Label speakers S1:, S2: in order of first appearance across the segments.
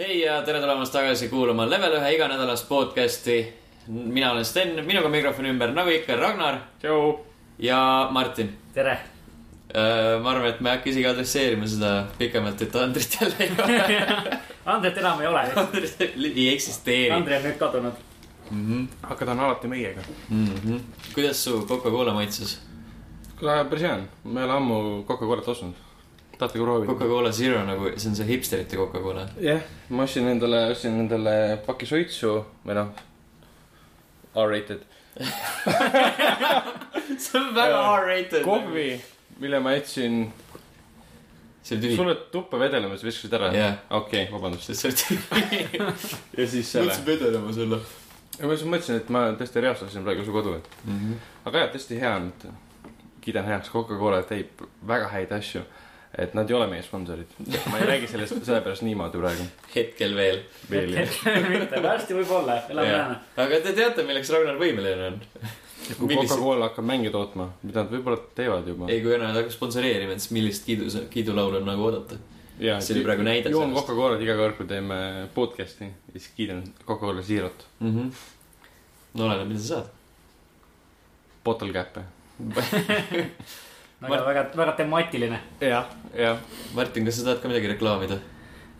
S1: hei ja tere tulemast tagasi kuulama Level ühe iganädalast podcasti . mina olen Sten , minuga mikrofoni ümber , nagu ikka , Ragnar
S2: tšau .
S1: ja Martin .
S3: tere .
S1: ma arvan , et me ei hakka isegi adresseerima seda pikemalt , et Andrit jälle ei ole .
S3: Andret enam ei ole ,
S1: Andrit ei eksisteeri .
S3: Andri on nüüd kadunud .
S2: aga ta on alati meiega .
S1: Mhm. kuidas su Coca-Cola maitses ?
S2: kuule , päris hea on , ma ei ole ammu Coca-Colat ostnud . tahate ka proovida ?
S1: Coca-Cola Zero nagu , see on see hipsterite Coca-Cola .
S2: jah , ma ostsin endale , ostsin endale paki suitsu või noh , R-rated .
S1: see on
S2: Jaa.
S1: R-rated .
S2: kohvi , mille ma jätsin ,
S1: see on tühi .
S2: sulle tuppa vedelema , sa viskasid ära
S1: Jah. .
S2: okei , vabandust .
S1: see on tühi .
S2: ja siis selle .
S1: mõtlesin vedelema selle .
S2: ja ma siis mõtlesin , et ma tõesti reastasin praegu su kodu , et
S1: Mhm.
S2: aga jah , tõesti hea on , et kiidan heaks Coca-Cola teeb väga häid asju . et nad ei ole meie sponsorid . ma ei räägi sellest sellepärast niimoodi praegu .
S1: hetkel veel .
S2: veel jah .
S3: mitte , varsti võib-olla , elame näeme .
S1: aga te teate , milleks Ragnar võimeline on ?
S2: kui
S1: Millise-
S2: Coca-Cola hakkab mänge tootma , mida nad võib-olla teevad juba .
S1: ei , kui nad hakkavad sponsoreerima , siis millist kiidu , kiidulaulu on nagu oodata . see oli
S2: joon
S1: praegu näide sellest .
S2: Coca-Colat iga kord , kui teeme podcast'i ja siis kiidan Coca-Cola siirot ,
S1: Mhm. no oleneb , mida sa saad .
S2: bottle cap'e .
S3: väga , väga , väga temaatiline .
S2: jah , jah .
S1: Martin , kas sa tahad ka midagi reklaamida ?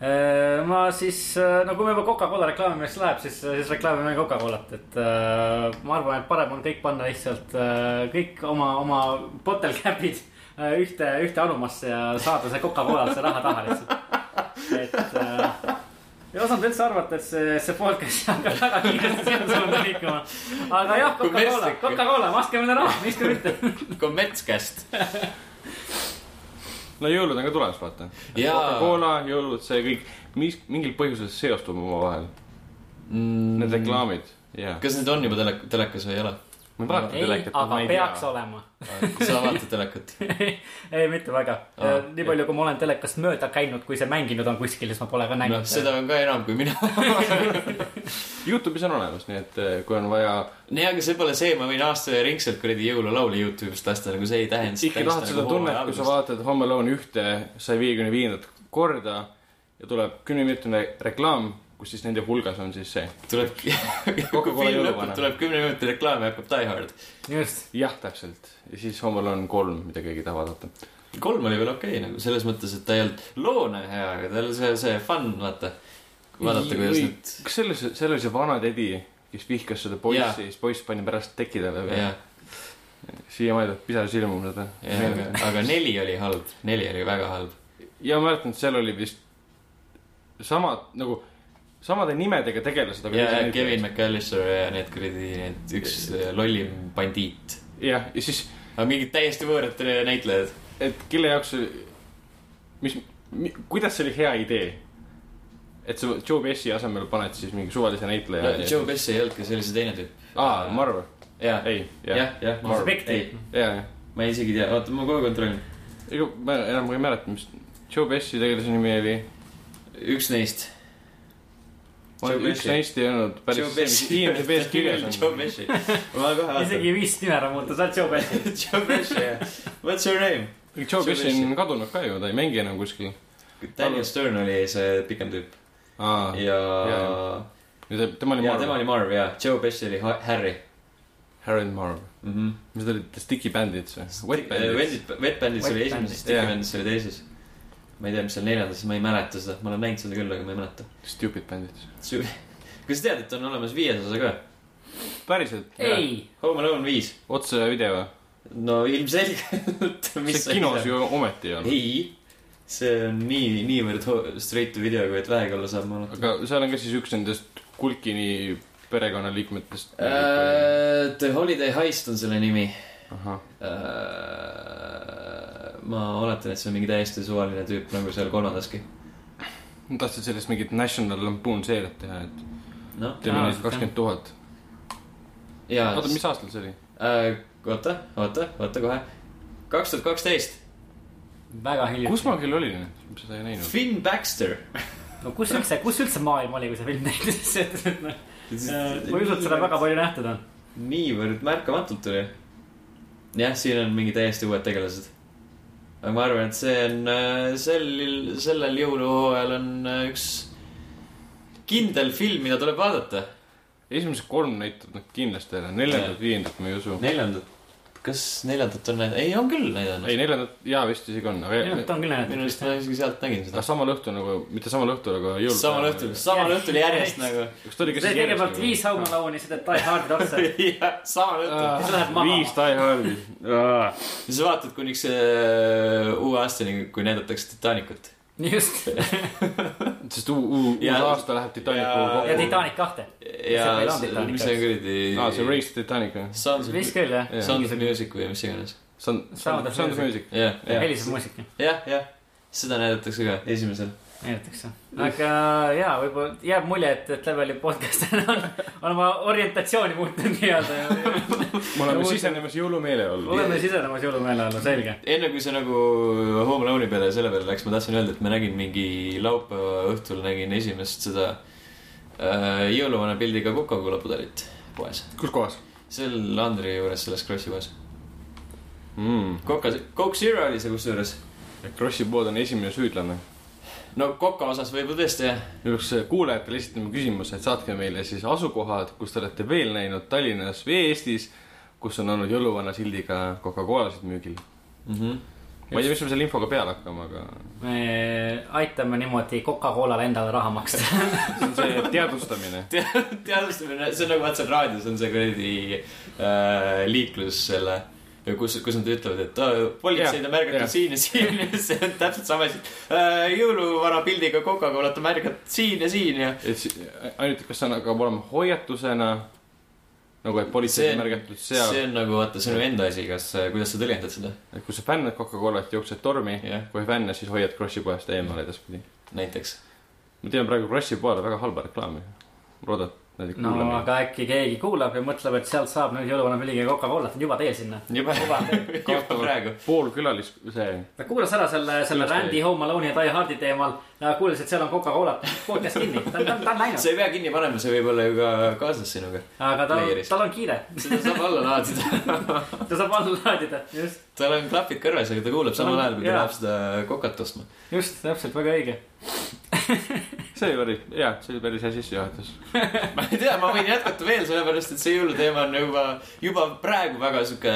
S3: Äh, ma siis , no kui me juba Coca-Cola reklaamimiseks läheb , siis , siis reklaamime Coca-Colat , et äh, ma arvan , et parem on kõik panna lihtsalt äh, kõik oma , oma bottle cap'id äh, ühte , ühte anumasse ja saada see Coca-Colalt see raha taha lihtsalt . et äh, ei osanud üldse arvata , et see , see podcast hakkab väga kiiresti sinu suunda liikuma . aga jah ,
S1: Kui
S3: Coca-Cola
S1: mõistlik. ,
S3: Coca-Cola , maske meile raha , miks ka mitte .
S1: kommertskäst .
S2: no jõulud on ka tulemas , vaata .
S1: Jaa.
S2: Coca-Cola , jõulud , see kõik , mis , mingil põhjusel seostub omavahel . Need reklaamid , jaa .
S1: Mm. kas need on juba tele- , telekas või ei ole ?
S2: ma ei vaata
S3: ei ,
S2: telekat ,
S3: aga
S2: ma ei
S3: peaks
S2: tea .
S3: olema
S1: sa vaatad telekat ?
S3: ei , mitte väga
S1: Aa, .
S3: nii palju , kui ma olen telekast mööda käinud , kui see mänginud on kuskil , siis ma pole ka
S1: noh ,
S3: näinud .
S1: seda on ka enam kui mina .
S2: Youtube'is on olemas , nii et eh, kui on vaja ,
S1: nii , aga see pole see , ma võin aastaringselt kuradi jõululaule Youtube'ist lasta , nagu see ei tähenda .
S2: ikka tahad
S1: nagu
S2: seda tunnet , kui sa vaatad Home Alone ühte saja viiekümne viiendat korda ja tuleb kümneminutine reklaam , kus siis nende hulgas on siis see .
S1: tuleb , kui
S2: Coca-Cola
S1: film lõpeb
S2: jõuluvana. ,
S1: tuleb kümne minuti reklaam ja hakkab Die Hard .
S3: just ,
S2: jah , täpselt . ja siis Home Alone kolm , mida keegi ei taha vaadata .
S1: kolm oli veel okei okay, nagu selles mõttes , et ta ei olnud loone hea , aga ta oli see , see fun , vaata . vaadata , kuidas
S2: Või-
S1: need ,
S2: kas seal oli see , seal oli see vana tädi , kes vihkas seda
S1: Jaa.
S2: poissi , siis poiss pani pärast teki talle või
S1: jah ,?
S2: siiamaani tuleb pisar silma mõelda .
S1: jah , aga , aga neli oli halb , neli oli väga halb .
S2: ja ma mäletan , et seal oli vist samad nagu , samade nimedega tegelased .
S1: ja , ja Kevin . McAllister ja need kuradi , need üks äh, lollim bandiit .
S2: jah , ja siis ,
S1: aga mingid täiesti võõrad äh, näitlejad .
S2: et kelle jaoks , mis, mis , kuidas see oli hea idee ? et sa Joe Pesci asemel paned siis mingi suvalise näitleja .
S1: Joe Pesci ei olnud ka , see oli see teine tüüp .
S2: aa , Marv ,
S1: jah ,
S2: ei , jah ,
S1: jah
S2: jah ,,
S1: jah ,
S2: Marv.
S3: Spectre.
S2: jah
S1: ma isegi ei tea , oota , ma kohe kontrollin .
S2: ega ma enam ei mäleta , mis Joe Pesci tegelase nimi oli .
S1: üks neist .
S2: üks neist ei olnud päris see , mis IMDB-s kirjas
S1: Joe
S2: on .
S1: Pesci . ma kohe vaatan .
S3: isegi viis nime ära muuta , sa oled Joe Pesci .
S1: Joe Pesci , jah . What's your name ?
S2: Joe Pesci on kadunud ka ju , ta ei mängi enam kuskil .
S1: Daniel Stern oli see pikem tüüp
S2: aa ,
S1: ja ,
S2: ja- ja Ah. tema oli
S1: ja tema
S2: Marv ,
S1: oli Marv ja Joe Pesci oli Ha- Harry
S2: Harold Marv .
S1: mm . -hmm.
S2: mis ta oli , The Sticky Bandits või ? Mhm. Wet Bandits .
S1: Äh, Wet Wet Bandits
S3: Wet
S1: oli
S3: Bandits.
S1: esimeses , Sticky
S2: Jah.
S1: Bandits oli teises . ma ei tea , mis seal neljandas , ma ei mäleta seda , ma olen näinud seda küll , aga ma ei mäleta .
S2: Stupid Bandits .
S1: kas sa tead , et on olemas viies osa ka ?
S2: päriselt ?
S3: ei ,
S1: Home Alone viis .
S2: otse video või ?
S1: no ilmselgelt .
S2: see kinos ju ometi ei olnud .
S1: ei , see on nii , niivõrd ho- straight to video , kui et vähegi olla saab , ma arvan .
S2: aga seal on ka siis üks nendest Kulkini perekonnaliikmetest .
S1: Äh, The Holiday Heist on selle nimi
S2: ahah ,
S1: Äh, ma oletan , et see on mingi täiesti suvaline tüüp nagu seal kolmandaski .
S2: ma tahtsin sellest mingit National Lampoon seeriat teha , et
S1: noh ,
S2: teeme
S3: Aa,
S2: neist kakskümmend tuhat .
S1: ja .
S2: oota , mis aastal see oli ?
S1: äh, ? oota , oota , oota kohe . kaks tuhat kaksteist ,
S3: väga
S2: kus
S3: hiljuti .
S2: ma küll olin , ma seda ei näinud .
S1: Finn
S3: Äh,
S1: Baxter .
S3: no kus üldse , kus üldse maailm oli , kui see film näitas , et , et noh , ma ei usu , et seda väga palju nähtud on .
S1: niivõrd märkamatult oli . jah , siin on mingi täiesti uued tegelased . aga ma arvan , et see on äh, sellel , sellel jõuluhooajal on äh, üks kindel film , mida tuleb vaadata .
S2: esimesed kolm näitab nad kindlasti ära , neljandat , viiendat ma ei usu .
S1: neljandat , kas neljandat on näidanud , ei on küll näidanud
S2: ei ,. neljandat , jaa vist isegi on ,
S3: minu arust
S2: aga
S3: on küll
S1: minu
S3: näidanud
S1: arust . ma isegi sealt nägin seda
S2: aga . samal õhtul nagu , mitte samal õhtul , aga jõul .
S1: samal õhtul ,. samal õhtul järjest nagu .
S2: kas ta oli
S3: see kõigepealt viis haumalauani , siis teed Die Hardi otsa .
S1: nagu. samal õhtul .
S3: siis lähed maha.
S2: viis Die Hardi .
S1: ja sa vaatad kuniks äh, uue aastani , kui näidatakse Titanicut .
S3: just .
S2: sest uu- , uu- , uus
S1: Ja-
S2: aasta
S1: ja-
S2: läheb
S3: ja
S2: Titanicu kokku .
S3: Titanic kahte .
S1: ja
S3: See on
S1: s-
S3: Titanic,
S1: mis see
S3: eks?
S1: kuradi .
S2: aa , see Race Titanic või ?
S1: Sounds of
S3: vist , küll jah .
S2: Jah.
S1: Sounds of Music või mis iganes .
S2: see on , see on ,
S3: Sound of
S2: see on see muusik .
S1: jah , jah ,
S3: heliseb muusika ,
S1: jah , jah , seda näidatakse ka esimesel .
S3: näidatakse . aga jaa , võib-olla jääb mulje , et , et Leveli podcast on , on oma orientatsiooni muutnud nii-öelda ja
S2: me
S3: Ja
S2: oleme
S3: muidu-
S2: sisenemas jõulumeeleollu .
S3: oleme sisenemas jõulumeele alla , selge .
S1: enne kui see nagu Home Alone'i peale ja selle peale läks , ma tahtsin öelda , et ma nägin mingi laupäeva õhtul nägin esimest seda äh, jõuluvana pildiga Coca-Cola pudelit poes .
S2: kus kohas
S1: seal Landri juures , selles Krossi poes .
S2: mm. ?
S1: Coca , Coke Zero oli see kusjuures .
S2: Krossi pood on esimene süüdlane .
S1: no Coca osas võib-olla tõesti jah ,
S2: me peaks kuulajatele esitama küsimuse , et saatke meile siis asukohad , kus te olete veel näinud Tallinnas või Eestis , kus on olnud jõuluvana sildiga Coca-Colasid müügil .
S1: mm . -hmm.
S2: ma ei tea , mis me selle infoga peale hakkame , aga
S3: me aitame niimoodi Coca-Colale endale raha maksta .
S2: see on see teadvustamine .
S1: teadvustamine , see on nagu vaata seal raadios on see kuradi äh, liiklus selle , kus , kus nad ütlevad , et äh, politseid on märgatud
S2: Jah, jah.
S1: yeah. siin ja siin ja see on täpselt sama asi äh, . jõuluvana pildiga Coca-Colat on märgatud siin ja siin ja .
S2: et si- ainult , kas see on- hakkab olema hoiatusena nagu , et politsei
S1: See-
S2: on märgatud seal ,
S1: see on nagu vaata sinu enda asi , kas , kuidas sa tõlgendad seda ,
S2: et kui sa fännad Coca-Colat , jooksed tormi
S1: Jah.
S2: kui fänne , siis hoiad Krossi poest eemale edaspidi .
S1: näiteks .
S2: ma tean praegu Krossi poele väga halba reklaami . loodan , et nad ei
S3: no
S2: kuule mind .
S3: aga äkki keegi kuulab ja mõtleb , et sealt saab nüüd jõuluvana pilliga Coca-Colat , on juba teel sinna .
S1: juba , juba praegu .
S2: pool külalis , see ,
S3: ta kuulas ära selle , selle
S2: Just
S3: Randy Home Alone'i ja Die Hardi teemal ja kuulas , et seal on Coca-Colat , podcast kinni , ta on , ta on , ta on
S1: sa
S3: läinud .
S1: ei pea kinni panema , see võib olla ju ka kaasas sinuga .
S3: aga tal
S1: Playeris. ,
S3: tal on kiire ,
S1: seda saab alla laadida .
S3: ta saab alla laadida , just .
S1: tal on klapid kõrves , aga ta kuulab samal ajal , kui ta
S3: Jaa.
S1: läheb seda kokat ostma .
S3: just , täpselt , väga õige .
S2: see oli päris , jaa , see oli päris hea sissejuhatus .
S1: ma ei tea , ma võin jätkata veel , sellepärast et see jõuluteema on juba , juba praegu väga sihuke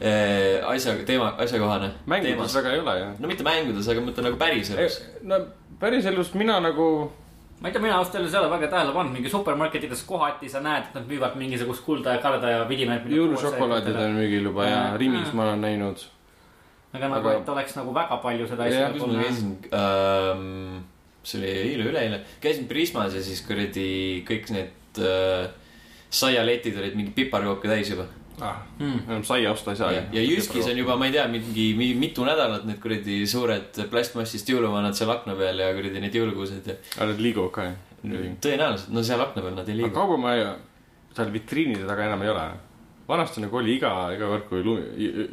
S1: äh, asja , teema , asjakohane .
S2: mängudes väga ei ole ju .
S1: no mitte mängudes , aga ma ütlen nagu päriselus .
S2: no päriselus mina nagu ,
S3: ma ei tea , mina ausalt öeldes ei ole väga tähele pannud , mingi supermarketides kohati sa näed , et nad müüvad mingisugust kulda ja karda ja vidinaid .
S2: jõulušokolaadid on müügil juba ja
S1: Ah.
S3: Jaa.
S2: Rimis ma olen näinud .
S3: aga nagu ,
S2: aga-
S3: et oleks nagu väga palju seda
S2: Jah,
S3: asja
S1: kus ma . käisin ähm, , see oli eile , üleeile , käisin Prismas ja siis kuradi kõik need äh, saialetid olid mingi piparkooke täis juba .
S2: Hmm. enam saia osta ei saa
S1: Ah. ja,
S2: ju .
S1: ja Jyskis on juba , ma ei tea , mingi mi- mitu nädalat need kuradi suured plastmassist jõuluvanad seal akna peal ja kuradi need jõulukuused ja
S2: aga nad liiguvad ka ju .
S1: tõenäoliselt , no seal akna peal nad ei
S2: aga
S1: liigu .
S2: kaubamaja seal vitriinide taga enam ei ole . vanasti nagu oli iga , iga kord , kui lumi ,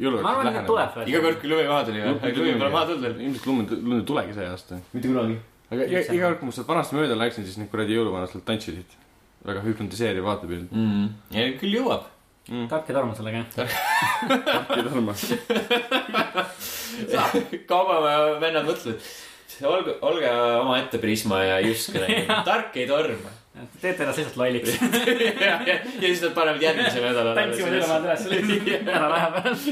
S2: jõuluvõrk
S3: ma arvan , et nad tuleb
S1: iga
S3: veel .
S1: kord , kui lumi maha tuli või ? aga lumi pole maha tulnud veel .
S2: ilmselt lund , lund ei tulegi see aasta .
S1: mitte kunagi .
S2: aga iga,
S3: Üldse.
S2: iga kord , kui ma sealt vanasti mööda läksin , siis need kuradi jõuluvanad sealt tantsisid . väga hüpnotiseeriv vaatepild .
S1: ja küll jõuab .
S3: tark ja tarm Mm, sellega .
S1: kaubamaja vennad mõtlevad , olge , olge omaette Prisma ja Jysk näinud , tark ei torma .
S3: teete ennast lihtsalt lolliks .
S1: ja ja siis nad panevad järgmisel nädalal .
S3: tantsivad jõulumaad üles , ära lähe pärast .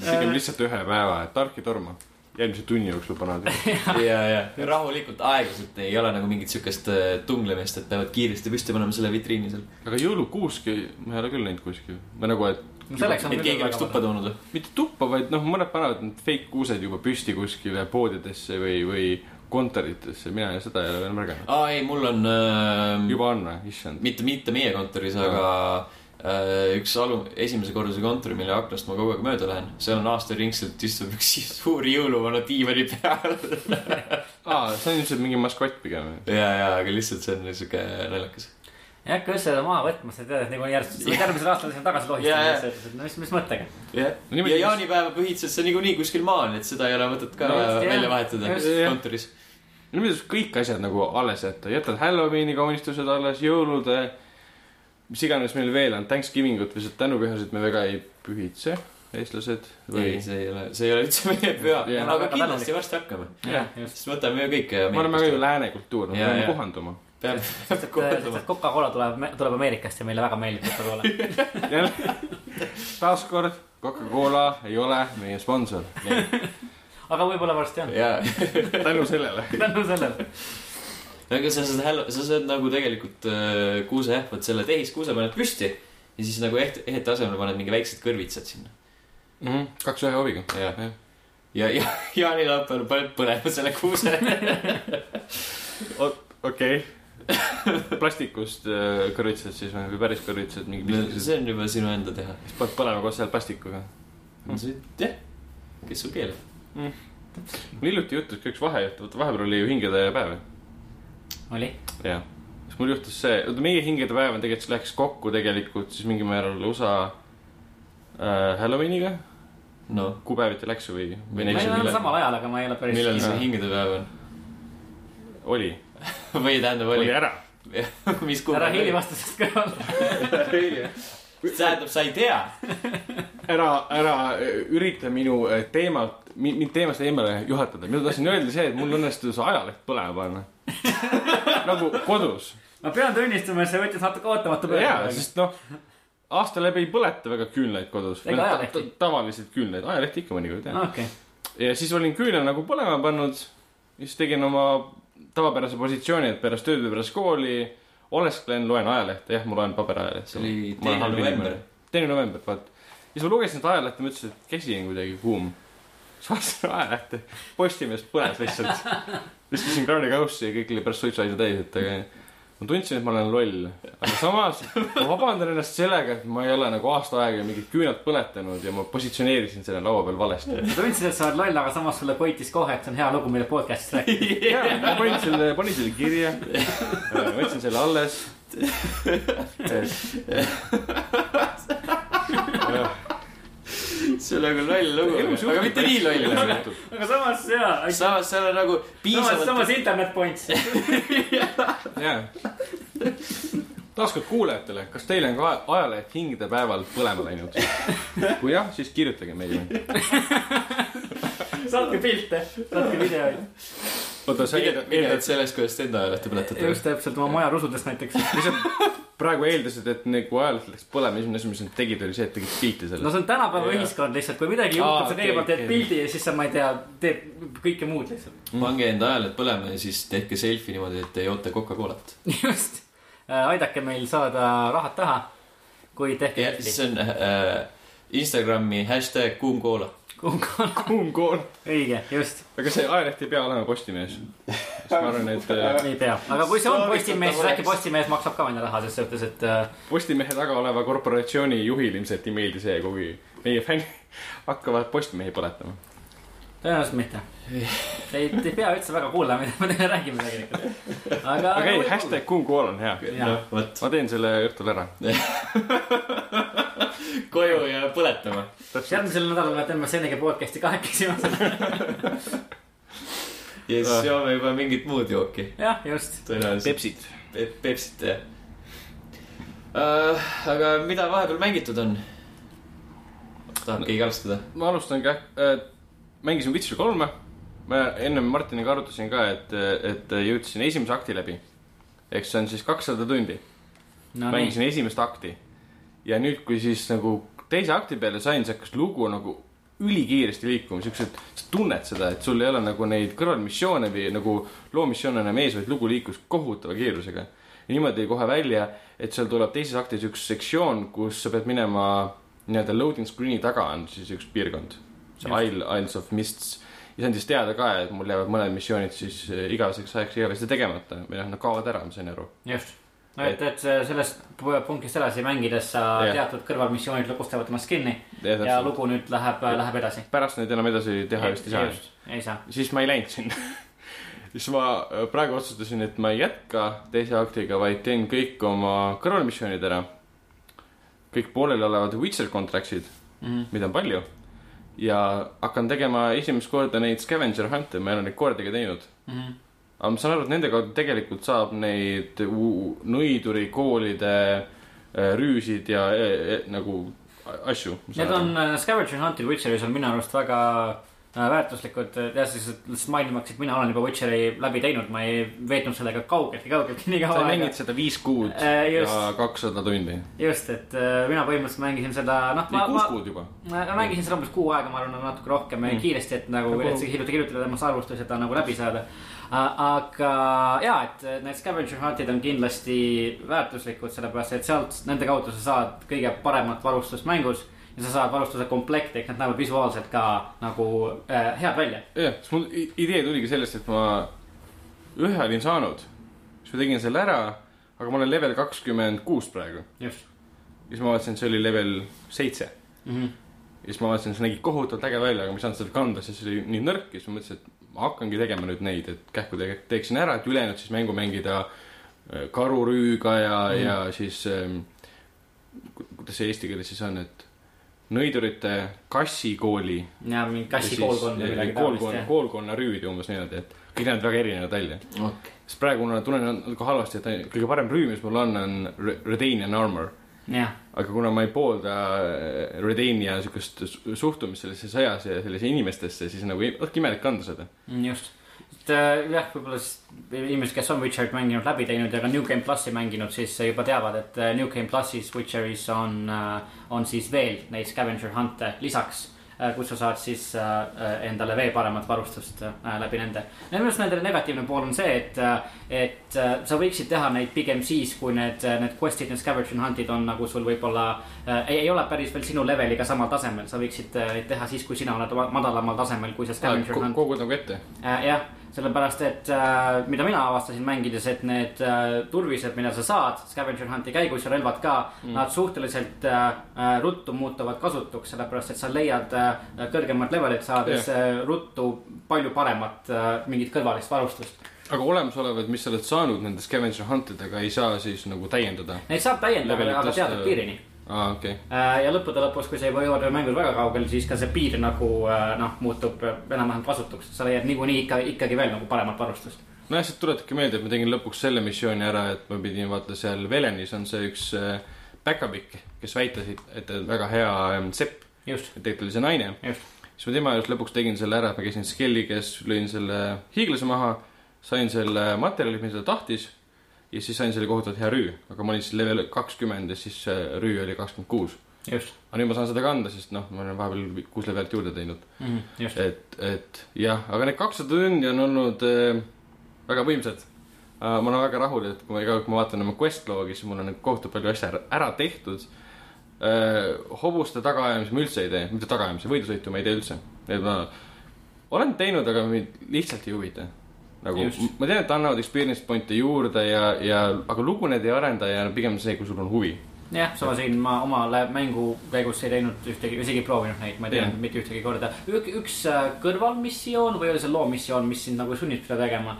S2: tegime lihtsalt ühe päeva , et tark ei torma . järgmise tunni jooksul panevad üles .
S1: ja , ja rahulikult , aeglaselt , ei ole nagu mingit siukest äh, tunglemist , et peavad kiiresti püsti panema selle vitriini seal .
S2: aga jõulukuuski ma ei ole küll näinud kuskil . või nagu , et
S3: selleks on
S1: et keegi oleks tuppa . toonud või ?
S2: mitte tuppa , vaid noh , mõned panevad need fake kuused juba püsti kuskile poodidesse või , või kontoritesse , mina seda ei ole veel märganud .
S1: aa , ei , mul on äh,
S2: juba on või , issand .
S1: mitte , mitte meie kontoris , aga äh, üks alu- , esimese korruse kontor , mille aknast ma kogu aeg mööda lähen , seal on aastaringselt istub üks suur jõuluvana diivani peal .
S2: aa , see on ilmselt mingi maskott pigem .
S1: ja , ja , aga lihtsalt see on siuke naljakas .
S3: ei hakka üldse seda maha võtma , sa tead , et niikuinii järjest , sa pead järgmisel aastal sinna tagasi
S1: Jaa, jaa.
S3: lohistama . no mis , mis mõttega .
S1: jah ,
S2: No niimoodi-
S1: ja jaanipäeva põhitsesse niikuinii kuskil maal , et seda ei ole mõtet ka no,
S2: No just,
S3: jah.
S1: välja vahetada
S2: Just. Jah.
S1: kontoris .
S2: no mida sa kõik asjad nagu alles jätta , jätad Halloweeni kaunistused alles , eh, jõulude , mis iganes meil veel on , Thanksgivingut või sealt tänupühasid me väga ei pühitse . eestlased
S1: ei
S2: või ?,
S1: see ei ole , see ei ole üldse meie püha
S2: Jah. ,
S1: aga
S3: Väga
S1: kindlasti
S3: tänulik.
S1: varsti hakkame .
S2: jah ,
S3: just ,
S1: sest võtame ju kõike .
S2: me oleme ka ju lääne kultuur , me
S1: Jaa,
S2: peame
S1: jaa.
S2: kohanduma .
S1: peab , peab
S3: sest
S1: kohandama
S3: et . Coca-Cola tuleb , tuleb Ameerikast ja meile väga meeldib Coca-Cola .
S2: taaskord Coca-Cola ei ole meie sponsor .
S3: aga võib-olla varsti on ,
S1: jaa ,
S2: tänu sellele .
S3: tänu sellele .
S1: aga sa saad häl- , sa saad nagu tegelikult äh, kuuseähvad selle tehiskuuse paned püsti ja siis nagu eht- , ehete asemele paned mingi väiksed kõrvitsad sinna .
S2: kaks ühe hooviga .
S1: ja ja ,
S2: Jah. ,
S1: ja jaanilaupäeval paned põlema selle kuuse .
S2: okei okay. . plastikust äh, kõrvitsad siis või või päris kõrvitsad , mingi pistmised .
S1: see on juba sinu enda teha .
S2: siis paned põlema koos selle plastikuga .
S1: Hmm. jah , kes sul keelab .
S2: mul hiljuti juhtus ka üks vahejuht , vaata vahepeal oli ju hingedepäev .
S3: oli ,
S2: jah . siis mul juhtus see , oota meie hingedepäev on tegelikult , see läks kokku tegelikult siis mingil määral USA äh, Halloweeniga ,
S1: noh ,
S2: kuupäeviti läks või , või
S3: me
S1: Millal-
S2: neljapäeval
S3: oleme samal ajal , aga ma ei ole päris .
S1: millal see hingedepäev on ?
S2: oli,
S1: või tähendab ,
S2: oli , oli
S1: oli ,
S2: ära .
S1: mis
S3: ära
S1: kuupäev
S3: hiili
S1: oli ?
S3: vastusest kõrvale .
S1: tähendab , sa ei tea .
S2: ära , ära äh, ürita minu äh, teemalt , mind teemast eemale juhatada , mida ma tahtsin öelda , see , et mul õnnestus ajaleht põlema panna . nagu kodus
S3: ma pean tunnistama , et see võttis natuke ootamatu
S2: jaa ,
S3: pöörde .
S2: sest noh , aasta läbi ei põleta väga küünlaid kodus .
S3: Ega ajalehti?
S2: tavaliselt küünlaid , ajalehti ikka mõnikord jah .
S3: okei ,
S2: ja siis olin küünla nagu põlema pannud , siis tegin oma tavapärase positsiooni , et pärast tööd või pärast kooli olesklen , loen ajalehte , jah , ma loen paberajalehte .
S1: See oli teine november. .
S2: teine november , vaat . ja siis ma lugesin seda ajalehte , mõtlesin , et käsi on kuidagi kuum . siis vaatasin ajalehte , Postimees põles lihtsalt . viskasin kraanikaussi ja kõik oli pärast suitsuaine täis , et aga ma tundsin , et ma olen loll , aga samas ma vabandan ennast sellega , et ma ei ole nagu aasta aega mingit küünalt põletanud ja ma positsioneerisin selle laua peal valesti .
S3: sa tundsid , et sa oled loll , aga samas sulle koitis kohe , et see on hea lugu , mille podcast'is rääkida .
S2: jaa , ma panin selle , panin selle kirja , võtsin selle alles . Äh,
S1: see on nagu loll lugu , aga mitte nii
S2: nagu
S1: loll .
S3: aga samas jaa ,
S1: samas seal on nagu
S3: samas ,
S1: piisavalt ,
S3: samas internet points .
S2: jaa . taaskord kuulajatele , kas teil on ka aja- ajaleht hingedepäeval põlema läinud ? kui jah , siis kirjutage meile .
S3: saatke pilte , saatke videoid .
S2: oota , sa
S1: pigem , pigem
S2: eeldad ,
S1: sellest , kuidas te enda ajalehte põletate .
S3: just täpselt oma maja rusudes näiteks .
S2: praegu eeldasid , et nagu ajaleht läks põlema , esimene asi , mis nad tegid , oli see , et tegid pilte
S3: no
S2: sellest .
S3: see on tänapäeva
S2: Jaa.
S3: ühiskond lihtsalt , kui midagi
S2: Aa,
S3: juhtub , sa
S2: okei,
S3: kõigepealt teed
S2: okei.
S3: pildi ja siis sa , ma ei tea , teed kõike muud lihtsalt .
S2: Mm.
S1: pange enda ajalehte põlema ja siis tehke selfie niimoodi , et te joote Coca-Colat .
S3: just , Äh, aidake meil saada rahad taha , kui tehke
S1: ja siis on äh, Instagrami hashtag kuum koola .
S3: pilti .
S2: kuum kool .
S3: õige , just ,
S2: aga see ajaleht ei pea olema Postimehes . ma arvan , et äh,
S3: ei pea , aga kui see on
S1: Soovitatav
S3: Postimees , siis
S1: oleks.
S3: äkki Postimees maksab ka meile raha ses suhtes , et äh,
S2: Postimehe taga oleva korporatsiooni juhil ilmselt ei meeldi see , kui meie fännid hakkavad Postimehi põletama .
S3: tõenäoliselt mitte . ei , te ei pea üldse väga kuulama , mida me teile räägime tegelikult . aga,
S2: aga ei ,. hashtag kuum kool on hea .
S3: Jaa.
S1: noh , vot ,
S2: ma teen selle õhtul ära .
S1: koju ja põletama .
S3: järgmisel nädalal me teeme Senega podcast'i kahekesi .
S1: ja
S2: Ah.
S1: siis joome juba mingit muud jooki .
S3: jah , just .
S1: tõenäoliselt
S2: Pepsit .
S1: pe Pepsit ja uh, . aga mida vahepeal mängitud on ? tahab keegi alustada ?
S2: ma alustan ka äh, , mängisin Witcher kolme . ma ennem Martiniga arutasin ka , et , et jõudsin esimese akti läbi . eks see on siis kakssada tundi .
S3: no Ah, nii ,
S2: mängisin esimest akti . ja nüüd , kui siis nagu teise akti peale sain , siis hakkas lugu nagu ülikiiresti liikuma , siuksed , sa tunned seda , et sul ei ole nagu neid kõrvalmissioone või nagu loomissioone enam ees , vaid lugu liikus kohutava kiirusega . ja niimoodi tuli kohe välja , et seal tuleb teises aktis üks sektsioon , kus sa pead minema nii-öelda loading screen'i taga on siis üks piirkond , see
S3: Just.
S2: Isle , Isles of Mists ja see on siis teada ka , et mul jäävad mõned missioonid siis eh, igaveseks ajaks igavesti tegemata või noh , nad kaovad ära , ma sain aru .
S3: just . no et , et sellest pu- punktist edasi mängides sa
S2: Jah.
S3: teatud kõrvalmissioonid lukustavad ennast kinni ja lugu nüüd läheb , läheb edasi .
S2: pärast neid enam edasi teha vist ei saa .
S3: ei saa .
S2: siis ma ei läinud sinna . siis ma äh, praegu otsustasin , et ma ei jätka teise aktiga , vaid teen kõik oma kõrvalmissioonid ära . kõik pooleliolevad Witcher contract'id , mida on palju . ja hakkan tegema esimest korda neid scavenger hunt'e , ma ei ole neid kordagi teinud .
S3: Mhm.
S2: aga ma saan aru , et nende kaudu tegelikult saab neid u- u- nõidurikoolide äh, rüüsid ja äh, äh, nagu asju .
S3: Need on äh, Scavenger Huntil Witcheris on minu arust väga äh, väärtuslikud , jah , siis lihtsalt mainimaks , et mina olen juba Witcheri läbi teinud , ma ei veetnud sellega kaugeltki , kaugeltki nii
S2: sa
S3: kaua aega
S2: mängid . seda viis kuud
S3: Äh, just.
S2: ja kakssada tundi .
S3: just , et äh, mina põhimõtteliselt mängisin seda , noh ,
S2: ei
S3: ma ,
S2: kuus
S3: ma
S2: kuud juba .
S3: ma mängisin seda umbes kuu aega , ma arvan , natuke rohkem mm. kiiresti , et nagu
S2: Nagu-
S3: üldse kirjutada , kirjutada temast arvust ja seda nagu läbi saada . aga ja , et need scavenger hunt'id on kindlasti väärtuslikud , sellepärast et sealt , nende kaudu sa saad kõige paremat varustust mängus . ja sa saad varustuse komplekti , ehk nad näevad visuaalselt ka nagu äh, head välja .
S2: jah , siis mul i- idee tuligi sellest , et ma ühe olin saanud , siis ma tegin selle ära , aga ma olen level kakskümmend kuus praegu .
S3: just
S2: siis ma vaatasin , et see oli level seitse
S3: mm . -hmm.
S2: ja siis ma vaatasin , see nägi kohutavalt äge välja , aga ma ei saanud seda kanda , sest see oli nii nõrk ja siis ma mõtlesin , et ma hakkangi tegema nüüd neid , et kähku te teeksin ära , et ülejäänud siis mängu mängida äh, karurüüga ja mm , -hmm. ja siis ähm, ku- kuidas see eesti keeles siis on , et nõidurite kassikooli
S3: ja mingi kassi koolkond või midagi taolist
S2: koolkonna ,
S3: jah .
S2: koolkonna rüüd ja umbes niimoodi , et kõik näevad väga erinevad välja .
S1: okay. .
S2: sest praegu ma tunnen natuke halvasti , et ainult- kõige parem rüüm , mis mul on , on Re- Redanian armor .
S3: jah ,
S2: aga kuna ma ei poolda äh, Redania siukest su- suhtumist sellesse sõjas ja sellesse inimestesse , siis nagu ei- õhk imelik kanda seda .
S3: Mm, just . et äh, jah , võib-olla siis inimesed , kes on Witcherit mänginud , läbi teinud ja ka New Game plussi mänginud , siis juba teavad , et äh, New Game plussis Witcheris on , on siis veel neid scavenger hunt'e lisaks , kus sa saad siis äh, äh, endale veel paremat varustust äh, läbi nende . ja minu arust nende negatiivne pool on see , et , et äh, sa võiksid teha neid pigem siis , kui need , need quest'id , need scavenger hunt'id on nagu sul võib-olla äh, ei , ei ole päris veel sinu leveliga samal tasemel , sa võiksid äh, neid teha siis , kui sina oled ma- madalamal tasemel , kui see scavenger hunt .
S2: kogud nagu ette .
S3: Äh, jah , sellepärast et äh, mida mina avastasin mängides , et need äh, turvised , mida sa saad scavenger hunt'i käigus ja relvad ka mm. , nad suhteliselt äh, äh, ruttu muutuvad kasutuks , sellepärast et sa leiad äh, kõrgemat levelit saades yeah. äh, ruttu palju paremat äh, mingit kõrvalist varustust .
S2: aga olemasolevad , mis sa oled saanud nende scavenger hunt idega , ei saa siis nagu täiendada .
S3: Neid saab täiendada ,
S2: Levelit
S3: aga
S2: tõsta-
S3: teatud piirini .
S2: aa , okei .
S3: ja lõppude lõpus , kui sa juba jõuad mängus väga kaugele , siis ka see piir nagu äh, noh , muutub äh, enam-vähem kasutuks , sa leiad niikuinii ikka ikkagi veel nagu paremat varustust .
S2: nojah , see tuletabki meelde , et ma tegin lõpuks selle missiooni ära , et ma pidin vaata seal Velenis on see üks äh, päkapikk , kes väitas , et ta on väga hea ähm, sepp ,
S3: just ,
S2: et tegelikult oli see naine .
S3: just ,
S2: siis ma tema juures lõpuks tegin selle ära , et ma käisin Skelli käes , lõin selle hiiglase maha , sain selle materjali , mida ta tahtis ja siis sain selle kohutavalt hea rüü , aga ma olin siis level kakskümmend ja siis see rüü oli kakskümmend kuus .
S3: just
S2: aga nüüd ma saan seda kanda , sest noh , ma olen vahepeal kuus levelit juurde teinud ,
S3: mm , -hmm, just .
S2: et , et jah , aga need kakssada tundi on olnud äh, väga võimsad äh, . ma olen väga rahul , et kui ma iga kord , kui ma vaatan oma quest log'i , siis mul on nagu kohutavalt palju asja ära, ära tehtud äh, . hobuste tagaajamisi ma üldse ei tee , mitte tagaajamisi , võidusõitu ma ei tee üldse . et ma olen teinud , aga mind lihtsalt ei huvita . nagu
S3: Just.
S2: ma tean , et annavad experience point'e juurde ja , ja , aga lugu need ei arenda ja pigem see , kui sul on huvi .
S3: jah , sama siin ma omale mängu käigus ei teinud ühtegi , isegi ei proovinud neid , ma ei teinud
S2: Jah.
S3: mitte ühtegi korda . üks äh, kõrvalmissioon või oli see loomissioon , mis sind nagu sunnib seda tegema ,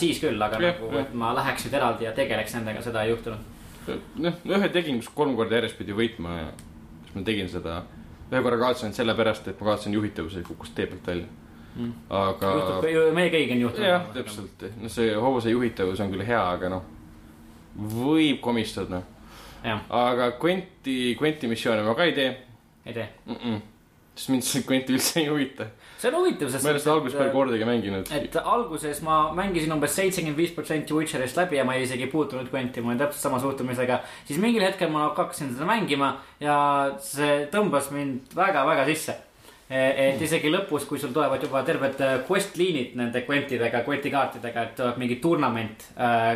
S3: siis küll , aga
S2: Jah,
S3: nagu ,
S2: jah.
S3: et ma läheks nüüd eraldi ja tegeleks nendega , seda ei juhtunud .
S2: noh , ühe tegin , kus kolm korda järjest pidi võitma ja siis ma tegin seda . ühe korra kaotasin sellepärast , et ma kaotasin juhitavuse ja kukkus tee pealt välja
S3: Mm.
S2: mm. . aga .
S3: juhtub , meie kõigil on juhtunud .
S2: jah , täpselt , noh , see hobuse juhitavus on küll hea , aga noh , võib komistada .
S3: jah ,
S2: aga Quenti , Quenti missioone ma ka ei tee
S3: ei tee .
S2: mm . -mm. sest mind see Quenti üldse ei huvita .
S3: see on huvitav , sest .
S2: ma ei ole seda alguses veel kordagi mänginud .
S3: et alguses ma mängisin umbes seitsekümmend viis protsenti Witcherist läbi ja ma ei isegi puutunud Quenti , ma olin täpselt sama suhtumisega . siis mingil hetkel ma nagu hakkasin seda mängima ja see tõmbas mind väga-väga sisse . et isegi lõpus , kui sul tulevad juba terved äh, quest liinid nende Quentidega , Quenti kaartidega , et tuleb mingi turnament ,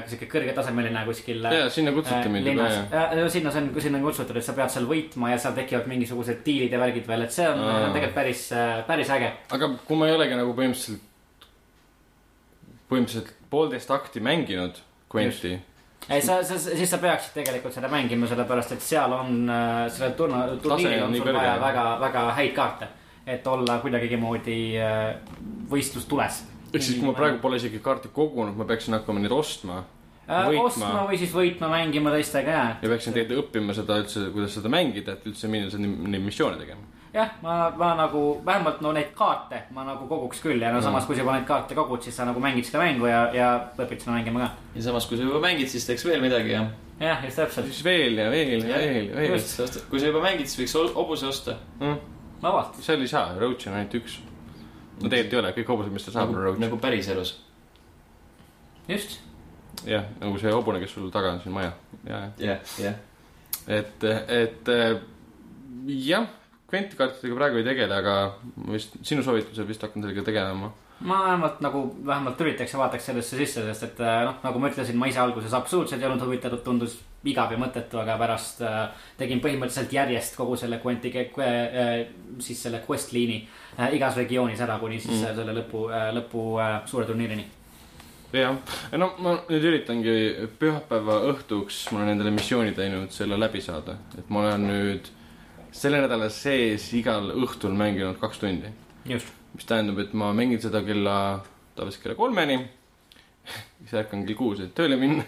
S3: sihuke kõrgetasemeline kuskil . e,
S2: ja sinna kutsuti mind juba ja .
S3: ja . sinna see on , sinna on kutsutud , et sa pead seal võitma ja seal tekivad mingisugused diilid ja värgid veel , et see on
S2: Aa.
S3: äh, tegelikult päris , päris äge .
S2: aga kui ma ei olegi nagu põhimõtteliselt , põhimõtteliselt poolteist akti mänginud Quenti
S3: ei , sa , sa , siis sa peaksid tegelikult seda mängima , sellepärast et seal on ,
S4: äh,
S3: sellel turna- , turniiril
S2: on
S3: on
S2: nii
S3: sul vaja
S2: kõrge.
S3: väga , väga häid kaarte , et olla kuidagimoodi äh, võistlustules .
S2: ehk siis , kui ma praegu pole isegi kaarte kogunud , ma peaksin hakkama neid ostma
S3: võitma .
S4: Äh,
S2: võitma-
S3: ostma või siis võitma , mängima teistega , jaa .
S2: ja peaksin tegelikult õppima seda üldse , kuidas seda mängida , et üldse minna seda- neid missioone tegema .
S3: ja
S4: jah , ma , ma nagu vähemalt no neid kaarte ma nagu koguks küll ja no samas , kui sa juba neid kaarte kogud , siis sa nagu mängid seda mängu ja , ja õpid seda mängima ka .
S1: ja samas , kui sa juba mängid , siis teeks veel midagi ja .
S4: jah , just täpselt ,
S2: siis veel ja veel ja veel , veel .
S1: kui sa juba mängid , siis võiks ol- hobuse osta .
S4: vabalt .
S2: see oli saa , roach on ainult üks . no tegelikult ei ole , kõik hobused , mis ta saab , on
S1: nagu ,
S2: roach .
S1: nagu päriselus .
S4: just ,
S2: jah , nagu see hobune , kes sul taga on siin maja . ja , ja ,
S1: jah , jah .
S2: et , et eh, jah , kvantikaartidega praegu ei tegele , aga ma vist sinu soovitusel vist hakkan sellega tegelema .
S4: ma vähemalt nagu , vähemalt üritaks ja vaataks sellesse sisse , sest et äh, noh , nagu ma ütlesin , ma ise alguses absoluutselt ei olnud huvitatud , tundus igav ja mõttetu , aga pärast äh, tegin põhimõtteliselt järjest kogu selle kvanti , äh, siis selle quest liini äh, igas regioonis ära , kuni siis mm. selle lõpu äh, , lõpu äh, suure turniirini .
S2: jah , no ma nüüd üritangi pühapäeva õhtuks , ma olen endale missiooni teinud selle läbi saada , et ma olen nüüd selle nädala sees igal õhtul mänginud kaks tundi ,
S4: just ,
S2: mis tähendab , et ma mängin seda kella , tavaliselt kella kolmeni , siis ärkan kell kuus , et tööle minna .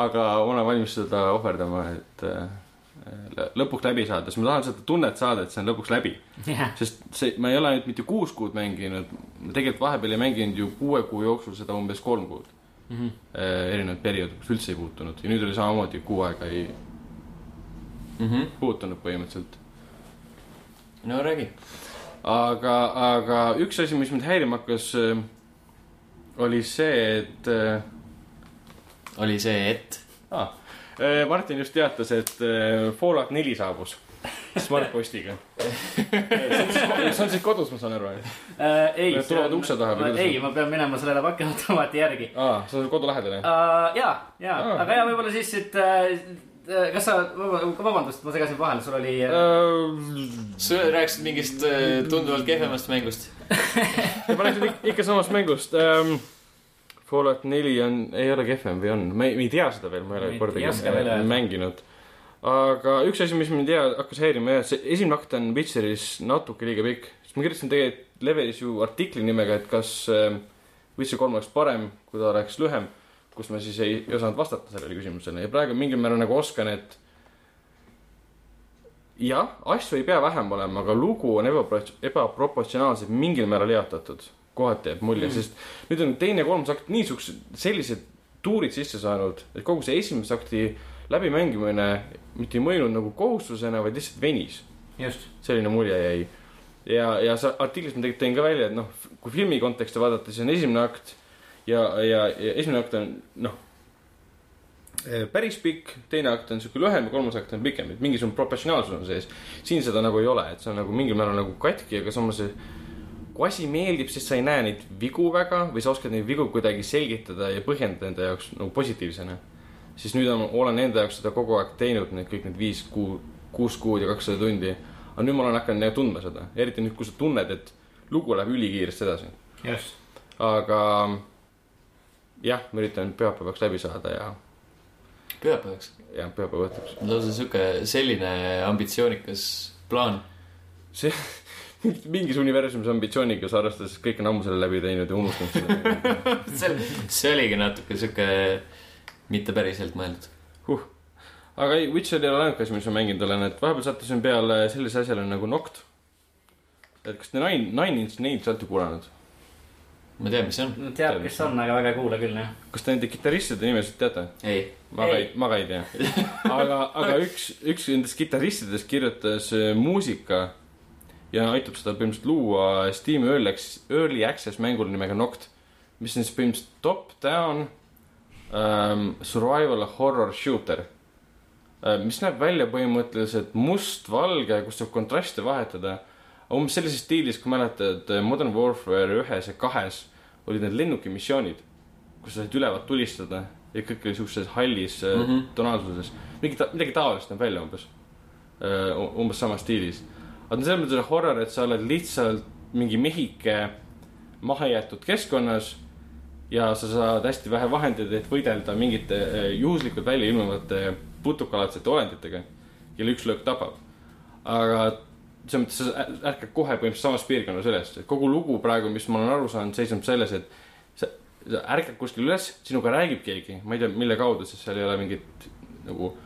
S2: aga ma olen valmis seda ohverdama , et äh, lõpuks läbi saada , sest ma tahan seda tunnet saada , et see on lõpuks läbi .
S4: jah ,
S2: sest see , ma ei ole nüüd mitte kuus kuud mänginud , ma tegelikult vahepeal ei mänginud ju kuue kuu jooksul seda umbes kolm kuud mm
S4: Mhm.
S2: -hmm. äh, . erinevaid perioode , kus üldse ei puutunud ja nüüd oli samamoodi kuu aega ei Mhm. puutunud põhimõtteliselt .
S1: no räägi .
S2: aga , aga üks asi , mis mind häirima hakkas äh, , oli see , et äh,
S1: oli see , et .
S2: ah, äh, Martin just teatas , et äh, Fallout neli saabus Smartpostiga . see on siis kodus , ma saan aru , jah ?
S4: äh, . ei
S2: Nad . tulevad ukse taha või kuidas
S4: ei ,
S2: nad-
S4: ma pean minema sellele pakiautomaati järgi
S2: aa , sa oled kodu lähedal ,
S3: Ah,
S2: jah ?
S4: uh, . ja , ja
S2: Aa.
S4: oh. , aga ja võib-olla siis , et uh, kas sa , vabandust , ma segasin vahele , sul oli uh, .
S2: Äh.
S1: sa rääkisid mingist äh, tunduvalt kehvemast mängust .
S2: Ja ma räägin ik- ikka samast mängust ähm, . Fallout neli on , ei ole kehvem või on , ma ei , ma ei tea seda veel , ma ei
S4: Ma
S2: ole
S4: ei
S2: kordagi
S4: oska veel öelda.
S2: mänginud . aga üks asi , mis mind hea hakkas häirima jah , see esimene akt on Witcheris natuke liiga pikk , sest ma kirjutasin tegelikult Levelis ju artikli nimega , et kas ähm, Witcher kolm oleks parem , kui ta oleks lühem , kus ma siis ei, ei osanud vastata sellele küsimusele ja praegu mingil määral nagu oskan , et jah , asju ei pea vähem olema , aga lugu on ebapro- , ebaproportsionaalselt mingil määral jaotatud , kohati jääb mulje mm. , sest nüüd on teine ja kolmas akt niisugused , sellised tuurid sisse saanud , et kogu see esimese akti läbimängimine mitte ei mõjunud nagu kohustusena , vaid lihtsalt venis .
S4: just ,
S2: selline mulje jäi . ja , ja sa artiklis ma tegelikult tõin ka välja , et noh , kui filmi konteksti vaadata , siis on esimene akt ja , ja , ja esimene akt on noh , päris pikk , teine akt on sihuke lühem ja kolmas akt on pikem , et mingisugune professionaalsus on sees . siin seda nagu ei ole , et see on nagu mingil määral nagu katki , aga samas see- kui asi meeldib , siis sa ei näe neid vigu väga või sa oskad neid vigu kuidagi selgitada ja põhjendada enda jaoks nagu positiivsena . siis nüüd on, olen enda jaoks seda kogu aeg teinud , need kõik need viis kuu , kuus kuud ja kakssada tundi . aga nüüd ma olen hakanud nagu tundma seda , eriti nüüd , kui sa tunned , et lugu läheb ülikiiresti edasi .
S4: just .
S2: aga jah , ma üritan pühapäevaks läbi saada ja ,
S1: pühapäevaks .
S2: ja pühapäeva õhtuks .
S1: lausa sihuke selline ambitsioonikas plaan .
S2: see mingis universumis ambitsioonikas , arvestades , et kõik on ammu selle läbi teinud ja unustanud selle .
S1: see , see oligi natuke sihuke mitte päriselt mõeldud .
S2: huh. aga ei , Witcher ei ole ainuke asi , mis ma mänginud olen , et vahepeal sattusin peale sellise asjale nagu Noct . et kas te Nine , Nine Inch Nails olete kuulanud ?
S1: ma tean , mis see on .
S4: teab , kes on , aga väga ei kuule küll , jah .
S2: kas te nende kitarristide nimesid teate ?
S1: ei .
S2: ma ka ei
S4: Ei. ,
S2: ma ka ei tea . aga , aga üks , üks nendest kitarristidest kirjutas äh, muusika ja aitab seda põhimõtteliselt luua Steam Early Access , Early Access mängul nimega Noct , mis on siis põhimõtteliselt top-down ähm, survival horror shooter äh, , mis näeb välja põhimõtteliselt mustvalge , kus saab kontraste vahetada . umbes sellises stiilis , kui mäletad äh, Modern Warfare ühes ja kahes olid need lennukimissioonid , kus sa said ülevalt tulistada ja kõik oli siukses hallis mm -hmm.
S1: Mhm.
S2: tonaalsuses . mingi , midagi taolist näeb välja umbes , umbes samas stiilis . aga selles mõttes on horror , et sa oled lihtsalt mingi mehike mahajäetud keskkonnas ja sa saad hästi vähe vahendeid , et võidelda mingite äh, juhuslikult välja ilmuvate putukalatsete olenditega , kelle üks löök tapab . aga selles mõttes sa ä- ärkad kohe põhimõtteliselt samas piirkonnas üles , et kogu lugu praegu , mis ma olen aru saanud , seisneb selles , et sa, sa ärkad kuskil üles , sinuga räägib keegi , ma ei tea , mille kaudu , sest seal ei ole mingit nagu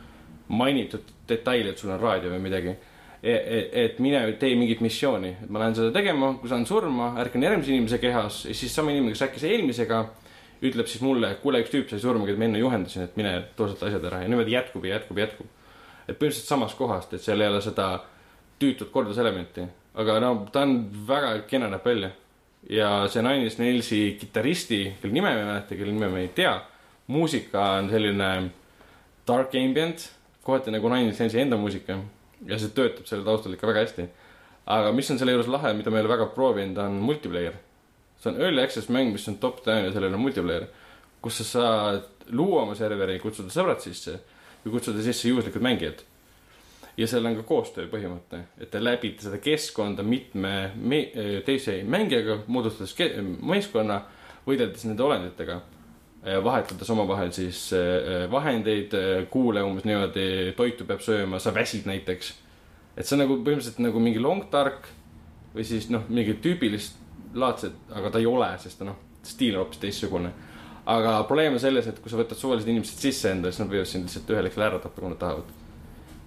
S2: mainitud detaili , et sul on raadio või midagi . et, et mine tee mingit missiooni , et ma lähen seda tegema , kui saan surma , ärkan järgmise inimese kehas ja siis sama inimene , kes rääkis eelmisega , ütleb siis mulle , kuule , üks tüüp sai surma , keda ma enne juhendasin , et mine too sealt asjad ära ja niimoodi jätkub ja jätkub ja jätkub . et põhimõtteliselt samast kohast , et seal ei ole seda tüütut korduselementi , aga no ta on väga kena näeb välja . ja see Nine Inch Nails'i kitarristi , kelle nime ma ei mäleta , kelle nime ma ei tea , muusika on selline dark ambient , kohati nagu Nine Inch Nails'i enda muusika ja see töötab selle taustal ikka väga hästi . aga mis on selle juures lahe , mida ma ei ole väga proovinud , on multiplayer . see on early access mäng , mis on top-down ja sellel on multiplayer , kus sa saad luua oma serveri , kutsuda sõbrad sisse või kutsuda sisse juhuslikud mängijad . ja seal on ka koostöö põhimõte , et te läbite seda keskkonda mitme me- teise mängijaga , moodustades ke- meeskonna , võideldes nende olenditega Äh, vahetades omavahel siis äh, vahendeid , kuule umbes niimoodi , toitu peab sööma , sa väsid näiteks . et see on nagu põhimõtteliselt nagu mingi long dark või siis noh , mingi tüübilist laadset , aga ta ei ole , sest ta noh , stiil on hoopis teistsugune . aga probleem on selles , et kui sa võtad suvalised inimesed sisse enda , siis nad võivad sind lihtsalt ühel hetkel ära tappa , kui nad tahavad .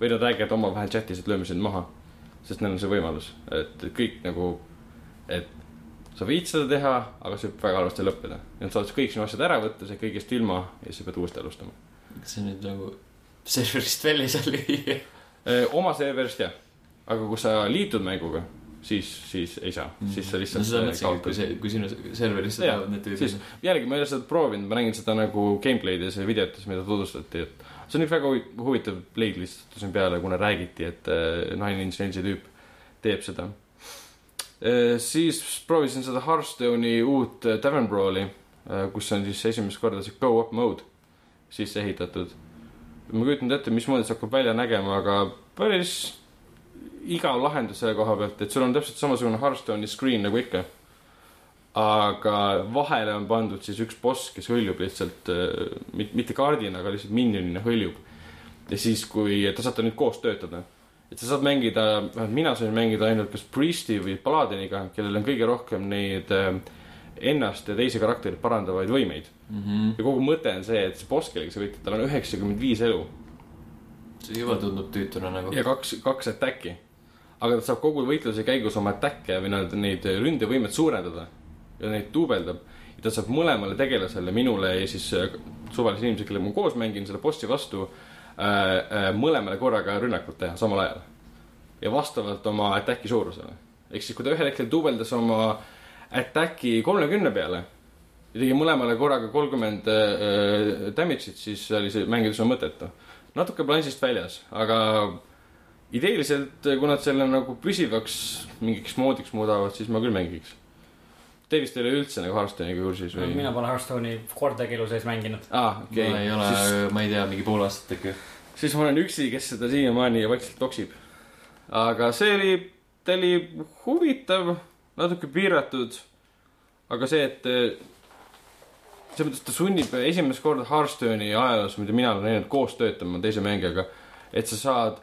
S2: või nad räägivad omavahel chatis , et lööme sind maha , sest neil on see võimalus , et kõik nagu , et sa võid seda teha , aga see võib väga halvasti lõppeda . Nad saavad kõik sinu asjad ära võtta , sa jääd kõigest ilma ja siis sa pead uuesti alustama .
S1: kas see nüüd nagu serverist välja ei saa lüüa ?
S2: E, oma serverist jah , aga kui sa liitud mänguga , siis , siis ei saa mm. , siis sa
S1: no
S2: lihtsalt
S1: seda mõtlesingi ,
S2: kaotad.
S1: kui see , kui sinu serverisse
S2: Jaa,
S1: tulevad need
S2: siis
S1: tüübid .
S2: jällegi ma ei ole seda proovinud , ma nägin seda nagu gameplay'des ja videotes , mida tutvustati , et see on üks väga huvi- huvitav pleid lihtsalt tuli siin peale , kuna räägiti , et äh, Nine Inch Nails'i tüüp teeb seda . siis proovisin seda Hearthstone'i uut äh, Tavern Brawl'i , kus on siis esimest korda see go-up mode sisse ehitatud . ma ei kujutanud ette , mismoodi see hakkab välja nägema , aga päris igav lahendus selle koha pealt , et sul on täpselt samasugune Hearthstone'i screen nagu ikka . aga vahele on pandud siis üks boss , kes hõljub lihtsalt , mitte kaardina , aga lihtsalt minionina hõljub . ja siis , kui te saate nüüd koos töötada , et sa saad mängida , vähemalt mina sain mängida ainult kas Priesti või Paladiniga , kellel on kõige rohkem neid äh, ennast ja teisi karaktereid parandavaid võimeid .
S1: Mhm.
S2: ja kogu mõte on see , et see boss , kellega sa võitled , tal on üheksakümmend viis elu
S1: see juba tundub tüütuna nagu .
S2: ja kaks , kaks attack'i . aga ta saab kogu võitluse käigus oma attack'e või nad neid äh, ründevõimet suurendada ja neid duubeldab . ja ta saab mõlemale tegelasele , minule ja siis äh, suvalisele inimesele , kellega ma koos mängin , selle bossi vastu äh, äh, mõlemale korraga rünnakut teha samal ajal . ja vastavalt oma attack'i suurusele . ehk siis , kui ta ühel hetkel duubeldas oma attack'i kolmekümne peale ja tegi mõlemale korraga kolmkümmend äh, damage'it , siis oli see mängida üsna mõttetu . natuke balansist väljas , aga ideeliselt , kui nad selle nagu püsivaks mingiks moodiks muudavad , siis ma küll mängiks . Te vist ei ole üldse nagu Hearthstone'iga kursis või ?
S4: mina pole Hearthstone'i kordagi elu sees mänginud .
S2: aa , okei
S1: ma ei ole
S2: siis ,,
S1: ma ei tea , mingi pool aastat äkki .
S2: siis ma olen üksi , kes seda siiamaani vaikselt toksib . aga see oli , ta oli huvitav , natuke piiratud . aga see , et eh, selles mõttes ta sunnib esimest korda Hearthstone'i ajaloos , mida mina olen näinud , koos töötama teise mängijaga , et sa saad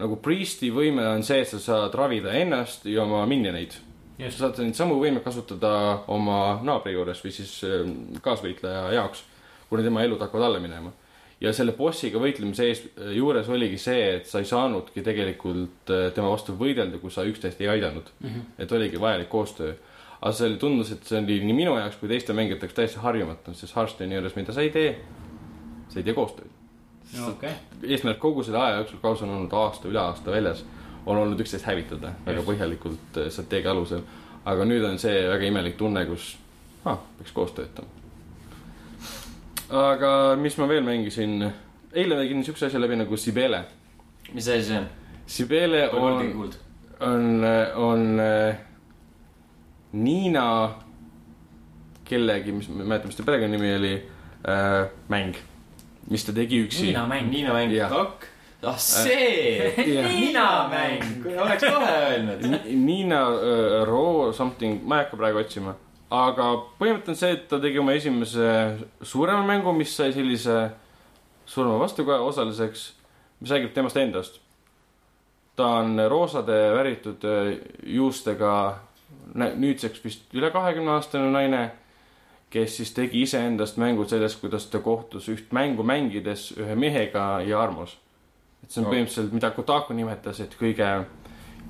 S2: nagu priisti võime on see , et sa saad ravida ennast ja oma minioneid .
S4: Just.
S2: sa saad neid samu võime kasutada oma naabri juures või siis eh, kaasvõitleja jaoks , kuna tema elud hakkavad alla minema . ja selle bossiga võitlemise ees , juures oligi see , et sa ei saanudki tegelikult eh, tema vastu võidelda , kui sa üksteist ei aidanud mm . -hmm. et oligi vajalik koostöö . aga see oli , tundus , et see oli nii minu jaoks kui teiste mängijate jaoks täiesti harjumatu , sest Hearthstone'i juures , mida sa ei tee , sa ei tee koostööd .
S4: okei ,
S2: eesmärk kogu selle aja jooksul , kaasa on olnud aasta , üle aasta väljas , on olnud üksteist hävitada väga põhjalikult eh, strateegia alusel . aga nüüd on see väga imelik tunne , kus ah, peaks koos töötama . aga mis ma veel mängisin , eile mängin siukse asja läbi nagu Sibele .
S1: mis asi see on ?
S2: Sibele
S1: Golden
S2: on ,
S1: Gold .
S2: on , on eh, Niina kellegi , mis ma ei mäleta , mis ta perekonnanimi oli äh, , mäng , mis ta tegi üksi .
S4: Niina mäng .
S1: Niina mäng
S2: Jah.
S1: kakk . ah see ,
S2: Jah.
S4: Niina mäng .
S1: oleks kohe öelnud .
S2: Ni- Niina uh, Roo something , ma ei hakka praegu otsima , aga põhimõte on see , et ta tegi oma esimese suurema mängu , mis sai sellise surma vastukaja osaliseks , mis räägib temast endast . ta on roosade värvitud uh, juustega , nüüdseks vist üle kahekümne aastane naine , kes siis tegi iseendast mängu sellest , kuidas ta kohtus üht mängu mängides ühe mehega ja armus . et see on
S1: Joo.
S2: põhimõtteliselt , mida Kotaku nimetas , et kõige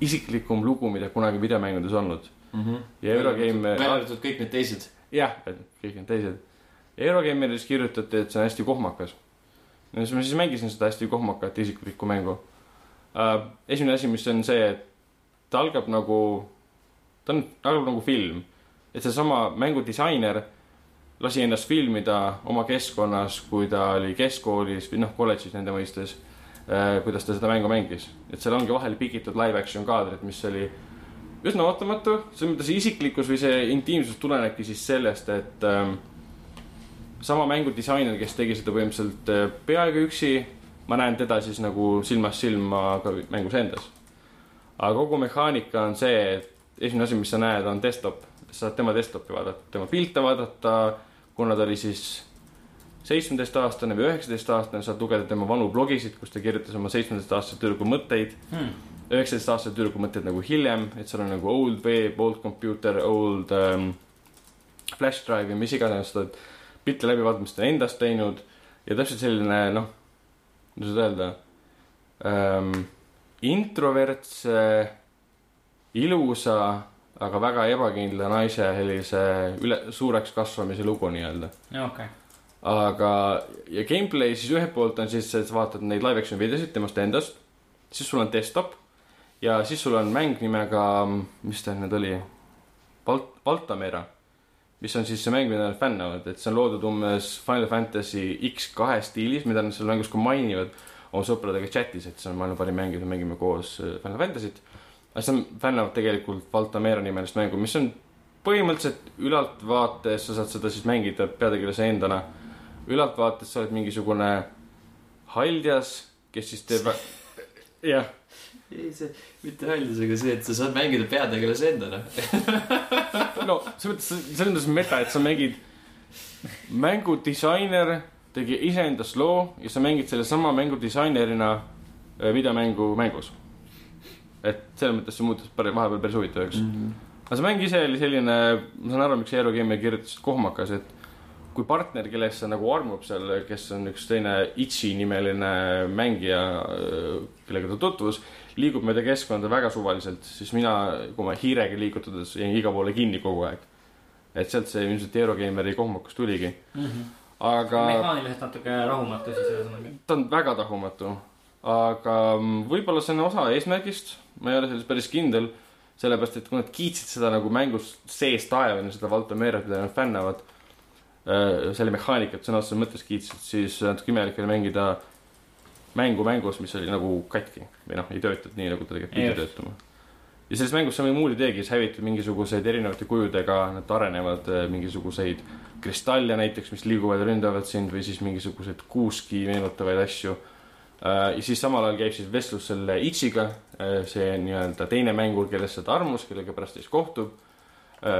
S2: isiklikum lugu , mida kunagi videomängudes olnud . ja Eurogame ,
S1: Mhm. välja arvatud kõik need teised .
S2: jah , kõik need teised . Eurogameris kirjutati , et see on hästi kohmakas . no siis ma siis mängisin seda hästi kohmakat isiklikku mängu . esimene asi , mis on see , et ta algab nagu , ta on , ta algab nagu film . et seesama mängudisainer lasi ennast filmida oma keskkonnas , kui ta oli keskkoolis või noh , kolledžis nende mõistes , kuidas ta seda mängu mängis . et seal ongi vahel pikitud live action kaadrid , mis oli üsna ootamatu , selles mõttes isiklikkus või see intiimsus tulenebki siis sellest , et ähm, sama mängudisainer , kes tegi seda põhimõtteliselt äh, peaaegu üksi , ma näen teda siis nagu silmast silma ka mängus endas . aga kogu mehaanika on see , et esimene asi , mis sa näed , on desktop , sa saad tema desktopi vaadata , tema pilte vaadata , kuna ta oli siis seitsmeteistaastane või üheksateistaastane , saad lugeda tema vanu blogisid , kus ta kirjutas oma seitsmeteistaastase tüdruku mõtteid .
S4: Hmm.
S2: üheksateistaastase tüdruku mõtted nagu hiljem , et seal on nagu old web , old computer , old um, flash drive ja mis iganes , ta pilte läbi vaatama , mis ta on endast teinud ja täpselt selline noh , kuidas nüüd öelda um, , introvertse , ilusa , aga väga ebakindla naise sellise üle , suureks kasvamise lugu nii-öelda .
S4: no okei okay. ,
S2: aga , ja gameplay siis ühelt poolt on siis , et sa vaatad neid live action videosid temast endast , siis sul on desktop ja siis sul on mäng nimega , mis ta nüüd oli , Valt- , Valtamera , mis on siis see mäng , mida nad fännavad , et see on loodud umbes Final Fantasy X kahe stiilis , mida nad seal mängus ka mainivad oma sõpradega chatis , et see on maailma parim mäng ja me mängime koos äh, Final Fantasy't . aga siis nad fännavad tegelikult Valtamera nimelist mängu , mis on põhimõtteliselt ülaltvaates , sa saad seda siis mängida peategelase endana ülaltvaates sa oled mingisugune haljas , kes siis teeb , jah ,
S1: ei , see , mitte haljas , aga see , et sa saad mängida peategelase endana .
S2: no selles mõttes , selles mõttes meta , et sa mängid , mängudisainer tegi iseendast loo ja sa mängid sellesama mängudisainerina äh, videomängu mängus . et selles mõttes see muutus päris , vahepeal päris huvitavaks .
S1: Mhm.
S2: aga see mäng ise oli selline , ma saan aru , miks Eero Keemia kirjutas , et kohmakas , et kui partner , kellest sa nagu armub seal , kes on üks teine Itši nimeline mängija , kellega ta tutvus , liigub mööda keskkonda väga suvaliselt , siis mina , kui ma hiirega liigutades jäin igale poole kinni kogu aeg . et sealt see ilmselt Eero Keemiari kohmakas tuligi ,
S4: mm -hmm.
S2: aga
S4: mehaaniliselt natuke rahumatu siis ühesõnaga .
S2: ta on väga tahumatu , aga mm, võib-olla see on osa eesmärgist , ma ei ole selles päris kindel , sellepärast et kui nad kiitsid seda nagu mängus sees taevani , seda Valdo Meeret , mida nad fännavad , selle mehaanikat sõna otseses mõttes kiitsid , siis natuke imelik oli mängida mängu mängus , mis oli nagu katki või noh , ei töötanud nii , nagu ta tegelikult pidi
S4: Just.
S2: töötama . ja selles mängus sa muud ei teegi , sa hävitad mingisuguseid erinevate kujudega , nad arenevad äh, mingisuguseid kristalle näiteks , mis liiguvad ja ründavad sind või siis mingisuguseid kuuski meenutavaid asju . Äh, ja siis samal ajal käib siis vestlus selle Ichiga , see nii-öelda teine mängur , kellest sa oled armus , kellega pärast siis kohtub .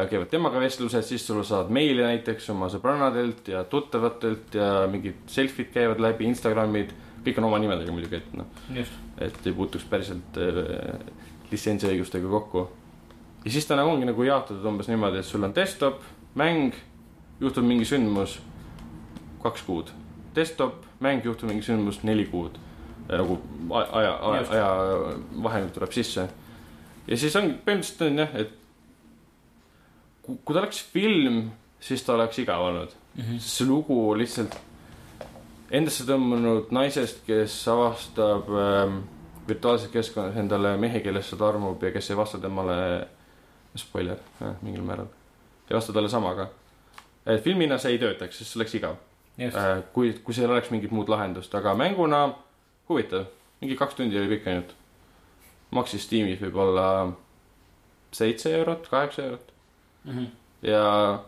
S2: käivad temaga vestlused , siis sul saad meile näiteks oma sõbrannadelt ja tuttavatelt ja mingid selfid käivad läbi , Instagramid , kõik on oma nimedega muidugi , et noh ,
S4: just ,
S2: et ei puutuks päriselt äh, litsentsiõigustega kokku . ja siis ta nagu ongi nagu jaotatud umbes niimoodi , et sul on desktop , mäng , juhtub mingi sündmus , kaks kuud . desktop , mäng , juhtub mingi sündmus , neli kuud . nagu aja , aja , aja,
S4: Just.
S2: aja vahemik tuleb sisse . ja siis ongi , põhimõtteliselt on jah , et ku- kui ta oleks film , siis ta oleks igav olnud mm .
S4: Mhm.
S2: -hmm. see lugu lihtsalt endasse tõmbunud naisest , kes avastab ähm, virtuaalses keskkonnas endale mehe , kellest ta armub ja kes ei vasta temale , spoiler äh, mingil määral , ei vasta talle samaga . et filmina see ei töötaks , sest see oleks igav
S4: just äh. .
S2: äh, . kui , kui seal oleks mingit muud lahendust , aga mänguna huvitav , mingi kaks tundi oli pikk ainult . maksis tiimis võib-olla seitse eurot , kaheksa eurot
S4: Mm -hmm.
S2: ja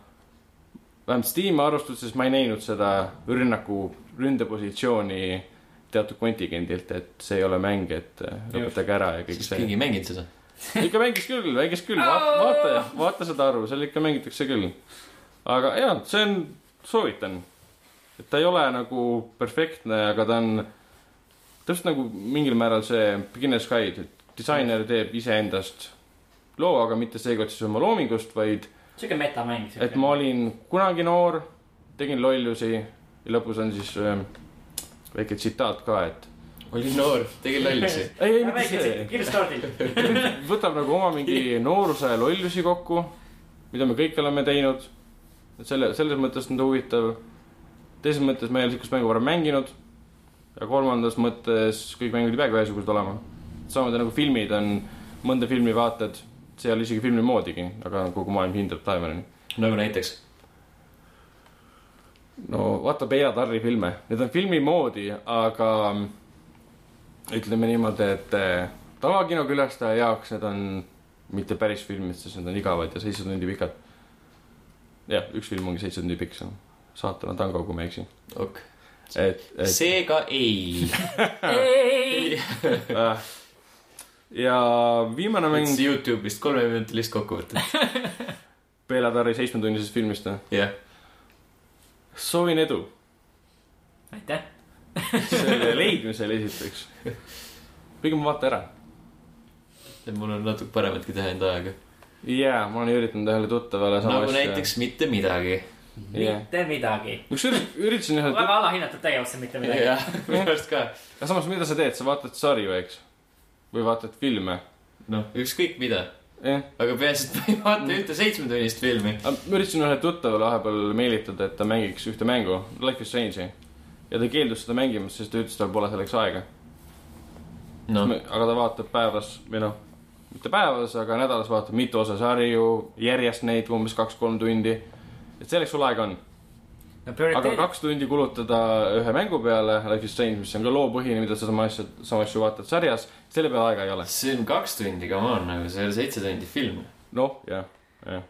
S2: vähemalt Steam'i arvestuses ma ei näinud seda rünnaku , ründepositsiooni teatud kontingendilt , et see ei ole mäng , et äh, lõpetage ära ja kõik
S1: siis
S2: see .
S1: keegi ei mänginud seda .
S2: ikka mängis küll , mängis küll , vaata , vaata , vaata seda arvu , seal ikka mängitakse küll . aga jaa , see on , soovitan . et ta ei ole nagu perfektne , aga ta on täpselt nagu mingil määral see Beginner's Guide , et disainer teeb iseendast loo , aga mitte seekord siis oma loomingust , vaid
S4: sihuke metamäng .
S2: et ma olin kunagi noor , tegin lollusi ja lõpus on siis ähm, väike tsitaat ka , et
S1: olin noor , tegin lollusi .
S2: ei , ei , mitte see .
S4: Kickstartil .
S2: võtab nagu oma mingi nooruse lollusi kokku , mida me kõik oleme teinud . et selle , selles mõttes on ta huvitav . teises mõttes me ei ole sihukest mängu varem mänginud . ja kolmandas mõttes kõik mängud ei peagi ühesugused olema . samamoodi nagu filmid on , mõnda filmi vaatad , see ei ole isegi filmi moodigi , aga kogu maailm hindab Taimanini .
S1: nagu näiteks .
S2: no vaata Bea Tarri filme , need on filmi moodi , aga mm, ütleme niimoodi , et eh, tavakino külastaja jaoks need on mitte päris filmid , sest need on igavad ja seitse tundi pikad . jah , üks film ongi seitse tundi pikk , see on saatana tango , kui ma ei eksi .
S1: ok .
S2: et ,
S1: Äh.
S2: et
S1: seega ei .
S4: ei ,
S2: äh, ja viimane mäng
S1: võtsin Youtube'ist kolmeminutilist kokkuvõtet .
S2: Bea Tarri seitsmetunnisest filmist , noh .
S1: jah ,
S2: soovin edu
S4: aitäh .
S2: selle leidmisel esiteks . pigem vaata ära
S1: mul on natuke parematki teha enda ajaga .
S2: jaa , ma olen üritanud ühele tuttavale sama
S1: nagu näiteks mitte midagi .
S2: Jah.
S4: mitte midagi .
S2: kusjuures üritasin ühele ,
S4: väga alahinnatud tegevus , mitte midagi .
S1: jah , minu arust ka .
S2: aga samas , mida sa teed , sa vaatad sarju , eks ? või vaatad filme ?
S1: noh , ükskõik mida ,
S2: jah ,
S1: aga peaasi , et ma ei vaata ühte seitsmetunnist filmi .
S2: ma üritasin ühele tuttavale vahepeal meelitada , et ta mängiks ühte mängu , Life is Strange'i . ja ta keeldus seda mängimast , sest ta ütles , et tal pole selleks aega .
S1: noh ,
S2: aga ta vaatab päevas või noh , mitte päevas , aga nädalas vaatab mitu osa sarju , järjest neid umbes kaks-kolm tundi . et selleks sul aega on .
S4: no
S2: aga
S4: prioriteet ,
S2: kaks tundi kulutada ühe mängu peale , Life is Strange , mis on ka loopõhine , mida sa sama asja , sama asju vaatad sarjas , selle peale aega ei ole .
S1: see on kaks tundi , come on , nagu see ei ole seitse tundi film .
S2: noh , jah , jah .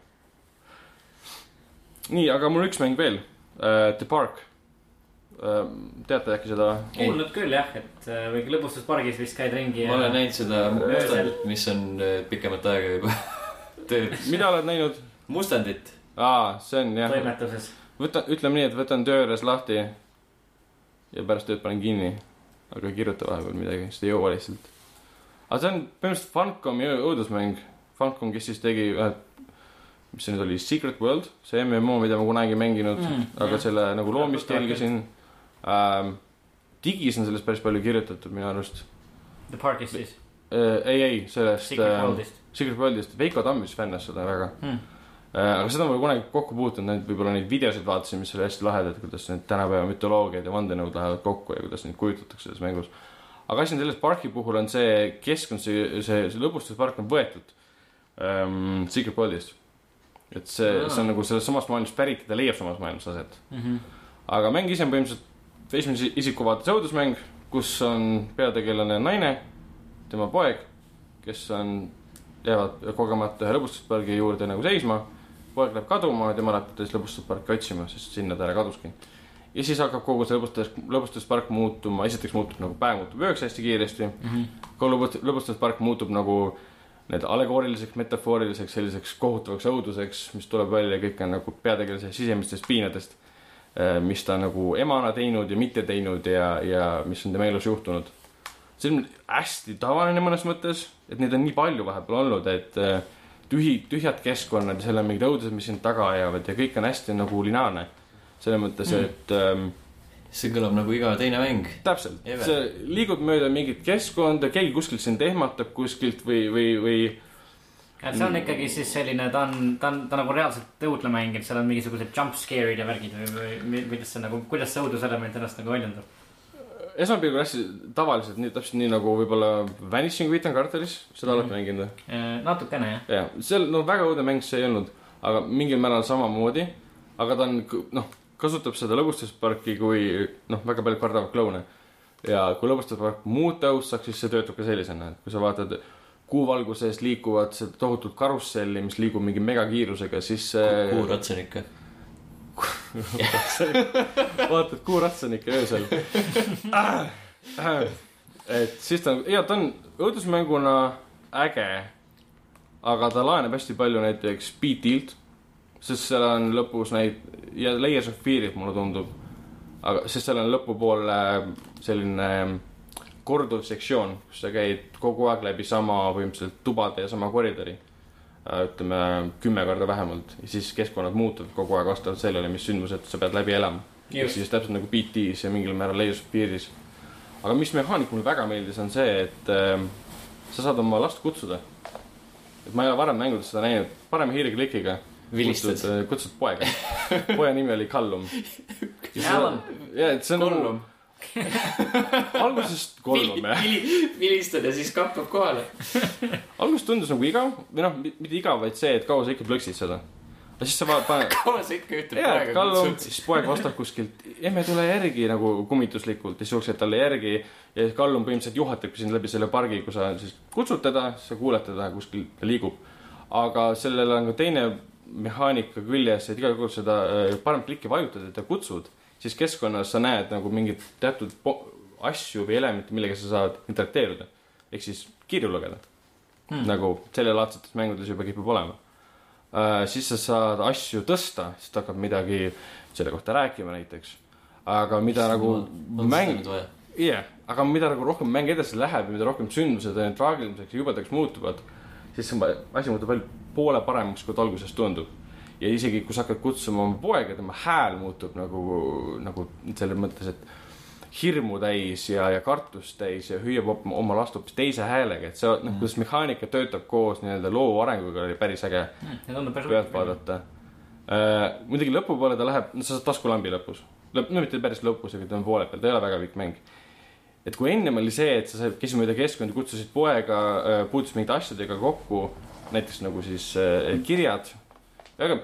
S2: nii , aga mul on üks mäng veel uh, , The Park uh, . teate äkki seda ?
S4: kuulnud küll jah , et äh, või lõbustuspargis vist käid ringi
S1: ma olen näinud seda
S4: Öösel.
S1: mustandit , mis on äh, pikemat aega juba tööd .
S2: mida oled näinud ?
S1: mustandit ,
S2: aa , see on jah ,
S4: toimetuses .
S2: võta , ütleme nii , et võtan töö juures lahti ja pärast tööd panen kinni , aga ei kirjuta vahepeal midagi , sest ei jõua lihtsalt . aga see on põhimõtteliselt Funcomi õu- õudusmäng , Funcom , kes siis tegi ühe , mis see nüüd oli , Secret World , see MMO , mida ma kunagi ei mänginud mm, ,
S4: Mm,
S2: aga
S4: jah.
S2: jah. selle nagu loomist
S4: Tuttav
S2: jälgisin ähm, . digis on sellest päris palju kirjutatud minu arust
S4: The Parkis siis ,
S2: äh, . ei , ei , sellest ähm,
S4: Secret Worldist .
S2: Secret Worldist , Veiko Tammist fännas seda väga
S4: Hmm.
S2: Äh, aga seda ma kunagi kokku puutunud , neid võib-olla neid videosid vaatasin , mis oli hästi lahedad , kuidas need tänapäeva mütoloogiad ja vandenõud lähevad kokku ja kuidas neid kujutatakse selles mängus . aga asi on selles parki puhul on see keskkond , see , see, see lõbustuspark on võetud ähm, Secret Worldist . et see , see on nagu sellest samast maailmast pärit ja ta leiab samas maailmas aset .
S4: Mhm.
S2: aga mäng ise on põhimõtteliselt esimese isiku vaates õudusmäng , kus on peategelane naine , tema poeg , kes on , jäävad kogemata ühe lõbustuspargi juurde nagu seisma . poeg läheb kaduma , tema läheb teist lõbustusparki otsima , sest sinna ta ära kaduski . ja siis hakkab kogu see lõbustus , lõbustuspark muutuma , esiteks muutub nagu päev muutub ööks hästi kiiresti .
S4: Mhm.
S2: ka lõbust- , lõbustuspark muutub nagu nii-öelda allegooriliseks , metafooriliseks , selliseks kohutavaks õuduseks , mis tuleb välja kõik on nagu peategelase sisemistest piinadest , mis ta nagu emana teinud ja mitte teinud ja , ja mis on tema elus juhtunud . see on hästi tavaline mõnes mõttes , et neid on nii palju vahepeal olnud , et äh, tühi , tühjad keskkonnad ja seal on mingid õudused , mis sind taga ajavad ja kõik on hästi nagu lineaarne . selles mõttes , et ähm,
S1: see kõlab nagu iga teine mäng .
S2: täpselt ,
S1: Ever.
S2: sa liigud mööda mingit keskkonda , keegi kuskilt sind ehmatab kuskilt või , või , või
S4: et
S2: Mm.
S4: see on ikkagi siis selline , ta on , ta on , ta nagu reaalselt õudne mäng , et seal on mingisugused jump scare'id ja värgid või , või mi- kuidas see nagu , kuidas see õuduselement ennast nagu väljendab .
S2: esmapilgul hästi tavaliselt , nii täpselt nii nagu võib-olla Vanishing Witten Carteris , seda olete mänginud või ?
S4: Ehm, natukene jah ,
S2: jah , seal no väga õudne mäng see ei olnud , aga mingil määral samamoodi , aga ta on k- noh , kasutab seda lõbustusparki kui noh , väga paljud kardavad kloune . ja kui lõbustuspark muuta õudsaks , siis see töötab ka sellisena , et kui sa vaatad kuuvalguses liikuvad seda tohutut karusselli , mis liigub mingi megakiirusega , siis
S1: kuu
S2: see
S1: ratsanik .
S2: vaatad kuuratsanik öösel Äh, et siis ta , ja ta on õudusmänguna äge , aga ta laeneb hästi palju näiteks BT-lt , sest seal on lõpus neid ja Layers of Fear'id mulle tundub , aga sest seal on lõpupoole selline korduv sektsioon , kus sa käid kogu aeg läbi sama põhimõtteliselt tubade ja sama koridori . ütleme kümme korda vähemalt ja siis keskkonnad muutuvad kogu aeg vastavalt sellele , mis sündmused sa pead läbi elama . ehk
S4: Just.
S2: siis täpselt nagu BT-s ja mingil määral Layers of Fear'is . aga mis mehaanik mulle väga meeldis , on see , et ähm, sa saad oma last kutsuda . et ma ei ole varem mängudes seda näinud , parema hiireklikiga .
S1: vilistad .
S2: kutsud poega . poja nimi oli Kallum .
S4: Callum.
S2: ja , et see on
S1: kolm .
S2: algusest Gollum jah .
S1: vilistad ja siis kappab kohale .
S2: alguses tundus nagu igav või noh , mitte igav , vaid see , et kaua sa ikka plõksid seda . aga siis sa vaatad , paned ,
S1: kaua sa ikka ühte
S2: jaa , et
S1: praegu
S2: Kallum ,
S1: kutsud ?
S2: siis poeg vastab kuskilt , emme tule järgi nagu kummituslikult ja siis jooksed talle järgi ja siis Kallum põhimõtteliselt juhatabki sind läbi selle pargi , kui sa siis kutsud teda , sa kuuled teda kuskil , ta liigub . aga sellel on ka teine mehaanika küljes , et iga kord seda äh, paremat klikki vajutad ja ta kutsud , siis keskkonnas sa näed nagu mingeid teatud po- asju või elemente , millega sa saad interakteeruda ehk siis kirju lugeda hmm. . nagu sellelaadsetes mängudes juba kipub olema . Uh, siis sa saad asju tõsta , siis ta hakkab midagi selle kohta rääkima näiteks . aga mida nagu mäng ,. jah yeah. , aga mida nagu rohkem mäng edasi läheb ja mida rohkem sündmused aina traagilisemaks ja jubedaks muutuvad , siis see asi muutub veel poole paremaks , kui ta alguses tundub . ja isegi , kui sa hakkad kutsuma oma poega , tema hääl muutub nagu , nagu selles mõttes , et hirmu täis ja , ja kartust täis ja hüüab op- oma last hoopis teise häälega , et see , noh , kuidas mehaanika töötab koos nii-öelda loo arenguga , oli päris äge
S4: Need on Hmm. päris
S2: pealt . vaadata . muidugi lõpupoole ta läheb , sa saad taskulambi lõpus , lõpp , no mitte päris lõpus , aga ta on poole peal , ta ei ole väga pikk mäng . et kui ennem oli see , et sa said , käisid mööda keskkonda , kutsusid poega , puutusid mingite asjadega kokku , näiteks nagu siis äh, kirjad , väga ,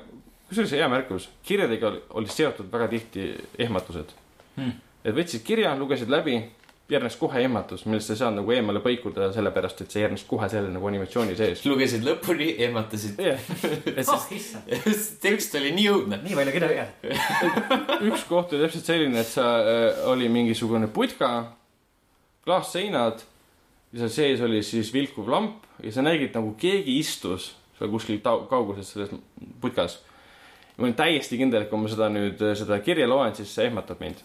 S2: kusjuures hea märkus , kirjadega oli, oli seotud väga tihti ehmatused
S4: Hmm.
S2: hmm. . et võtsid kirja , lugesid läbi , järgnes kohe ehmatus , millest sa ei saanud nagu eemale põikuda , sellepärast et see järgnes kohe selle nagu animatsiooni sees .
S1: lugesid lõpuni , ehmatasid .
S2: jah , et siis
S4: oh issand ,
S1: tekst oli nii õudne .
S4: nii palju kirja viga .
S2: üks koht oli täpselt selline , et sa äh, , oli mingisugune putka , klaasseinad ja seal sees oli siis vilkuv lamp ja sa nägid nagu keegi istus seal kuskil tau- kauguses selles putkas . ma olen täiesti kindel , et kui ma seda nüüd , seda kirja loen , siis see ehmatab mind .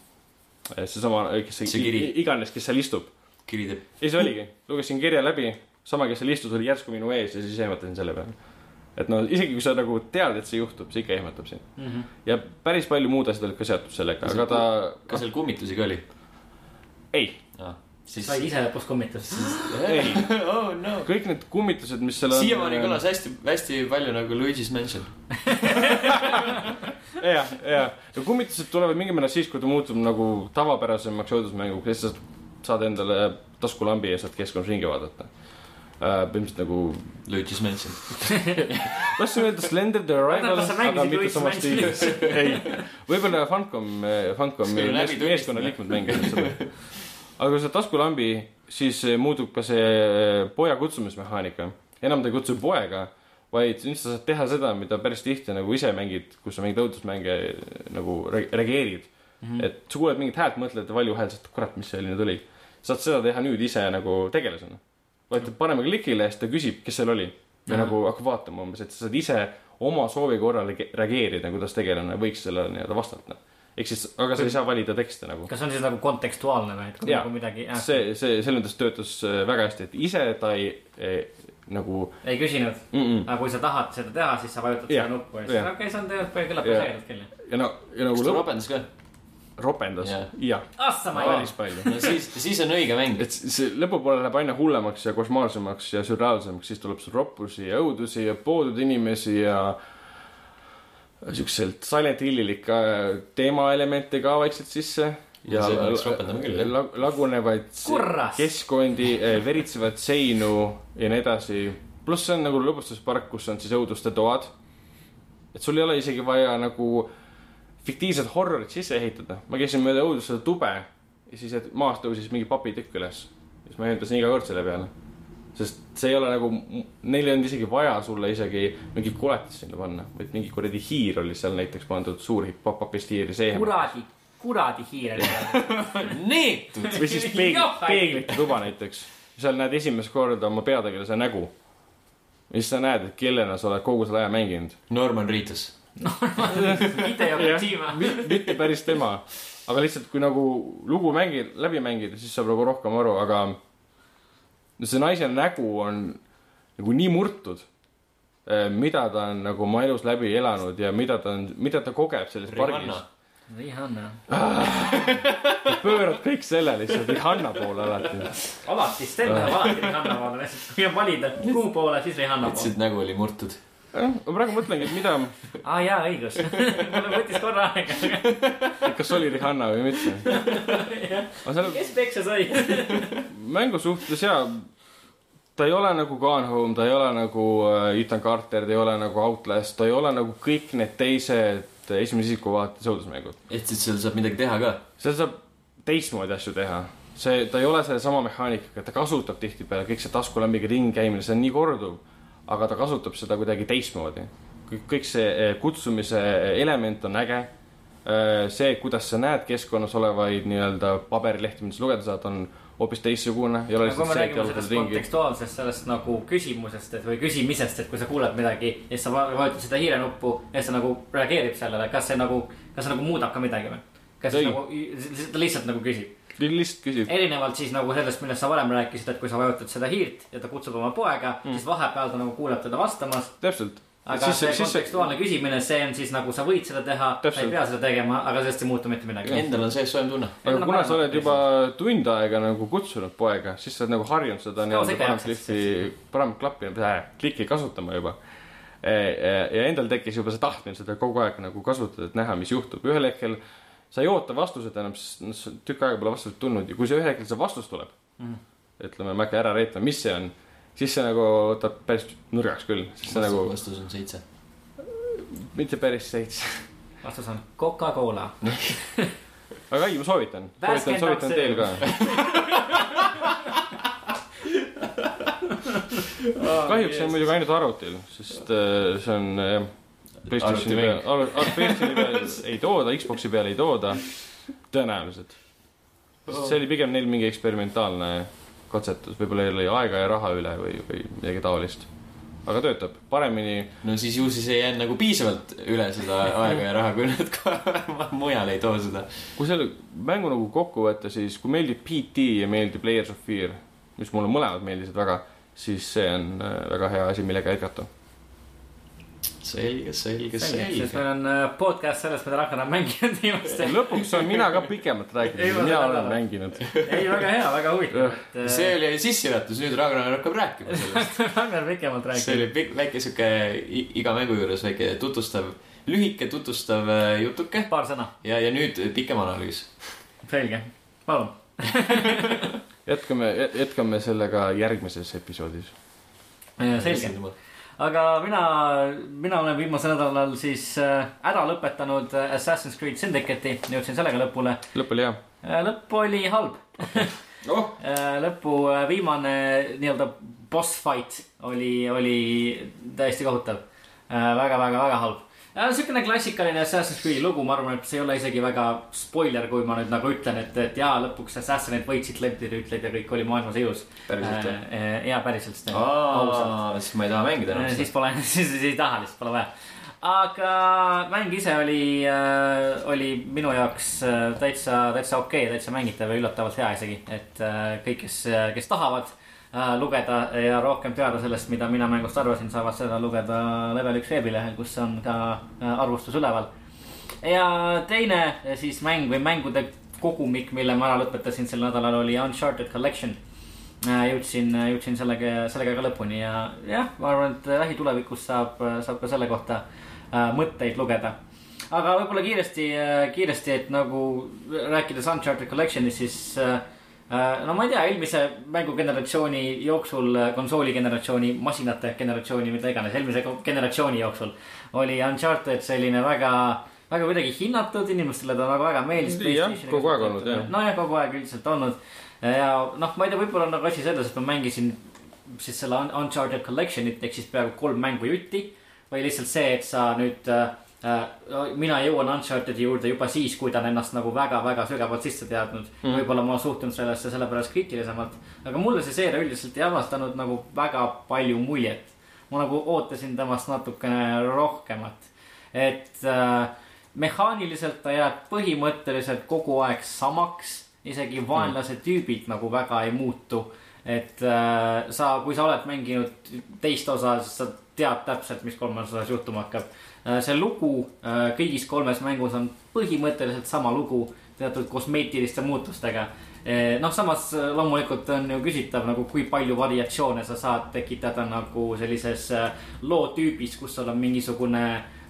S2: seesama , kes
S1: See
S2: see,
S1: kiri.
S2: iganes , kes seal istub .
S1: kiri teeb .
S2: ja siis oligi , lugesin kirja läbi , sama , kes seal istus , oli järsku minu ees ja siis ehmatasin selle peale . et no isegi kui sa nagu tead , et see juhtub , see ikka ehmatab sind
S4: Mhm.
S2: ja päris palju muud asjad olid ka seotud sellega ,
S1: Kas
S2: aga ta
S1: kas seal kummitusi ka oli ?
S2: ei ,
S1: siis
S4: said ise lõpus kommentaari .
S2: ei.
S1: oh no .
S2: kõik need kummitused , mis seal on . äh,
S1: siiamaani kõlas . hästi , hästi palju nagu Luigi's Mansion .
S2: ja , ja , ja kummitused tulevad mingil määral siis , kui ta muutub nagu tavapärasemaks õudusmänguks , lihtsalt saad endale taskulambi ja saad keskkonnas ringi vaadata . põhimõtteliselt nagu ,
S1: Luigi's Mansion .
S2: tahtsin öelda Slender the Arrival ,
S4: kas sa mängisid
S2: aga mitte
S4: Luigi's
S2: samas stiilis . ei , võib-olla Funcom , eh, Funcomi
S1: See oli läbi tunnistama.
S2: meeskonna liikmed mängivad seda . aga kui sa taskulambi , siis eh, muutub ka see eh, poja kutsumismehaanika . enam ta ei kutsu poega , vaid nüüd sa saad teha seda , mida päris tihti nagu ise mängid , kus sa mingeid õudusmänge nagu re- reageerid mm . -hmm. et sa kuuled mingit häält , mõtled valju hääl , saad kurat , mis see oli nüüd oli . saad seda teha nüüd ise nagu tegelasena . vaatad paneme klikile , siis ta küsib , kes seal oli . või nagu hakkab vaatama umbes , et sa saad ise oma soovi korral rege- reageerida , kuidas tegelane võiks sellele nii-öelda vastata . ehk siis , aga sa ei saa valida tekste nagu .
S4: kas on siis nagu kontekstuaalne või , et kui
S2: Jaa.
S4: nagu midagi ,
S2: see , see selles mõttes töötas äh, väga hästi , et ise ta ei, ei nagu
S4: ei küsinud ,
S2: mm . -mm.
S4: aga kui sa tahad seda teha , siis sa vajutad
S2: Jaa.
S4: seda nuppu ja siis
S2: Jaa.
S4: okei okay, , see on tegelikult , kõlab
S2: Jaa.
S4: häirelt küll .
S2: ja no ,
S1: kas
S2: ja nagu
S1: ta
S2: lõpp
S1: ropendas ka ?
S2: ropendas
S1: Jah.
S2: jah ,
S4: ah sa ma ei tea .
S2: päris palju .
S1: no siis , siis on õige mäng .
S2: et s- see lõpupoole läheb aina hullemaks ja košmaarsemaks ja sürreaalsemaks , siis tuleb sul roppusi ja õudusi ja poodud inimesi ja siukselt Silent Hillilikke teemaelemente ka vaikselt sisse . ja
S1: See
S2: la-
S1: peaks ropendama küll, jah.
S2: la- lagunevaid
S4: Kurras!
S2: keskkondi , veritsevat seinu ja nii edasi . pluss see on nagu lõbustuspark , kus on siis õuduste toad . et sul ei ole isegi vaja nagu fiktiivset horrorit sisse ehitada . ma käisin mööda õudusele tube ja siis et maast tõusis mingi papitükk üles . siis ma ehitasin iga kord selle peale . sest see ei ole nagu , neil ei olnud isegi vaja sulle isegi mingit koletist sinna panna , vaid mingi kuradi hiir oli seal näiteks pandud , suur hipp- papist hiiri seema .
S4: kuradi , kuradi hiire .
S1: neetud .
S2: või siis peegli , peeglite tuba näiteks . seal näed esimest korda oma peategelase nägu . ja siis sa näed , et kellena sa oled kogu selle aja mänginud .
S1: Norman Reedus .
S4: ide ja
S2: Jah.
S4: Kojima .
S2: Mi- mitte päris tema , aga lihtsalt kui nagu lugu mängid , läbi mängida , siis saab nagu rohkem aru , aga no see naise nägu on nagu nii murtud , eh, mida ta on nagu oma elus läbi elanud ja mida ta on , mida ta kogeb selles pargis
S1: Rihanna .
S3: Rihanna .
S2: pöörad kõik selle lihtsalt Rihanna poole alati .
S3: alati , Sten läheb alati Rihanna poole , lihtsalt kui on valida kuu poole , siis Rihanna poole .
S1: ütlesid , nägu oli murtud .
S2: ma praegu mõtlengi , et mida ,
S3: aa jaa , õigus . mul võttis korra aega .
S2: kas oli Rihanna või mitte . aga seal
S3: kes peksa sai ?
S2: mängu suhtes jaa , ta ei ole nagu Gone Home , ta ei ole nagu äh, Ethan Carter , ta ei ole nagu Outlast , ta ei ole nagu kõik need teised esimese isiku vaates õudusmängud .
S1: et siis seal saab midagi teha ka .
S2: seal saab teistmoodi asju teha . see , ta ei ole sellesama mehaanikaga , ta kasutab tihtipeale kõik see taskulambiga ringkäimine , see on nii korduv , aga ta kasutab seda kuidagi teistmoodi . kõik see eh, kutsumise element on äge . see , kuidas sa näed keskkonnas olevaid nii-öelda paberilehti , mida sa lugeda saad , on hoopis teistsugune . ei ole
S3: kui
S2: lihtsalt
S3: me
S2: see , et
S3: räägime
S2: jalutad
S3: sellest
S2: ringi .
S3: kontekstuaalsest sellest nagu küsimusest , et või küsimisest , et kui sa kuuled midagi ja siis sa va- vajutad seda hiirenuppu ja siis ta nagu reageerib sellele , kas see nagu , kas see nagu muudab ka midagi või ? kas see
S2: Ei.
S3: nagu , ta lihtsalt nagu küsib .
S2: lihtsalt küsib .
S3: erinevalt siis nagu sellest , millest sa varem rääkisid , et kui sa vajutad seda hiirt ja ta kutsub oma poega mm. , siis vahepeal ta nagu kuuleb teda vastamas .
S2: täpselt .
S3: aga siis, see kontekstuaalne see... küsimine , see on siis nagu sa võid seda teha , sa ei
S2: Täpselt.
S3: pea seda tegema , aga sellest ei muutu mitte midagi .
S1: Endal on sees soojem tunne .
S3: Endal
S2: aga
S3: on
S2: kuna
S3: parem
S2: sa oled
S3: hakata
S2: juba tund aega nagu kutsunud poega , siis sa oled nagu harjunud seda
S3: see
S2: nii-öelda paremat
S3: tehakse
S2: lihti , paremat klappi , klikki äh, kasutama juba . ja endal tekkis juba see tahtmine seda kogu aeg nagu kasutada , et näha , mis juhtub , ühel hetkel sa ei oota vastuseid enam , sest noh, sa- tükk aega pole vastust tulnud ja kui see ühel hetkel see vastus tuleb
S3: Mhm.
S2: mm. , ütleme , ma ei hakka ära reetma , mis see on , siis see nagu võtab päris nurgaks küll , sest see nagu
S1: vastus on seitse .
S2: mitte päris seitse .
S3: vastus on Coca-Cola .
S2: aga ei , ma soovitan , soovitan ,
S3: Värskendab
S2: soovitan teil ka . kahjuks see on muidugi ainult arvutil , sest äh, see on äh, PlayStationi
S1: Arvuti
S2: peal
S1: mäng. ,
S2: PlayStationi peal ei tooda , Xbox'i peal ei tooda , tõenäoliselt . see oli pigem neil mingi eksperimentaalne katsetus , võib-olla neil oli aega ja raha üle või , või midagi taolist . aga töötab paremini ,
S1: no siis ju siis ei jäänud nagu piisavalt üle seda aega ja raha , kui nad ka mujal ei too seda .
S2: kui selle mängu nagu kokku võtta , siis kui meeldib PT ja meeldib Layers of Fear , mis mulle mõlemad meeldisid väga , siis see on äh, väga hea asi , millega jätkata .
S1: selge , selge ,
S3: siis
S1: selge .
S3: meil on äh, podcast sellest , mida Ragnar on mänginud viimasti .
S2: lõpuks saan mina ka pikemalt rääkida ,
S3: Ei, ma
S2: sest mina
S3: saan
S2: olen
S3: aru.
S2: mänginud .
S3: ei , väga hea , väga huvitav , et äh,
S1: see
S3: see...
S1: oli sissejuhatus , nüüd Ragnar hakkab rääkima sellest .
S3: Ragnar pikemalt
S1: see
S3: räägib .
S1: oli pikk , väike sihuke i- iga mängu juures väike tutvustav , lühike tutvustav äh, jutuke
S3: paar sõna ,
S1: ja , ja nüüd pikem analüüs .
S3: selge , palun .
S2: jätkame , jätkame sellega järgmises episoodis .
S3: Äh, selge , aga mina , mina olen viimasel nädalal siis äh, ära lõpetanud äh, Assassin's Creed Syndicate'i , jõudsin sellega lõpule .
S2: lõpp oli hea .
S3: Äh, lõpp oli halb .
S1: oh ,
S3: Äh, lõpu äh, viimane nii-öelda boss fight oli , oli täiesti kohutav . Äh, väga-väga-väga halb . niisugune klassikaline Assassin's Creed'i lugu , ma arvan , et see ei ole isegi väga spoiler , kui ma nüüd nagu ütlen , et , et jaa , lõpuks assassin'id võitsid lemplirüütleid ja kõik oli maailmas ilus .
S1: Päriselt või?
S3: või ? jaa , päriselt .
S1: aa , siis ma ei taha mängida enam
S3: Äh, siis
S1: seda .
S3: pole , siis siis ei taha lihtsalt , pole vaja . aga äh, mäng ise oli äh, , oli minu jaoks äh, täitsa , täitsa okei okay, , täitsa mängitav ja üllatavalt hea isegi , et äh, kõik , kes , kes tahavad äh, lugeda ja rohkem teada sellest , mida mina mängust arvasin , saavad seda lugeda level üks veebilehel , kus on ka äh, arvustus üleval . ja teine eh, siis mäng või mängude kogumik , mille ma ära lõpetasin sel nädalal , oli Uncharted Collection Äh, jõudsin , jõudsin sellega , sellega ka lõpuni ja jah , ma arvan , et lähitulevikus saab , saab ka selle kohta äh, mõtteid lugeda . aga võib-olla kiiresti , kiiresti , et nagu rääkides Uncharted Collection'ist , siis äh, äh, no ma ei tea , eelmise mängugeneratsiooni jooksul , konsooligeneratsiooni , masinate generatsiooni , mida iganes , eelmise ko- generatsiooni jooksul oli Uncharted selline väga , väga kuidagi hinnatud , inimestele ta nagu väga meeldis .
S2: Jah, kogu aeg olnud, jah.
S3: nojah , kogu aeg üldiselt olnud ja noh , ma ei tea , võib-olla on nagu asi selles , et ma mängisin siis selle Un- Uncharted Collection'it ehk siis peaaegu kolm mängu jutti . või lihtsalt see , et sa nüüd äh, , äh, mina jõuan Uncharted'i juurde juba siis , kui ta on ennast nagu väga-väga sügavalt sisse teadnud mm. . võib-olla ma suhtun sellesse sellepärast kriitilisemalt , aga mulle see seeria üldiselt ei avastanud nagu väga palju muljet . ma nagu ootasin temast natukene rohkemat , et äh, mehaaniliselt ta jääb põhimõtteliselt kogu aeg samaks , isegi vaenlase tüübid nagu väga ei muutu . et äh, sa , kui sa oled mänginud teist osa , siis sa tead täpselt , mis kolmandas osas juhtuma hakkab . see lugu äh, kõigis kolmes mängus on põhimõtteliselt sama lugu teatud kosmeetiliste muutustega . noh , samas äh, loomulikult on ju küsitav nagu , kui palju variatsioone sa saad tekitada nagu sellises äh, loo tüübis , kus sul on mingisugune ,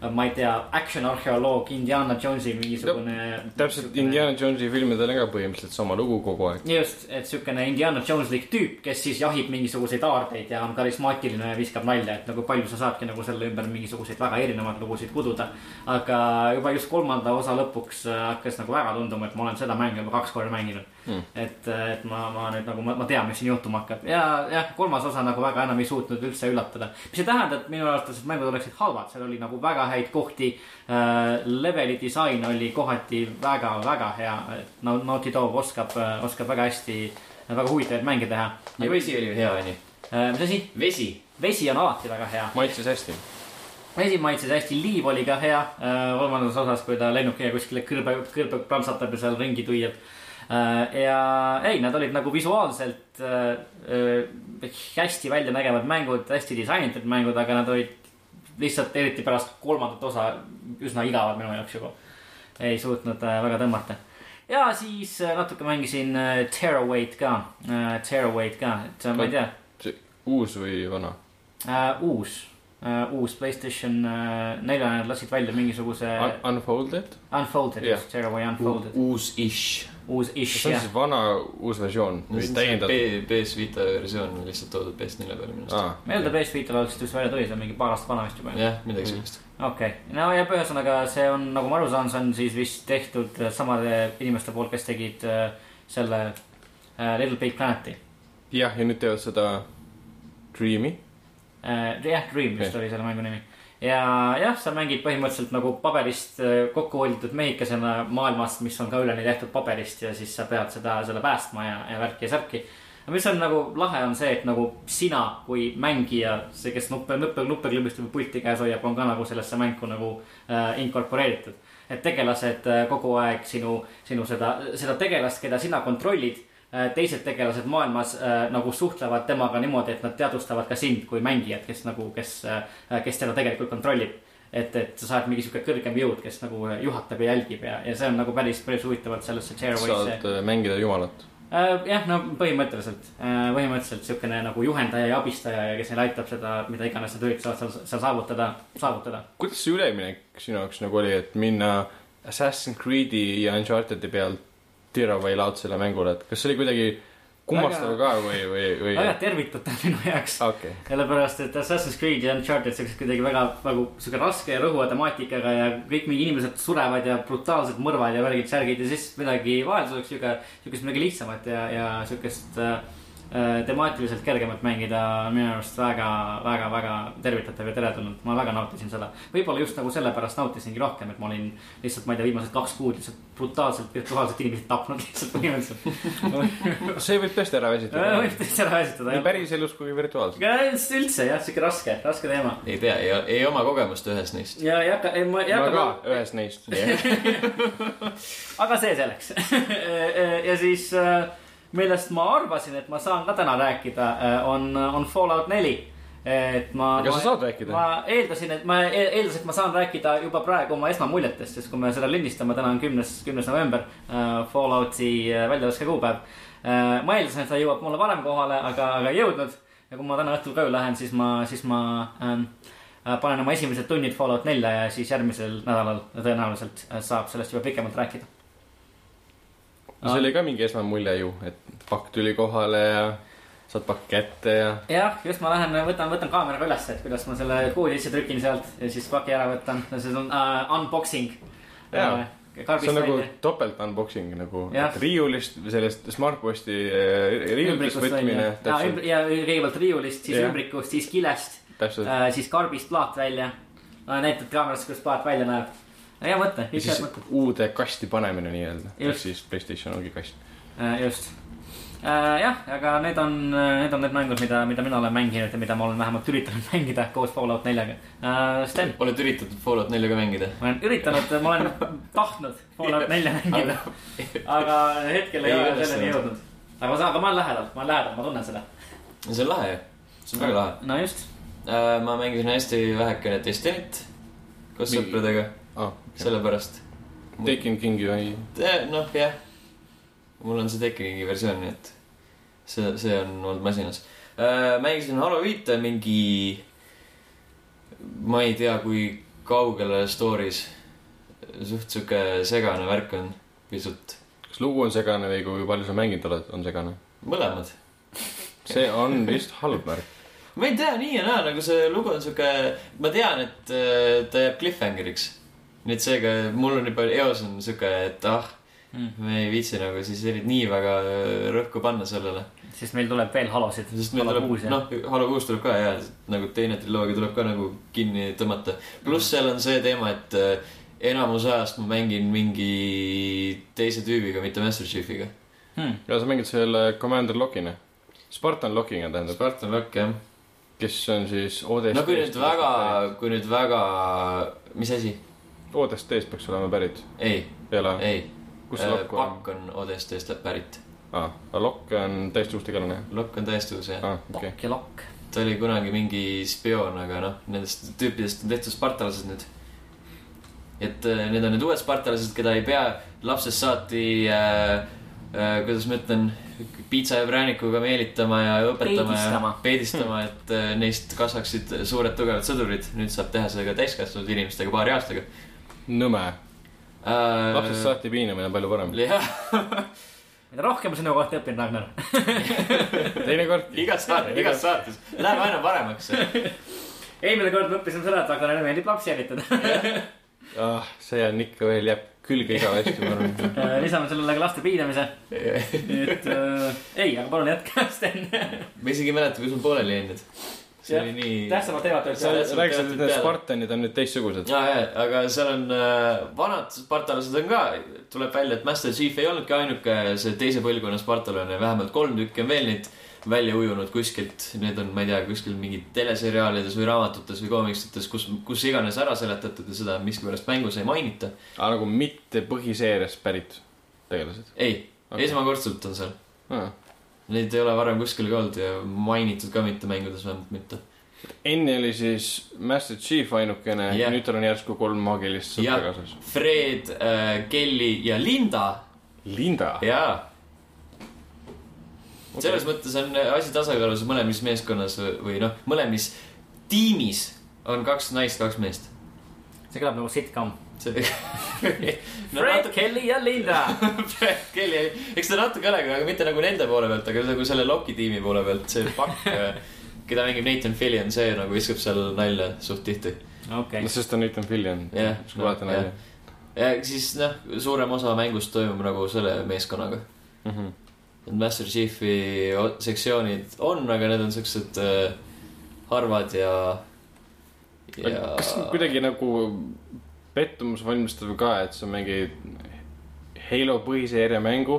S3: ma ei tea , action arheoloog Indiana Jonesi mingisugune .
S2: täpselt Indiana Jonesi filmidel on ka põhimõtteliselt sama lugu kogu aeg .
S3: just , et siukene Indiana Joneslik tüüp , kes siis jahib mingisuguseid aardeid ja on karismaatiline ja viskab nalja , et nagu palju sa saadki nagu selle ümber mingisuguseid väga erinevaid lugusid kududa . aga juba just kolmanda osa lõpuks äh, hakkas nagu väga tunduma , et ma olen seda mängu juba kaks korda mänginud mm. . et , et ma , ma nüüd nagu ma, ma tean , mis siin juhtuma hakkab ja jah , kolmas osa nagu väga enam ei suutnud üldse üllatada . mis ei tähenda , et minu arvates et mängud oleksid halvad , seal oli nagu väga häid kohti äh, . leveli disain oli kohati väga-väga hea , et no Naughty Dog oskab , oskab väga hästi , väga huvitavaid mänge teha .
S1: ja vesi oli hea , onju .
S3: mis asi ,
S1: vesi .
S3: vesi on alati väga hea ,
S2: maitses hästi .
S3: vesi maitses hästi , liiv oli ka hea äh, kolmandas osas , kui ta lennukiga kuskile kõrbe , kõrbe pransatab ja seal ringi tuiab . ja ei , nad olid nagu visuaalselt äh, äh, hästi välja nägevad mängud , hästi disainitud mängud , aga nad olid lihtsalt eriti pärast kolmandat osa üsna igavad minu jaoks juba . ei suutnud äh, väga tõmmata . ja siis äh, natuke mängisin äh, Tearaway'd ka äh, , Tearaway'd ka , et äh, ma ei tea
S2: uus või vana ?
S3: äh, uus äh, , uus Playstation äh, neljane nad lasid välja mingisuguse
S2: Unfolded ?
S3: Unfolded
S2: Ah. jah.
S3: yeah. , Tearaway Unfolded ,
S1: uus-ish .
S3: uus-ish
S2: see on
S3: jah .
S2: siis vana uus versioon või täiendatud ?
S1: PS Vita versioon on lihtsalt toodud PS4 peale minu arust .
S2: aa ,
S3: meelde PS Vitale alles just välja tuli , see on mingi paar aastat vana vist
S2: Ah.
S3: juba .
S1: jah , midagi sellist .
S3: okei okay. , no ja ühesõnaga , see on , nagu ma aru saan , see on siis vist tehtud äh, samade inimeste poolt , kes tegid äh, selle äh, Little Big Planeti
S2: jah , ja nüüd teevad seda Dream'i .
S3: äh, . jah , Dream vist
S2: Jah.
S3: oli selle mängu nimi . ja jah , sa mängid põhimõtteliselt nagu paberist äh, kokku hoitud mehikesena maailmas , mis on ka üleni tehtud paberist ja siis sa pead seda , selle päästma ja , ja värki ja särki . mis on nagu lahe , on see , et nagu sina kui mängija , see , kes nuppe , nuppe , nuppe klõbistab ja pulti käes hoiab , on ka nagu sellesse mängu nagu äh, inkorporeeritud . et tegelased äh, kogu aeg sinu , sinu seda , seda tegelast , keda sina kontrollid äh, teised tegelased maailmas äh, nagu suhtlevad temaga niimoodi , et nad teadvustavad ka sind kui mängijat , kes nagu , kes , kes teda tegelikult kontrollib . et , et sa oled mingi sihuke kõrgem jõud , kes nagu juhatab ja jälgib ja , ja see on nagu päris , päris huvitavalt sellesse Tearaway'sse
S2: saad äh, mängida jumalat .
S3: Äh, jah , no põhimõtteliselt , põhimõtteliselt siukene nagu juhendaja ja abistaja ja kes neil aitab seda , mida iganes nad üritavad seal , seal saavutada , saavutada .
S2: kuidas see üleminek sinu jaoks nagu oli , et minna Assassin's Creed'i ja Uncharted'i pealt Tearaway laadsele mängule , et kas see oli kuidagi kummastav ka või , või , või ?
S3: väga tervitatav minu jaoks .
S2: okei ,
S3: sellepärast , et Assassin's Creed ja Uncharted siuksed kuidagi väga nagu siuke raske ja rõhuva temaatikaga ja kõik mingi inimesed surevad ja brutaalselt mõrvad ja värgid , särgid ja siis midagi vahelduseks siuke , siukest midagi lihtsamat ja , ja siukest äh, äh, temaatiliselt kergemat mängida on minu arust väga , väga , väga tervitatav ja teretulnud . ma väga nautisin seda , võib-olla just nagu sellepärast nautisingi rohkem , et ma olin lihtsalt , ma ei tea , viimased kaks kuud lihtsalt brutaalselt , virtuaalselt inimesi tapnud lihtsalt põhimõtteliselt .
S2: see võib tõesti ära väsitada .
S3: võib täitsa ära esitada
S2: nii . päriselus kui virtuaalselt .
S3: aga üldse jah , siuke raske , raske teema .
S1: ei tea , ei , ei oma kogemust ühes neist .
S3: ja ei hakka , ei ma ei
S2: ma ka
S3: hakka ,
S2: ühes neist .
S3: aga see selleks . ja siis , millest ma arvasin , et ma saan ka täna rääkida , on , on Fallout neli . et ma .
S2: Kas sa saad rääkida?
S3: ma eeldasin , et ma e- eeldasin , et ma saan rääkida juba praegu oma esmamuljetest , sest kui me seda lindistame , täna on kümnes , kümnes november , Fallouti äh, väljalaske kuupäev . ma eeldasin , et ta jõuab mulle varem kohale , aga , aga ei jõudnud . ja kui ma täna õhtul koju lähen , siis ma , siis ma ähm, äh, panen oma esimesed tunnid Fallout nelja ja siis järgmisel nädalal tõenäoliselt äh, saab sellest juba pikemalt rääkida .
S2: no see oli ka mingi esmamulje ju , et pakk tuli kohale ja saad pakk kätte ja
S3: jah , just ma lähen , võtan , võtan kaameraga üles , et kuidas ma selle koodi sisse trükin sealt ja siis paki ära võtan , see on uh, unboxing .
S2: Jaa. see
S3: karbist
S2: on nagu
S3: välja .
S2: topelt unboxing nagu ,
S3: Jah.
S2: et riiulist , sellest Smartposti eh, riiulitest võtmine , täpselt ,
S3: ja kõigepealt riiulist , siis
S2: Jah.
S3: ümbrikust , siis kilest ,
S2: täpselt .
S3: siis karbist plaat välja . näitad kaamerast , kuidas plaat välja näeb . hea mõte ,
S2: ja
S3: üks hea
S2: siis
S3: mõte ,
S2: uude kasti panemine nii-öelda , ehk
S3: Just.
S2: siis Playstation ongi kast .
S3: Äh, just . jah , aga need on , need on need mängud , mida , mida mina olen mänginud ja mida ma olen vähemalt üritanud mängida koos Fallout neljaga . Sten ,
S1: oled üritatud Fallout nelja ka mängida ?
S3: ma olen üritanud , ma olen tahtnud Fallout nelja mängida , aga hetkel ei
S1: Ei
S3: ole
S1: õnnestunud.
S3: selleni jõudnud . aga ma saan , aga ma olen lähedal , ma olen lähedal , ma tunnen seda .
S1: see on lahe ju , see on väga lahe .
S3: no just ,
S1: Äh, ma mängisin hästi vähekene Destiny't . koos
S2: Mingi-
S1: sõpradega ,
S2: ah, .
S1: sellepärast .
S2: Taken Kingi või ?
S1: noh , jah . mul on see tekkimingi versioon , nii et see , see on olnud masinas . mängisin Halo viite mingi , ma ei tea , kui kaugele story's . suht sihuke segane värk on , pisut .
S2: kas lugu on segane või kui palju sa mänginud oled , on segane ?
S1: mõlemad .
S2: see on vist halb märk .
S1: ma ei tea , nii ja naa , nagu see lugu on sihuke , ma tean , et äh, ta jääb cliffhanger'iks . nii et seega mul on juba eos on sihuke , et ah ,
S3: Hmm.
S4: mm. .
S1: me ei viitsi nagu siis eri- nii väga äh, rõhku panna sellele .
S4: siis meil tuleb veel halosid .
S1: sest meil tuleb , noh , Halo kuus tuleb ka ja nagu teine triloogia tuleb ka nagu kinni tõmmata . pluss seal on see teema , et äh, enamus ajast ma mängin mingi teise tüübiga , mitte Master Chiefiga .
S4: hmm. .
S2: ja sa mängid selle Commander Lockina . Spartan Lockina tähendab ,
S1: Spartan Rock jah .
S2: kes on siis ODST-st .
S1: no kui nüüd väga , kui nüüd väga , mis asi ?
S2: ODST-st peaks olema pärit ,
S1: ei ,
S2: ei ole ?
S1: ei ,
S2: kus
S1: eh,
S2: see Lokk
S1: Äh,
S2: on ?
S1: pakk on ODST-st pärit .
S2: aa , Lokk on täiesti uus tegelane .
S1: Lokk on täiesti uus jah .
S2: aa , okei .
S4: pakk ja lokk .
S1: ta oli kunagi mingi spioon , aga noh , nendest tüüpidest on tehtud spartalased nüüd . et äh, need on need uued spartalased , keda ei pea lapsest saati äh, , äh, kuidas ma ütlen , piitsa ja präänikuga meelitama ja õpetama
S4: Peedistama.
S1: ja peedistama , et äh, neist kasvaksid suured tugevad sõdurid . nüüd saab teha seda ka täiskasvanud inimestega paari aastaga
S2: nõme .
S1: äh,
S2: lapsest . saati piinamine on palju parem .
S1: jah ,
S4: mida rohkem ma sinu kohta õpin , Ragnar .
S2: teinekord .
S1: igas saates , igas saates läheb aina paremaks .
S4: eelmine kord me õppisime seda , et Ragnarile meeldib lapsi jälitada .
S2: ah , see on ikka veel , jääb külge igavesti , ma arvan .
S3: Äh,
S4: lisame sellele ka laste piinamise . nii et äh, ei , aga palun jätka , Sten .
S1: ma isegi ei mäleta , kus ma pooleli jäin nüüd . see
S4: Jah,
S1: oli nii .
S4: tähtsamad teemad
S2: sa
S4: olid
S1: Täpselt
S2: rääkisid , et need
S1: teada.
S2: Spartanid on nüüd teistsugused .
S1: ja , ja , aga seal on äh, vanad spartalased on ka , tuleb välja , et Master Chief ei olnudki ainuke see teise põlvkonna spartalane , vähemalt kolm tükki on veel neid välja ujunud kuskilt , need on , ma ei tea , kuskil mingi teleseriaalides või raamatutes või koomikstes , kus , kus iganes ära seletatud ja seda miskipärast mängus ei mainita .
S2: aga nagu mitte põhiseeriast pärit tegelased .
S1: ei okay. , esmakordselt on seal ,
S2: enne
S1: neid ei ole varem kuskil ka olnud ja mainitud ka mitte mängudes vähemalt mitte .
S2: oli siis Master Chief ainukene
S1: Jah.
S2: ja nüüd tal on järsku kolm maagilist sõpra
S1: Jah.
S2: kaasas .
S1: Fred äh, , Kelly ja Linda ,
S2: Linda .
S1: jaa okay. . selles
S2: okei ,
S1: mõttes on äh, asi tasakaalus mõlemas meeskonnas või- või noh , mõlemis tiimis on kaks naist , kaks meest .
S4: see kõlab nagu sitcom .
S1: see no,
S4: Fred ,
S1: natuke ,
S4: Kelly ja Linda .
S1: Kelly , eks ta natuke olegi , aga mitte nagu nende poole pealt , aga nagu selle Loki tiimi poole pealt , see pakk , keda mängib Nathan Fillion , see nagu viskab seal nalja suht tihti .
S4: okei ,
S2: sest ta on Nathan Fillion .
S1: Jah,
S2: siis ma vaatan
S1: jah.
S2: välja .
S1: ja siis noh , suurem osa mängust toimub nagu selle meeskonnaga .
S2: Mhm.
S1: Need Master Chiefi o- sektsioonid on , aga need on siuksed äh, harvad ja , ja .
S2: kas kuidagi nagu pettumus valmistab ka , et sa mängid Halo põhiseeria mängu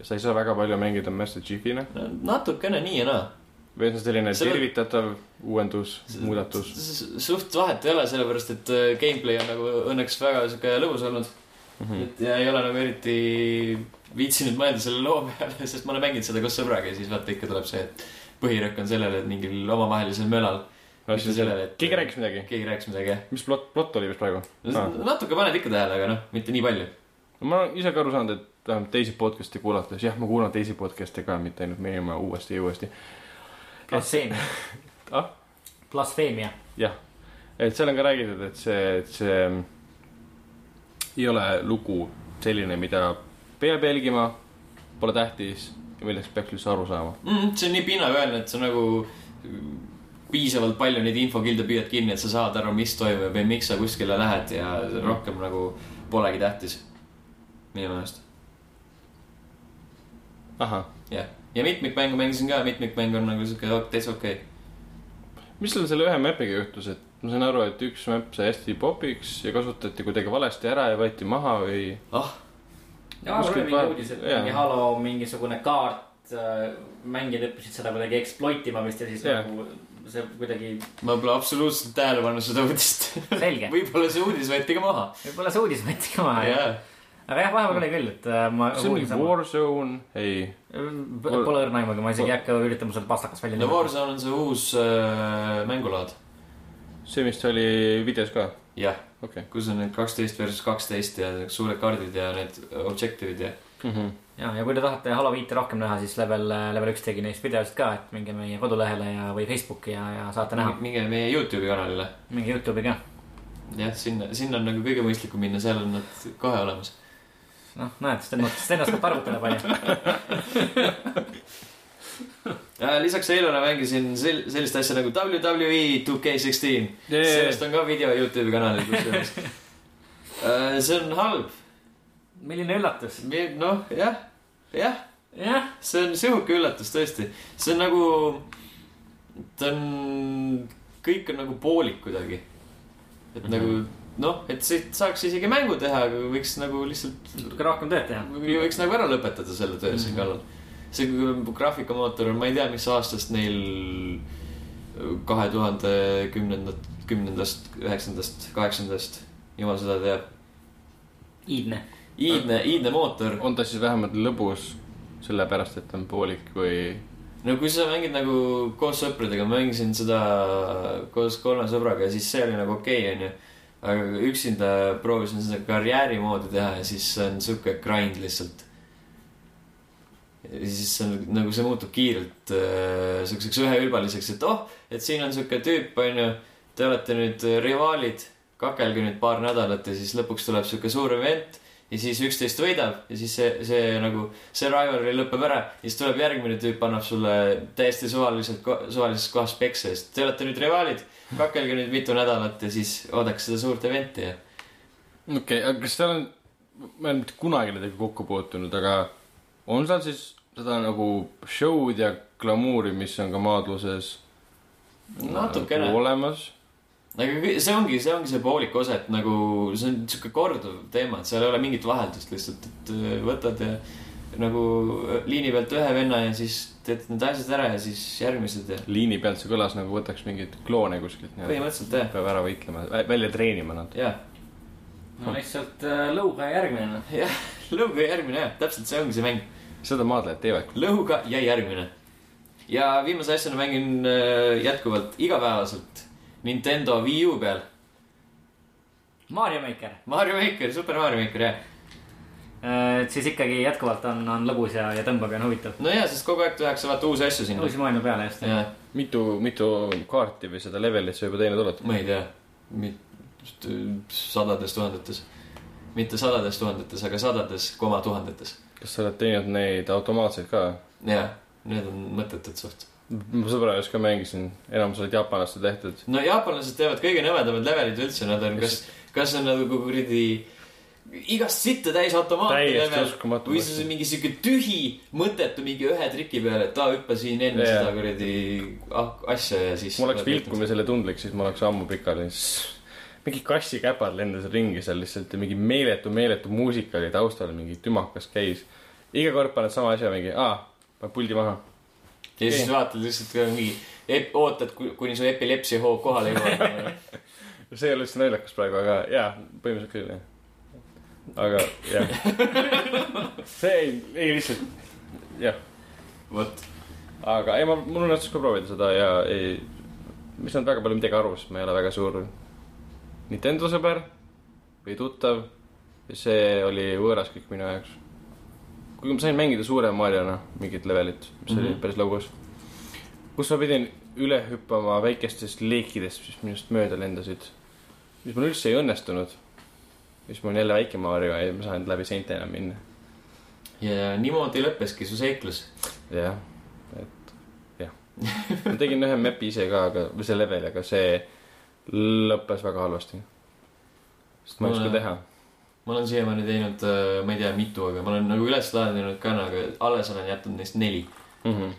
S2: ja sa ei saa väga palju mängida Master Chiefina
S1: no natukene nii ja naa .
S2: või on see selline
S1: Selle-
S2: tervitatav uuendus , muudatus ?
S1: suht vahet ei ole , sellepärast et äh, gameplay on nagu õnneks väga sihuke lõbus olnud mm .
S2: Mhm.
S1: -hmm. et ja ei ole nagu eriti viitsinud mõelda selle loo peale , sest ma olen mänginud seda koos sõbraga ja siis vaata ikka tuleb see , et põhirõhk on sellele , et mingil omavahelisel mölal mitte sellele, et-
S2: keegi rääkis midagi ?
S1: keegi rääkis midagi .
S2: mis plott , plott oli vist praegu ?
S1: Ah. natuke paned ikka tähele , aga noh , mitte nii palju .
S2: ma olen ise ka aru saanud , et vähemalt teisi podcast'e kuulates , jah , ma kuulan teisi podcast'e ka , mitte ainult meie oma uuesti ja uuesti .
S4: blasfeemia .
S2: Ah?
S4: blasfeemia .
S2: jah , et seal on ka räägitud , et see , et see ei ole lugu selline , mida peab jälgima , pole tähtis ja millest peaks üldse aru saama .
S1: mm, . see on nii pinnapealne , et sa nagu piisavalt palju neid infokilde püüad kinni , et sa saad aru , mis toimub ja miks sa kuskile lähed ja rohkem nagu polegi tähtis . minu meelest ,
S2: ahah ,
S1: jah . ja mitmikmängu mängisin ka , mitmikmäng on nagu siuke ok- täitsa okei okay. .
S2: mis seal selle ühe mäpiga juhtus , et ma sain aru , et üks mäpp sai hästi popiks ja kasutati kuidagi valesti ära ja võeti maha või ?
S1: ah ,
S4: jaa , mul oli
S2: Kuskilt
S4: mingi
S2: vahe-
S4: uudis , et
S2: jaa.
S4: mingi Halo mingisugune kaart , mängijad õppisid seda kuidagi exploit ima vist ja siis
S2: Jaa.
S4: nagu see kuidagi ,
S1: ma pole absoluutselt tähele pannud seda uudist .
S4: Selge.
S1: võib-olla see uudis võeti ka maha .
S4: võib-olla see uudis võeti ka maha .
S1: jaa ,
S4: aga jah , vahepeal oli küll , et äh, ma .
S2: kas see on mingi Warzone ? ei ,
S4: Pole õrna aimugi , ma isegi ei hakka üritama sealt pastakas välja .
S1: no Warzone on see uus äh, mängulaad .
S2: see vist oli videos ka .
S1: jah ,
S2: okei .
S1: kus on need kaksteist versus kaksteist ja need suured kaardid ja need objective'id ja .
S2: Mhm.
S3: ja , ja kui te tahate Halo viite rohkem näha , siis level , level üks tegi neist videosid ka , et minge meie kodulehele ja , või Facebooki ja , ja saate näha
S1: minge meie Youtube'i kanalile ,
S3: mingi Youtube'i ka .
S1: jah , sinna , sinna on nagu kõige mõistlikum minna , seal on nad kohe olemas .
S3: noh , näed , Sten , Sten oskab arvutada palju .
S1: lisaks eilole mängisin sel- , sellist asja nagu WWE 2K16 sellest
S2: see
S1: on ka video Youtube'i kanalil kusjuures . Äh, see on halb ,
S3: milline üllatus .
S1: noh jah , jah ,
S3: jah ,
S1: see on sihuke üllatus tõesti , see on nagu , ta on , kõik on nagu poolik kuidagi . et nagu noh , et siit saaks isegi mängu teha , aga võiks nagu lihtsalt ,
S4: natuke rohkem tööd teha .
S1: võiks nagu ära lõpetada selle töö siin kallal . see graafikamootor on , ma ei tea , mis aastast neil kahe tuhande kümnendat , kümnendast , üheksandast , kaheksandast , jumal seda teab .
S3: iidne .
S1: iidne , iidne mootor .
S2: on ta siis vähemalt lõbus sellepärast , et ta on poolik või ?
S1: no kui sa mängid nagu koos sõpradega , ma mängisin seda koos kolme sõbraga , siis see oli nagu okei okay, , onju . aga üksinda proovisin seda karjääri moodi teha ja siis see on sihuke grind lihtsalt . ja siis see on nagu see muutub kiirelt äh, siukseks üheülbaliseks , et oh , et siin on sihuke tüüp , onju . Te olete nüüd äh, rivaalid , kakelge nüüd paar nädalat ja siis lõpuks tuleb sihuke suur event ja siis üksteist võidab ja siis see , see nagu see rivalry lõpeb ära ja siis tuleb järgmine tüüp , annab sulle täiesti suvaliselt , suvalises kohas peksa ja siis te olete nüüd rivaalid , kakelge nüüd mitu nädalat ja siis oodake seda suurt eventi ja .
S2: okei okay, , aga kas seal on , ma ei ole mitte kunagi nendega kokku puutunud , aga on seal siis seda nagu show'd ja glamuuri , mis on ka maadluses
S1: Natukene.
S2: nagu olemas ?
S1: aga kõ- see ongi , see ongi see poolik osa , et nagu see on sihuke korduv teema , et seal ei ole mingit vaheldust lihtsalt , et äh, võtad ja nagu liini pealt ühe venna ja siis teed need asjad ära ja siis järgmised ja
S2: liini pealt see kõlas nagu võtaks mingeid kloone kuskilt .
S1: põhimõtteliselt jah ,
S2: peab ära võitlema , välja treenima nad .
S1: jah .
S3: Noh.
S4: no lihtsalt äh, lõuga järgmine noh .
S1: jah , lõuga järgmine jah , täpselt see ongi see mäng .
S2: seda maadlejad teevad .
S1: lõhuga ja järgmine . ja viimase asjana mängin äh, jätkuvalt igapäevaselt Nintendo Wii U peal .
S3: Mario Maker .
S1: Mario Maker , Super Mario Maker jah .
S3: Äh, et siis ikkagi jätkuvalt on , on lõbus ja , ja tõmbab ja on huvitav .
S1: no jaa , sest kogu aeg tehakse vaata uusi asju sinna .
S3: uusi maailma peale just .
S1: jaa ,
S2: mitu , mitu kaarti või seda levelit sa juba teinud oled ?
S1: ma ei tea , sadades tuhandetes . mitte sadades tuhandetes , aga sadades koma tuhandetes .
S2: kas sa oled teinud neid automaatseid ka ?
S1: jaa , need on mõttetud suht .
S2: mu sõbra juures ka mängisin , enamus olid jaapanlaste tehtud .
S1: no jaapanlased teevad kõige nõmedamad levelid üldse , nad on kas , kas on nagu kuradi igast sitta täis automaatne
S2: täiesti
S1: level
S2: uskumatu .
S1: või siis on mingi siuke tühi , mõttetu mingi ühe triki peale , et aa , hüppa siin enne
S2: Jaa.
S1: yeah. seda kuradi ah- asja ja siis .
S2: ma oleks vilkumisele tundlik , siis ma oleks ammu pikali . mingi kassikäpad lendasid ringi seal lihtsalt ja mingi meeletu , meeletu muusika oli taustal , mingi tümakas käis . iga kord paned sama asja mingi , aa , paned puldi maha .
S1: ja siis vaatad lihtsalt ka mingi , ootad , kuni su epilepsia hoog kohale jõuab .
S2: see ei ole üldse naljakas praegu , aga jaa , põhimõtteliselt küll jah . aga jah . see ei , ei lihtsalt , jah .
S1: vot ,
S2: aga ei , ma , mul õnnestus ka proovida seda ja ei , ma ei saanud väga palju midagi aru , sest ma ei ole väga suur Nintendo sõber või tuttav . see oli võõras kõik minu jaoks . kuigi ma sain mängida suure Mariona mingit levelit , mis mm -hmm. oli
S1: Mhm.
S2: päris lõbus . kus ma pidin üle hüppama väikestest leekidest , mis minust mööda lendasid . mis mul üldse ei õnnestunud . siis mul on jälle väike Mario ja ma saan läbi seinte enam minna .
S1: ja niimoodi lõppeski su seiklus .
S2: jah , et jah . ma tegin ühe map'i ise ka , aga , või see level , aga see lõppes väga halvasti . sest ma ei oska
S1: Mulle-
S2: teha .
S1: ma olen siiamaani teinud , ma ei tea , mitu , aga ma olen nagu üles laadinud ka , aga alles olen jätnud neist neli .
S2: mis Mhm.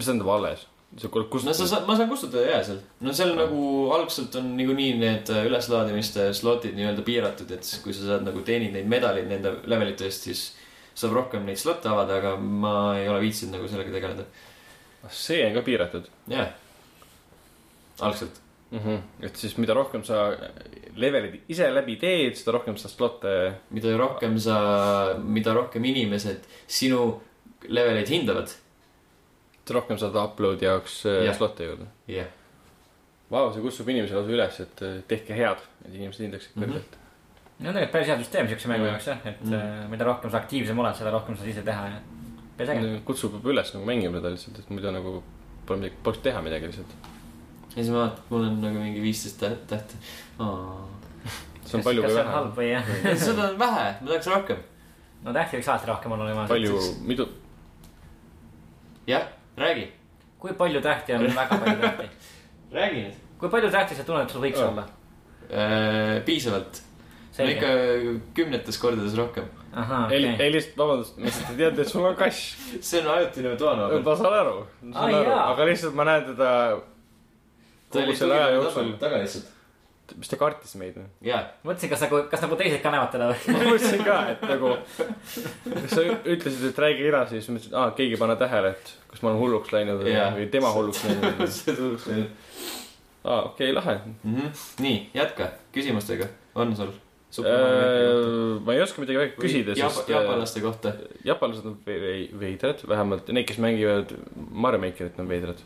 S2: tähendab alles ? sa kuule , kus
S1: no sa saad , ma saan kustutada jaa seal . no seal
S2: Ah.
S1: nagu algselt on niikuinii need äh, üleslaadimiste slotid nii-öelda piiratud , et siis kui sa saad nagu teenid neid medaleid nende levelite eest , siis saab rohkem neid slotte avada , aga ma ei ole viitsinud nagu sellega tegeleda .
S2: Ah, see on ka piiratud
S1: jaa . algselt .
S2: mm . -hmm. et siis mida rohkem sa levelid ise läbi teed , seda rohkem sa slot'e .
S1: mida rohkem sa , mida rohkem inimesed sinu leveleid hindavad ,
S2: seda rohkem saad upload'i jaoks äh,
S1: Jah.
S2: slot'e juurde .
S1: jah ,
S2: Vau , see kutsub inimesi lausa üles , et eh, tehke head , et inimesed hindaksid
S1: Mhm.
S2: kõrgelt mm .
S3: no tegelikult päris hea süsteem siukse mängu
S2: Mhm.
S3: jaoks jah , et
S1: Mhm.
S3: äh, mida rohkem sa aktiivsem oled , seda rohkem sa saad ise teha ja päris äge .
S2: -hmm. kutsub üles nagu mängima seda lihtsalt , et muidu nagu pole midagi , poleks teha midagi lihtsalt .
S1: ja siis ma vaatan , mul on nagu mingi viisteist täht , tähte . seda
S2: see on palju
S3: kas
S2: või
S3: see on
S2: vähe .
S3: halb või jah ?
S1: on vähe , ma tahaks rohkem .
S3: no tähti võiks alati rohkem olla võimalik .
S2: palju , mitu ,
S1: jah , räägi ,
S3: kui palju tähti on , väga palju tähti .
S1: räägi nüüd .
S3: kui palju tähti sa tunned , et sul võiks
S2: Jah.
S3: olla ?
S1: Äh, piisavalt ,
S3: selge .
S1: ikka kümnetes kordades rohkem .
S3: ahah ,
S2: ei ,
S3: Ah, okei .
S2: ei lihtsalt vabandust , ma lihtsalt ei teadnud , et sul on kass .
S1: see on ajutine toan .
S2: ma saan aru , ma
S3: Ai,
S2: saan aru ,
S3: Ah, jaa.
S2: aga lihtsalt ma näen teda , kogu selle aja jooksul-
S1: taga lihtsalt .
S2: mis ta kartis meid või ?
S1: jaa ,
S3: mõtlesin , kas nagu , kas nagu teised ka näevad teda või ?
S2: ma mõtlesin ka , et nagu , sa ütlesid , et räägi edasi , siis ma mõtlesin , et aa , keegi ei pane tähele , et kas ma olen hulluks läinud või,
S1: Jaa.
S2: või tema hulluks läinud .
S1: see tuleks meelde .
S2: aa , okei okay, , lahe .
S1: Mhm. nii , jätka , küsimustega on sul ?
S2: Äh, ma ei oska midagi väga küsida , sest äh,
S1: jaapanlaste kohta .
S2: jaapanlased on ve- ve- veidrad , vähemalt need , kes mängivad Mario Makerit , on veidrad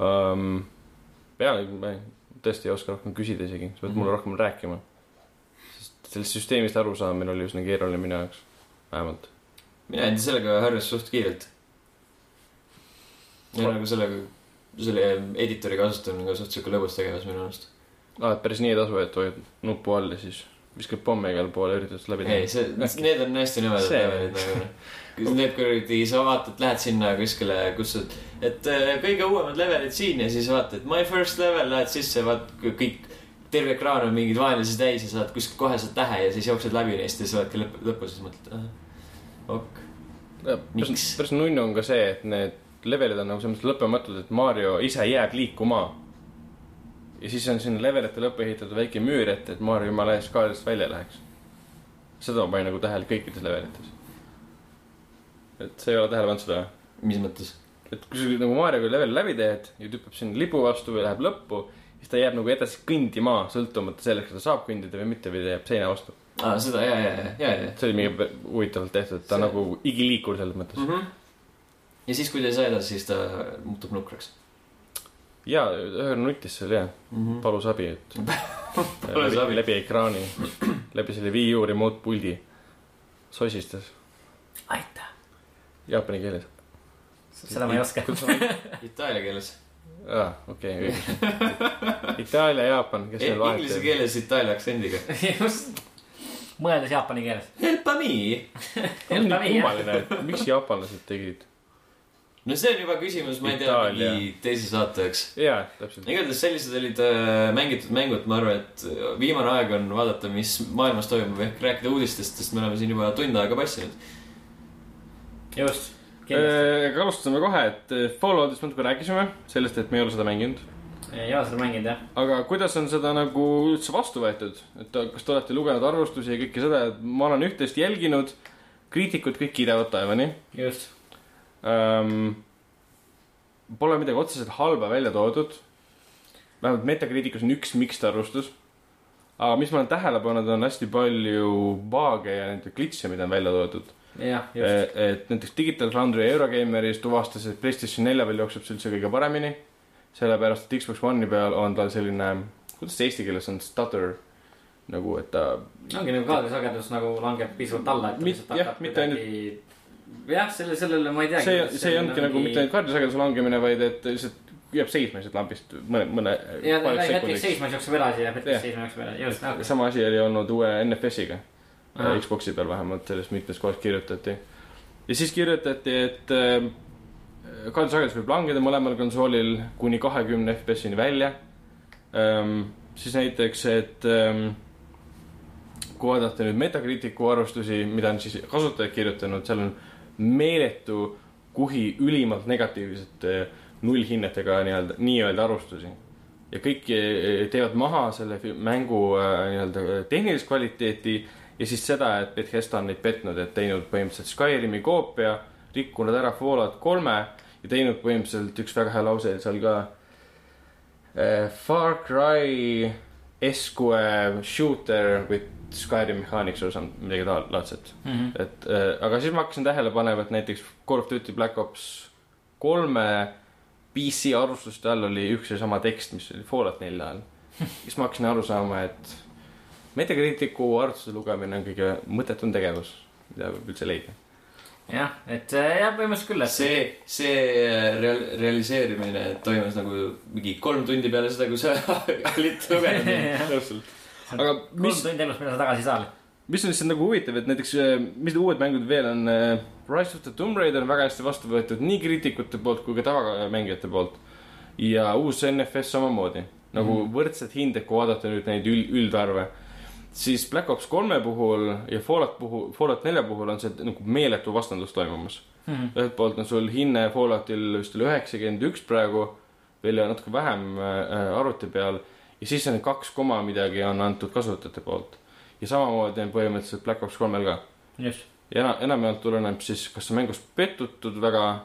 S2: um, . peale , ma ei- tõesti ei oska rohkem küsida isegi , sa pead mulle rohkem rääkima . sest sellest süsteemist arusaamine oli üsna keeruline minu jaoks , vähemalt .
S1: mina jäin sellega harjus suht kiirelt . ja nagu sellega , selle editori kasutamine on ka suht siuke lõbus tegevus minu arust .
S2: aa , Ah, et päris nii ei tasu , et hoiad nupu all ja siis viskad pomme igale poole , üritad seda läbi
S1: ei ,
S2: teha .
S1: see , need on hästi nõmedad
S2: See-
S1: levelid nagu noh . Need kuradi , sa vaatad , lähed sinna kuskile , kus sa , et äh, kõige uuemad levelid siin ja siis vaatad my first level , lähed sisse , vaat kõ- kõik , terve ekraan on mingeid vaenlasi täis ja saad kuskilt kohe saad tähe ja siis jooksed läbi neist ja sa oledki lõpp , lõpus ja siis mõtled , ok .
S2: Äh, päris
S1: miks? ,
S2: päris nunnu on ka see , et need levelid on nagu selles mõttes lõppematud , et Mario ise jääb liikuma . ja siis on sinna levelite lõppu ehitatud väike müür , et , et Mario jumala eest kaardist välja läheks . seda ma panin nagu tähele kõikides levelites . et sa ei ole tähele pannud seda või ?
S1: mis mõttes ?
S2: et kui sa nagu Marioga leveli läbi teed ja tüpeb sinna lipu vastu või läheb lõppu , siis ta jääb nagu edasi kõndima , sõltumata sellest , kas ta saab kõndida või mitte või ta jääb seina vastu .
S1: aa , seda ja , ja , ja , ja , ja .
S2: see oli mingi pe- huvitavalt tehtud , et ta
S1: See-
S2: on nagu igiliikur selles mõttes mm .
S1: ja siis , kui ta ei saa edasi , siis ta muutub nukraks
S2: -hmm. ja ühel nutis seal jah ,
S1: mm . -hmm.
S2: palus abi , et
S1: Palus
S2: läbi-
S1: abi.
S2: läbi ekraani , läbi selle Wii U remote puldi sosistas
S3: aitäh .
S2: jaapani keeles .
S3: seda ma ei oska .
S1: Itaalia keeles .
S2: aa , okei , õige . Itaalia , Jaapan , kes seal vahet
S1: E- Inglise keeles Itaalia aktsendiga .
S3: just . mõeldes jaapani keeles .
S1: Help me
S2: on nii kummaline , et miks jaapanlased tegid .
S1: no see on juba küsimus , ma ei tea ,
S2: Itaalia.
S1: mingi teise saate jaoks .
S2: jaa , täpselt .
S1: igatahes sellised olid äh, mängitud mängud , ma arvan , et äh, viimane aeg on vaadata , mis maailmas toimub ehk rääkida uudistest , sest me oleme siin juba tund aega passinud .
S4: just , kindlasti .
S2: Äh, aga alustame kohe , et eh, Falloutist natuke rääkisime , sellest , et me ei ole seda mänginud .
S4: ei ole seda mänginud jah .
S2: aga kuidas on seda nagu üldse vastu võetud , et kas te olete lugenud arvustusi ja kõike seda , et ma olen üht-teist jälginud , kriitikud kõik kiidavad taevani
S4: just .
S2: ähm, . Pole midagi otseselt halba välja toodud . vähemalt Metacriticus on üks mixed arvustus . aga mis ma olen tähele pannud , on hästi palju baage ja nende klitse , mida on välja toodud .
S4: jah , just .
S2: et et näiteks Digital Foundry Eurogeimeris tuvastas , et PlayStation 4 peal jookseb see üldse kõige paremini . sellepärast , et Xbox One'i peal on tal selline , kuidas see eesti keeles on , stutter nagu , et ta
S4: ongi nagu kaadrisagedus nagu langeb pisut alla , et ta
S2: Mit-
S4: lihtsalt
S2: jah,
S4: hakkab
S2: mitte ainult-
S4: midagi- jah , selle , sellele ma ei teagi .
S2: see , see ei olnudki nagu mitte ainult kaardisageduse langemine , vaid et lihtsalt jääb seisma lihtsalt lambist mõne , mõne .
S4: ja ta läheb hetkeks . seisma , siis jookseb edasi ja hetkeks
S2: Jah.
S4: seisma , jookseb edasi , just nagu .
S2: sama asi oli olnud uue NFS-iga ,
S4: Ahah.
S2: Äh, Xbox'i peal vähemalt sellest mitmes kohas kirjutati . ja siis kirjutati , et äh, kaardisagedus võib langeda mõlemal konsoolil kuni kahekümne FPS-ini välja ähm, . siis näiteks , et ähm, kui vaadata nüüd Metacriticu arvustusi , mida on siis kasutajad kirjutanud , seal on meeletu kuhi ülimalt negatiivsete eh, nullhinnetega nii-öelda , nii-öelda arvustusi . ja kõik eh, teevad maha selle fi- mängu eh, nii-öelda tehnilist kvaliteeti ja siis seda , et Bethesda on neid petnud , et teinud põhimõtteliselt Skyrimi koopia , rikkunud ära Fallout kolme ja teinud põhimõtteliselt üks väga hea lause oli seal ka eh, Far Cry SQE shooter with Skyrim mechanics or some- midagi taol- laadset . et eh, äh, aga siis ma hakkasin tähele panema , et näiteks Call of Duty Black Ops kolme PC arvustuste all oli üks ja sama tekst , mis oli Fallout nelja all . siis ma hakkasin aru saama , et Metacriticu arvutuse lugemine on kõige mõttetum tegevus , mida võib üldse leida .
S3: jah , et äh, jah , põhimõtteliselt küll , et
S1: see , see äh, real, realiseerimine toimus nagu mingi kolm tundi peale seda , kui sa olid lugenud .
S2: täpselt . aga
S3: kolm
S2: mis ,
S3: tundi elust , mida sa tagasi ei saa .
S2: mis on lihtsalt nagu huvitav , et näiteks , mis need uued mängud veel on , Rise of the Tomb Raider on väga hästi vastu võetud nii kriitikute poolt kui ka tavamängijate poolt . ja uus NFS samamoodi , nagu mm -hmm. võrdsed hinded , kui vaadata nüüd neid üld , üldarve . siis Black Ops kolme puhul ja Fallout puhul , Fallout nelja puhul on see nagu meeletu vastandus toimumas
S3: Mhm.
S2: ühelt poolt on sul hinne Falloutil vist oli üheksakümmend üks praegu , veel natuke vähem äh, arvuti peal ja siis on kaks koma midagi on antud kasutajate poolt . ja samamoodi on põhimõtteliselt Black Ops kolmel ka .
S3: Mhm, just ,
S2: ja ena- , enamjaolt tuleneb siis , kas on mängus pettutud väga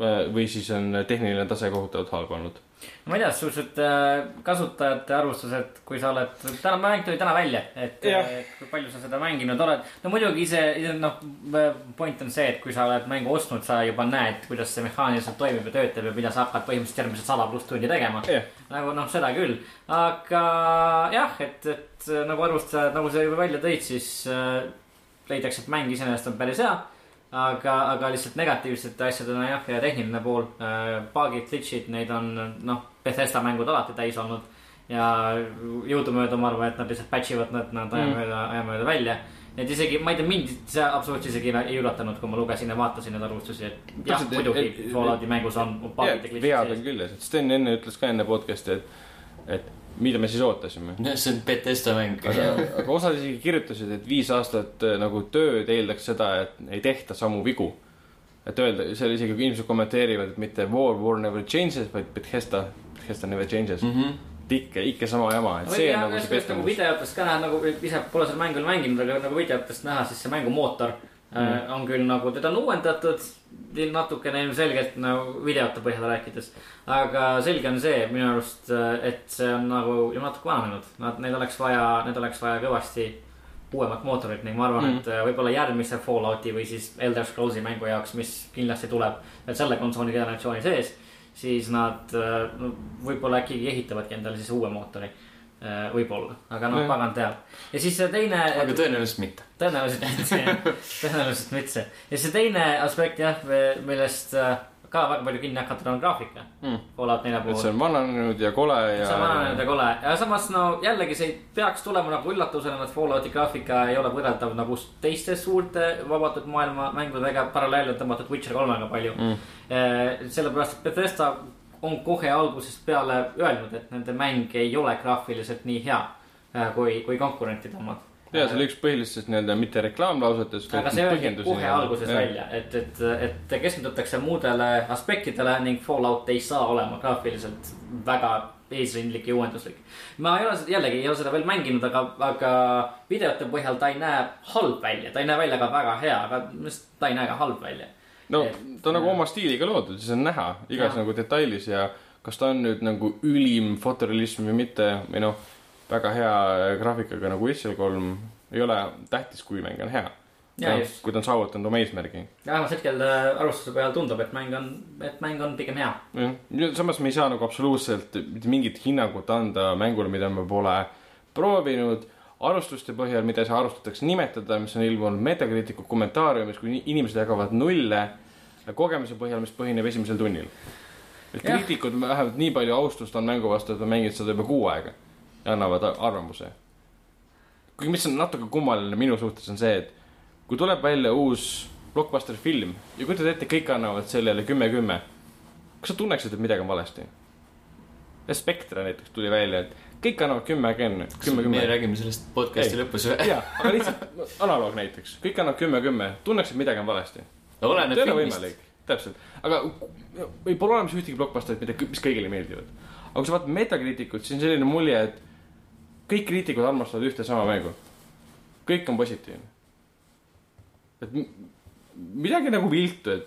S2: äh, või siis on tehniline tase kohutavalt halb olnud .
S3: ma ei tea , siuksed äh, kasutajate arvustused , kui sa oled , täna mäng tuli täna välja , et
S2: Jah.
S3: äh, kui palju sa seda mänginud oled . no muidugi ise , noh , point on see , et kui sa oled mängu ostnud , sa juba näed , kuidas see mehaaniliselt toimib ja töötab ja mida sa hakkad põhimõtteliselt järgmised sada pluss tundi tegema .
S2: jah ,
S3: nagu noh , seda küll , aga jah , et , et nagu arvustajad , nagu sa juba välja tõid , siis äh, leidakse , et mäng iseenesest on päris hea . aga , aga lihtsalt negatiivsete asjadena jah , ja tehniline pool äh, , bug'id , glitch'id , neid on noh , Bethesda mängud alati täis olnud . ja jõudumööda ma arvan , et nad lihtsalt patch ivad nad , nad ajamööda mm. , ajamööda välja . et isegi , ma ei tea , mind see absoluutselt isegi ei üllatanud , kui ma lugesin ja vaatasin neid arvustusi , et jah ,
S2: Täpselt, et-
S3: muidugi
S2: et- et-
S3: Fallouti mängus on bug'id ja glitch'id
S2: vead on küljes , et Sten enne ütles ka enne podcast'i , et , et mida me siis ootasime .
S1: no see on Betesta mäng .
S2: aga , aga osad isegi kirjutasid , et viis aastat äh, nagu tööd eeldaks seda , et ei tehta samu vigu . et öelda , seal isegi inimesed kommenteerivad , et mitte war , war never changes , vaid Bethesda , Bethesda never changes mm .
S1: Mhm.
S2: -hmm. ikka , ikka sama jama , et see on nagu see
S3: nagu
S2: pettumus .
S3: videotest ka näha , nagu ise pole seda mängu mänginud , aga nagu videotest näha , siis see mängumootor mm. on küll nagu , teda on uuendatud natukene ilmselgelt nagu videote põhjal rääkides . aga selge on see minu arust , et see on nagu ju natuke vananenud , nad , neid oleks vaja , neid oleks vaja kõvasti uuemat mootorit ning ma arvan mm. , et võib-olla järgmise Fallouti või siis Elder Scrollsi mängu jaoks , mis kindlasti tuleb veel selle konsooli generatsiooni sees , siis nad äh, no, võib-olla äkki ehitavadki endale siis uue mootori . võib-olla , aga noh ,
S2: Nojah.
S3: pagan teab . ja siis see teine .
S1: aga tõenäoliselt mitte .
S3: tõenäoliselt mitte , tõenäoliselt mitte . ja see teine aspekt jah , millest äh, ka väga palju kinni hakatud on graafika
S2: Mm.
S3: Fallout nelja
S2: et
S3: puhul .
S2: see on vananenud ja kole ja .
S3: see on vananenud ja kole , aga samas no jällegi see ei peaks tulema nagu üllatusena , et Fallouti graafika ei ole võrreldav nagu s- teiste suurte vabatud maailma mängudega , paralleele on tõmmatud Witcher kolmega palju mm. . sellepärast , et Bethesda on kohe algusest peale öelnud , et nende mäng ei ole graafiliselt nii hea äh, kui , kui konkurentide omad .
S2: ja see oli üks põhilistest nii-öelda mitte reklaamlausetes .
S3: aga see öeldi kohe alguses ja. . välja , et , et , et keskendutakse muudele aspektidele ning Fallout ei saa olema graafiliselt väga eesrindlik ja uuenduslik . ma ei ole seda , jällegi ei ole seda veel mänginud , aga , aga videote põhjal ta ei näe halb välja , ta ei näe välja ka väga hea , aga minu arust ta ei näe ka halb välja .
S2: no
S3: et- äh,
S2: ta on nagu oma stiiliga loodud , siis on näha igas
S3: Jah.
S2: nagu detailis ja kas ta on nüüd nagu ülim fotorealism või mitte või noh , väga hea graafikaga nagu Witcher kolm ei ole tähtis , kui mäng on hea .
S3: ja just ,
S2: kui ta on saavutanud oma eesmärgi .
S3: vähemalt hetkel äh, arvustuse peal tundub , et mäng on , et mäng on pigem hea .
S2: samas me ei saa nagu absoluutselt mitte mingit hinnangut anda mängule , mida me pole proovinud arvustuste põhjal , mida ei saa arvustuseks nimetada , mis on ilmunud Metacriticu kommentaariumis , kui inimesed jagavad nulle kogemuse põhjal , mis põhineb esimesel tunnil . et
S3: Jah.
S2: kriitikud vähemalt nii palju austust on mängu vastu , et on mänginud seda juba kuu aega ja annavad a- arvamuse . kuigi , mis on natuke kummaline minu suhtes , on see , et kui tuleb välja uus blockbuster film ja kujutad ette , kõik annavad sellele kümme-kümme . kas sa tunneksid , et midagi on valesti ? Spectre näiteks tuli välja , et kõik annavad kümme-kümme ,
S1: me
S2: kümme-kümme .
S1: räägime sellest podcast'i
S2: Ei.
S1: lõpus või ?
S2: jaa , aga lihtsalt no, analoog näiteks , kõik annavad kümme-kümme , tunneks , et midagi on valesti .
S1: oleneb
S2: ei ole
S1: filmist .
S2: võimalik , täpselt , aga ei pole olemas ühtegi blockbusterit , mida , mis kõigile meeldivad . aga kui sa vaatad metakriitikut , siis on selline mulje , et kõik kriitikud armastavad ühte sama mängu . kõik on positiivne . et m- midagi nagu viltu , et ,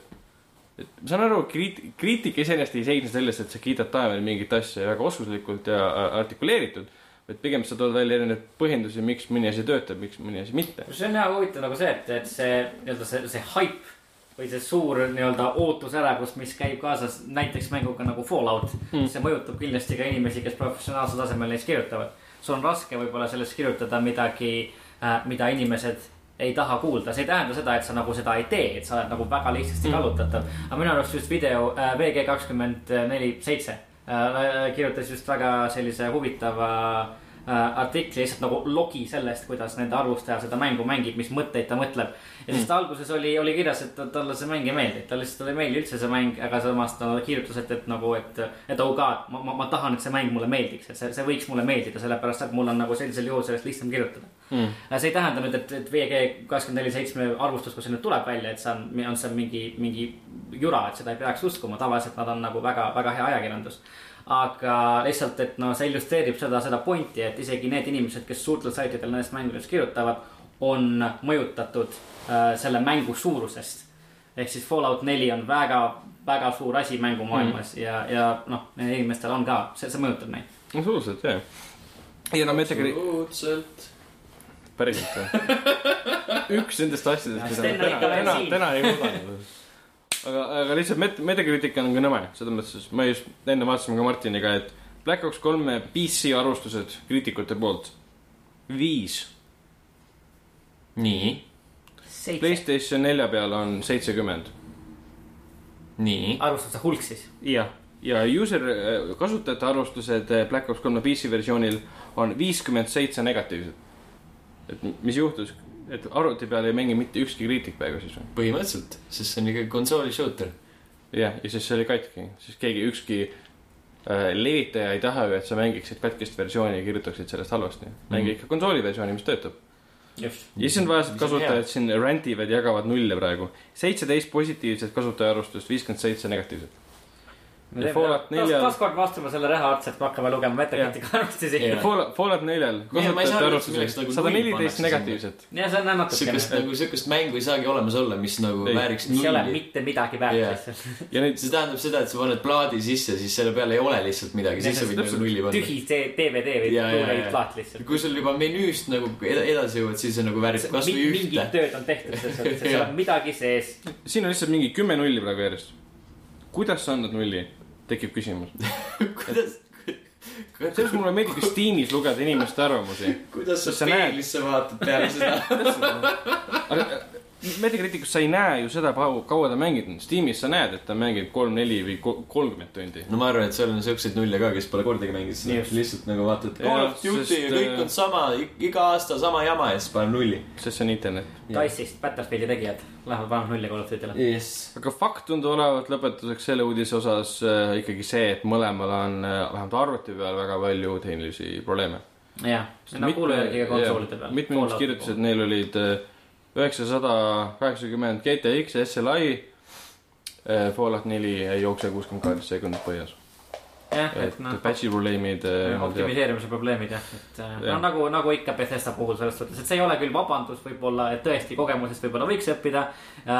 S2: et ma saan aru , kriit- , kriitika iseenesest ei seisne selles , et sa kiidad taevani mingit asja väga oskuslikult ja a- artikuleeritud , vaid pigem sa tood välja erinevaid põhjendusi , miks mõni asi töötab , miks mõni asi mitte .
S3: see on jah huvitav nagu see , et , et see nii-öelda see , see haip või see suur nii-öelda ootusärevus , mis käib kaasas näiteks mänguga nagu Fallout mm. . see mõjutab kindlasti ka inimesi , kes professionaalsel tasemel neist kirjutavad . sul on raske võib-olla sellest kirjutada midagi , mida inimesed ei taha kuulda , see ei tähenda seda , et sa nagu seda ei tee , et sa oled nagu väga lihtsasti kallutatav . aga minu arust just video äh, VG kakskümmend neli seitse äh, kirjutas just väga sellise huvitava äh, artikli , lihtsalt nagu logi sellest , kuidas nende arvustaja seda mängu mängib , mis mõtteid ta mõtleb . ja siis ta alguses oli , oli kirjas , et ta- talle see mäng ei meeldi , et talle lihtsalt ei meeldi üldse see mäng , aga samas ta kirjutas , et , et nagu , et , et oh god , ma , ma , ma tahan , et see mäng mulle meeldiks , et see , see võiks mulle meeldida , sellepärast et mul on nagu sellisel juhul sellest lihtsam kirjutada mm. . see ei tähenda nüüd , et , et VG kakskümmend neli seitsme arvustus , kus see nüüd tuleb välja , et see on , on see mingi , mingi jura , et seda ei peaks uskuma , tavaliselt nad on nagu väga , väga hea ajakirjandus aga lihtsalt , et no see illustreerib seda , seda pointi , et isegi need inimesed , kes suurtel saitidel nendest mängudest kirjutavad , on mõjutatud äh, selle mängu suurusest . ehk siis Fallout neli on väga , väga suur asi mängumaailmas mm. ja , ja noh , nendel inimestel on ka , see , see mõjutab neid .
S2: absoluutselt jah . ei no ma ütlen ka
S1: õudselt .
S2: päriselt või ? üks nendest asjadest , mida
S3: Sten
S2: ma
S3: on ikka
S2: täna ,
S3: veel
S2: täna
S3: siin. ,
S2: täna ei oodanud . aga , aga lihtsalt met- , metakriitika on ka nõme , selles mõttes , ma just enne vaatasime ka Martiniga , et Black Ops kolme PC arvustused kriitikute poolt . viis ,
S1: nii ,
S3: seitse ,
S2: Playstation nelja peal on seitsekümmend .
S1: nii ,
S3: arvustab see hulk siis ?
S2: jah . ja user , kasutajate arvustused eh, Black Ops kolme PC versioonil on viiskümmend seitse negatiivset . et mis juhtus , et arvuti peal ei mängi mitte ükski kriitik praegu siis või ?
S1: põhimõtteliselt , sest see on ikkagi konsooli shooter .
S2: jah , ja siis see oli katki , siis keegi ükski äh, levitaja ei taha ju , et sa mängiksid katkist versiooni ja kirjutaksid sellest halvasti .
S1: Mhm.
S2: mängi ikka konsooli versiooni , mis töötab .
S3: just .
S2: ja siis on vaja , et
S1: Mis Mhm. on
S2: kasutajad siin randivad , jagavad nulle praegu . seitseteist positiivset kasutajaarvustust , viiskümmend seitse negatiivset . Ja Fallout neljal-
S3: taaskord me astume selle reha otsa , et me hakkame lugema metakriitika arvustusi .
S1: Jah.
S3: ja
S2: Fallout , Fallout neljal
S1: ma ei saa aru, milleks
S2: kasutajate arvustuses
S1: nagu
S2: sada
S1: null
S2: neliteist
S1: pannakse
S2: negatiivset .
S3: see on natukene ,
S1: sihukest nagu , sihukest mängu ei saagi olemas olla , mis nagu
S2: Ei.
S1: ei. vääriks
S3: mis ei ole
S1: nulli .
S3: mitte midagi väärt
S1: Jah.
S3: lihtsalt .
S2: ja neid ,
S1: see tähendab seda , et sa paned plaadi sisse , siis selle peale ei ole lihtsalt midagi , siis sa võid nagu nulli panna .
S3: tühi see DVD või
S1: Jaa, jaa,
S3: Blu-ray
S1: jaa.
S3: plaat lihtsalt .
S1: kui sul juba menüüst nagu ed- edasi jõuad , siis on nagu väärib kasvõi ühte
S3: mingit . tööd on tehtud , seal
S1: Jah.
S3: seal on midagi sees .
S2: siin on lihtsalt mingi kümme nulli praegu järjest . kuidas sa annad nulli , tekib küsimus .
S1: kuidas ,
S2: selles mulle meeldib ka Steamis lugeda inimeste arvamusi
S1: kuidas sa
S2: Sa näed-
S1: peeglisse vaatad peale seda ?
S2: aga Metacriticus sa ei näe ju seda , kaua ta mänginud on , Steamis sa näed , et ta mängib kolm , neli või ko- kolmkümmend tundi .
S1: no ma arvan , et seal on siukseid nulle ka , kes pole kordagi mänginud seda
S3: Just. ,
S1: lihtsalt nagu vaatad . äh,
S2: Jah,
S1: Call of Duty ja
S2: sest,
S1: kõik on sama , iga aasta sama jama ja siis panen nulli .
S2: sest see on internet .
S3: Dice'ist Battlefieldi tegijad lähevad panema nulli Call of Duty'le .
S1: jess .
S2: aga fakt tundub olevat lõpetuseks selle uudise osas äh, ikkagi see , et mõlemal on äh, vähemalt arvuti peal väga palju tehnilisi probleeme .
S3: jah , no kuulajärgiga nagu konsoolide peal .
S2: mitmed inimesed kirjutasid , et neil olid äh, üheksasada kaheksakümmend GTX SLI , äh, Fallout neli ei jookse kuuskümmend kaheksa sekundit põhjas .
S3: jah ,
S2: et
S3: et noh ,
S2: patch'i probleemid . äh,
S3: optimiseerimise probleemid jah , et äh,
S2: Jah.
S3: no nagu , nagu ikka Bethesda puhul selles suhtes , et see ei ole küll vabandus võib-olla , et tõesti kogemusest võib-olla võiks õppida .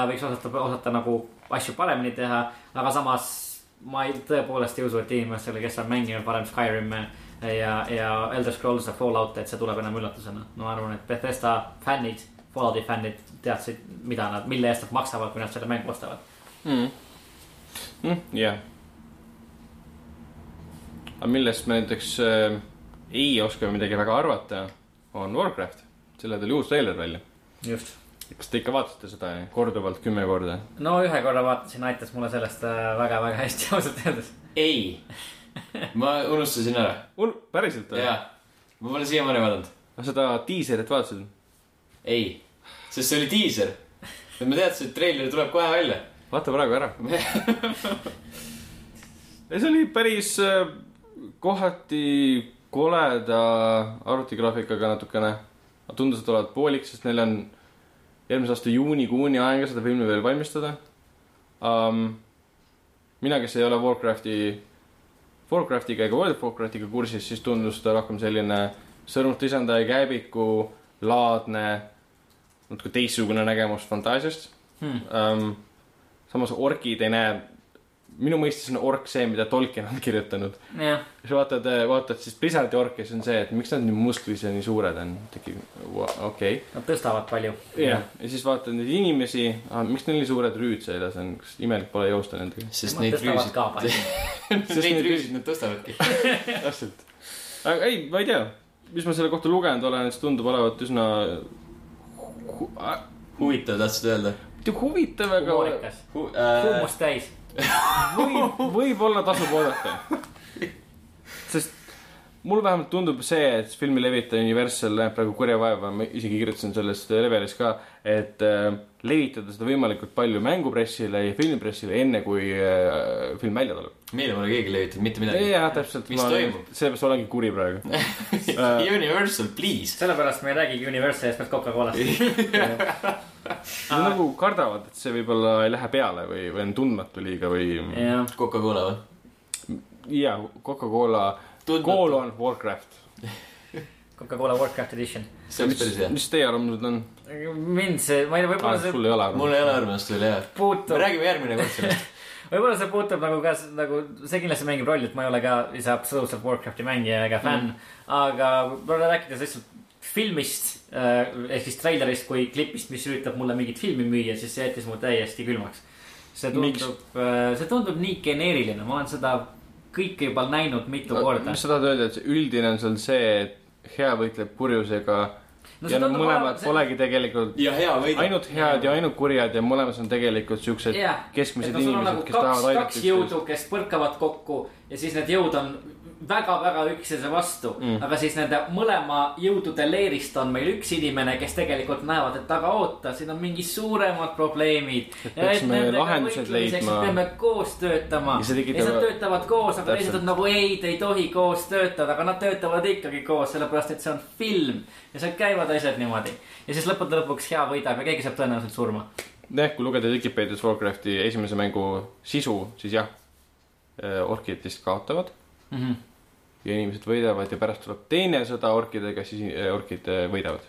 S3: võiks äh, osata , osata nagu asju paremini teha , aga samas ma ei , tõepoolest ei usu , et inimestele , kes on mänginud varem Skyrim'e ja , ja Elder Scrolls ja Fallout'e , et see tuleb enam üllatusena . ma arvan , et Bethesda fännid , Fallouti fännid teadsid , mida nad , mille eest nad maksavad , kui nad selle mängu ostavad .
S2: mm. . Mm, jah . aga millest me näiteks äh, ei oska midagi väga arvata , on Warcraft . selle tuli uus treiler välja .
S3: just
S2: kas te ikka vaatasite seda korduvalt kümme korda ?
S3: no ühe korra vaatasin , aitas mulle sellest äh, väga-väga hästi ausalt öeldes .
S1: ei , ma unustasin ära ,
S2: päriselt või ?
S1: jaa . ma pole siiamaani vaadanud .
S2: seda diiselit vaatasid ?
S1: ei , sest see oli diiser . ma teadsin , et treiler tuleb kohe välja .
S2: vaata praegu ära . see oli päris äh, kohati koleda arvutigraafikaga natukene . tundus , et olevat poolik , sest neil on eelmise aasta juunikuuni aega seda filmi veel valmistada um, . mina , kes ei ole Warcrafti , Warcraftiga ega World of Warcraftiga kursis , siis tundus ta rohkem selline sõrmuste isandaja käepiku laadne , natuke teistsugune nägemus fantaasiast
S3: Hmm.
S2: um, samas orgid ei näe minu mõistes on ork see , mida Tolkien on kirjutanud .
S3: jah ,
S2: sa vaatad , vaatad siis Blizzardi orke , siis on see , et miks nad nii musklis ja nii suured on . tekib , okei .
S3: nad tõstavad palju .
S2: jah , ja siis vaatad neid inimesi , miks neil nii suured rüüd seljas on , kas imelik pole joosta nendega ?
S1: sest
S3: Nad
S1: neid
S3: tõstavad
S1: rüüsid ,
S3: ka palju .
S1: neid rüüsid nad tõstavadki .
S2: täpselt . aga ei , ma ei tea , mis ma selle kohta lugenud olen , siis tundub olevat üsna hu- a-
S1: huvitav , tahtsid öelda ?
S2: mitte huvitav , aga
S3: humoorikas ,
S1: Äh,
S3: kuumust täis .
S2: võib , võib-olla tasub oodata . sest mulle vähemalt tundub see , et filmi levitaja Universal näeb praegu kurja vaeva , ma isegi kirjutasin sellest levelis ka , et äh, levitada seda võimalikult palju mängupressile ja filmipressile enne , kui äh, film välja tuleb .
S1: meile pole keegi levitanud mitte midagi .
S2: jah , täpselt .
S1: Mis toimub?
S2: sellepärast olengi kuri praegu .
S1: Universal , please .
S3: sellepärast me ei räägigi Universali eesmärk Coca-Colast .
S2: Nad nagu kardavad , et see võib-olla ei lähe peale või , või on tundmatu liiga või
S3: jah ,
S1: Coca-Cola või ?
S2: ja Coca-Cola , Cola . on Warcraft .
S3: Coca-Cola Warcraft Edition .
S1: see oleks päris hea .
S2: mis teie arvamused on ?
S3: mind see , ma ei tea , võib-olla see
S2: sul ei
S1: mul
S2: ole arvamust ?
S1: ei ole arvamust veel jah . me
S3: puutub ,
S1: räägime järgmine kord sellest .
S3: võib-olla see puutub nagu ka s- nagu , see kindlasti mängib rolli , et ma ei ole ka ise absoluutselt Warcrafti mängija ega fänn mm. . aga võib-olla rääkides lihtsalt filmist äh, ehk siis treilerist kui klipist , mis üritab mulle mingit filmi müüa , siis see jättis mu täiesti külmaks . see
S2: Miks?
S3: tundub , see tundub nii geneeriline , ma olen seda kõike juba näinud mitu korda
S2: mis . sa tahad öelda , et see üldine on seal see , et hea võitleb kurjusega no, ja nad mõlemad see... polegi tegelikult
S1: ja hea võidab .
S2: ainult head ja ainult kurjad ja mõlemas on tegelikult siuksed yeah.
S3: Jah.
S2: keskmised
S3: et no sul on
S2: inimesed
S3: nagu
S2: nagu , kes
S3: kaks ,
S2: tahavad aidata
S3: kaks jõudu , kes põrkavad kokku ja siis need jõud on väga-väga üksteise vastu mm. . aga siis nende mõlema jõudude leerist on meil üks inimene , kes tegelikult näevad , et aga oota , siin on mingi suuremad probleemid .
S2: peaksime lahendused leidma.
S3: peame koos
S2: Ja
S3: töötama . ja
S2: see
S3: siis
S2: tekitab-
S3: nad töötavad koos , aga teised
S2: Täpselt.
S3: on nagu ei , te ei tohi koos töötada , aga nad töötavad ikkagi koos , sellepärast et see on film . ja seal käivad asjad niimoodi . ja siis lõppude lõpuks hea võidab ja keegi saab tõenäoliselt surma .
S2: jah , kui lugeda Vikipeedias Warcrafti esimese mängu sisu , siis jah , orkid vist kaotavad
S3: Mm -hmm.
S2: ja inimesed võidavad ja pärast tuleb teine sõda orkidega , siis eh, orkid eh, võidavad .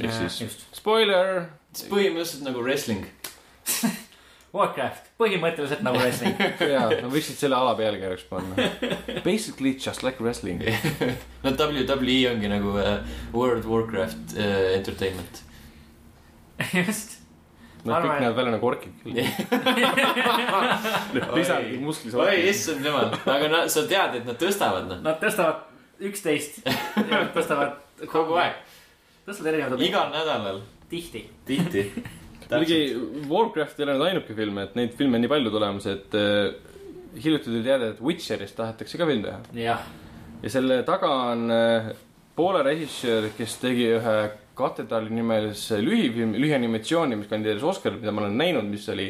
S2: ehk siis
S3: just .
S2: spoiler ,
S1: see põhimõtteliselt nagu wrestling .
S3: Warcraft , põhimõtteliselt nagu wrestling .
S2: jaa , no võiksid selle ala pealkirjaks panna . Basically just like wrestling .
S1: no WWE ongi nagu äh, World Warcraft äh, Entertainment .
S3: just .
S2: Nad kõik
S3: Arvan, et-
S2: näevad välja nagu orkid küll . Need pisarad musklis
S1: oi , issand jumal , aga no sa tead , et nad tõstavad noh ,
S3: Nad tõstavad üksteist , tõstavad
S1: kogu aeg ,
S3: tõstavad erinevaid Iga...
S1: igal nädalal ,
S3: tihti .
S1: tihti .
S2: muidugi Warcraft ei ole nüüd ainuke film , et neid filme on nii palju tulemas , et eh, hiljuti tuli teada , et Witcherist tahetakse ka film teha .
S3: jah ,
S2: ja selle taga on eh, Poola režissöör , kes tegi ühe katedraali nimelise lühifilmi , lühianimatsiooni , mis kandideeris Oscarit , mida ma olen näinud , mis oli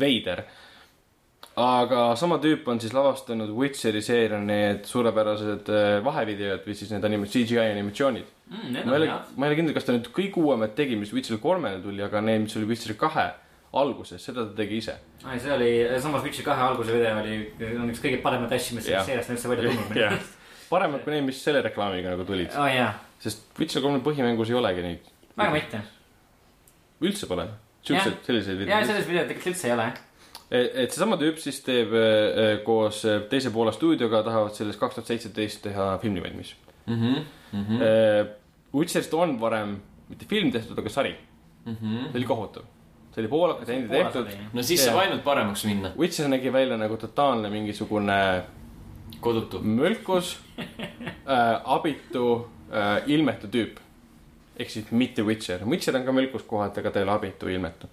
S2: veider . aga sama tüüp on siis lavastanud Witcheri seeria need suurepärased eh, vahevideod või siis need anima- , CGI animatsioonid .
S3: mm,
S2: ma
S3: need
S2: ei
S3: on
S2: ole
S3: head .,
S2: ma ei ole kindel , kas ta nüüd kõik uuemad tegi , mis Witcher kolmele tuli , aga need , mis oli Witcher kahe alguses , seda ta tegi ise .
S3: ai , see oli , samas Witcher kahe alguse video oli , on üks kõige paremaid asju , mis
S2: Jah.
S3: sellest seeriast on üldse välja tulnud .
S2: paremad kui need , mis selle reklaamiga nagu tulid ,
S3: oo jaa ,
S2: sest Witcher kolme põhimängus ei olegi neid .
S3: väga mitte .
S2: üldse pole , siuksed , selliseid
S3: ja
S2: videoid .
S3: selles videos tegelikult üldse ei ole .
S2: et et seesama tüüp siis teeb äh, äh, koos äh, teise poole stuudioga , tahavad selles kaks tuhat seitseteist teha filmi valmis
S1: Mhm,
S2: mm. . Witcherist on varem mitte film tehtud , aga sari , see oli kohutav , see oli poolakad endi tehtud .
S1: mhm. no siis saab ainult paremaks minna ,
S2: Witcher nägi välja nagu totaalne mingisugune
S1: kodutu .
S2: mölkus äh, , abitu äh, , ilmetu tüüp . ehk siis mitte Witcher , Witcher on ka mölkus kohati , aga ta ei ole abitu , ilmetu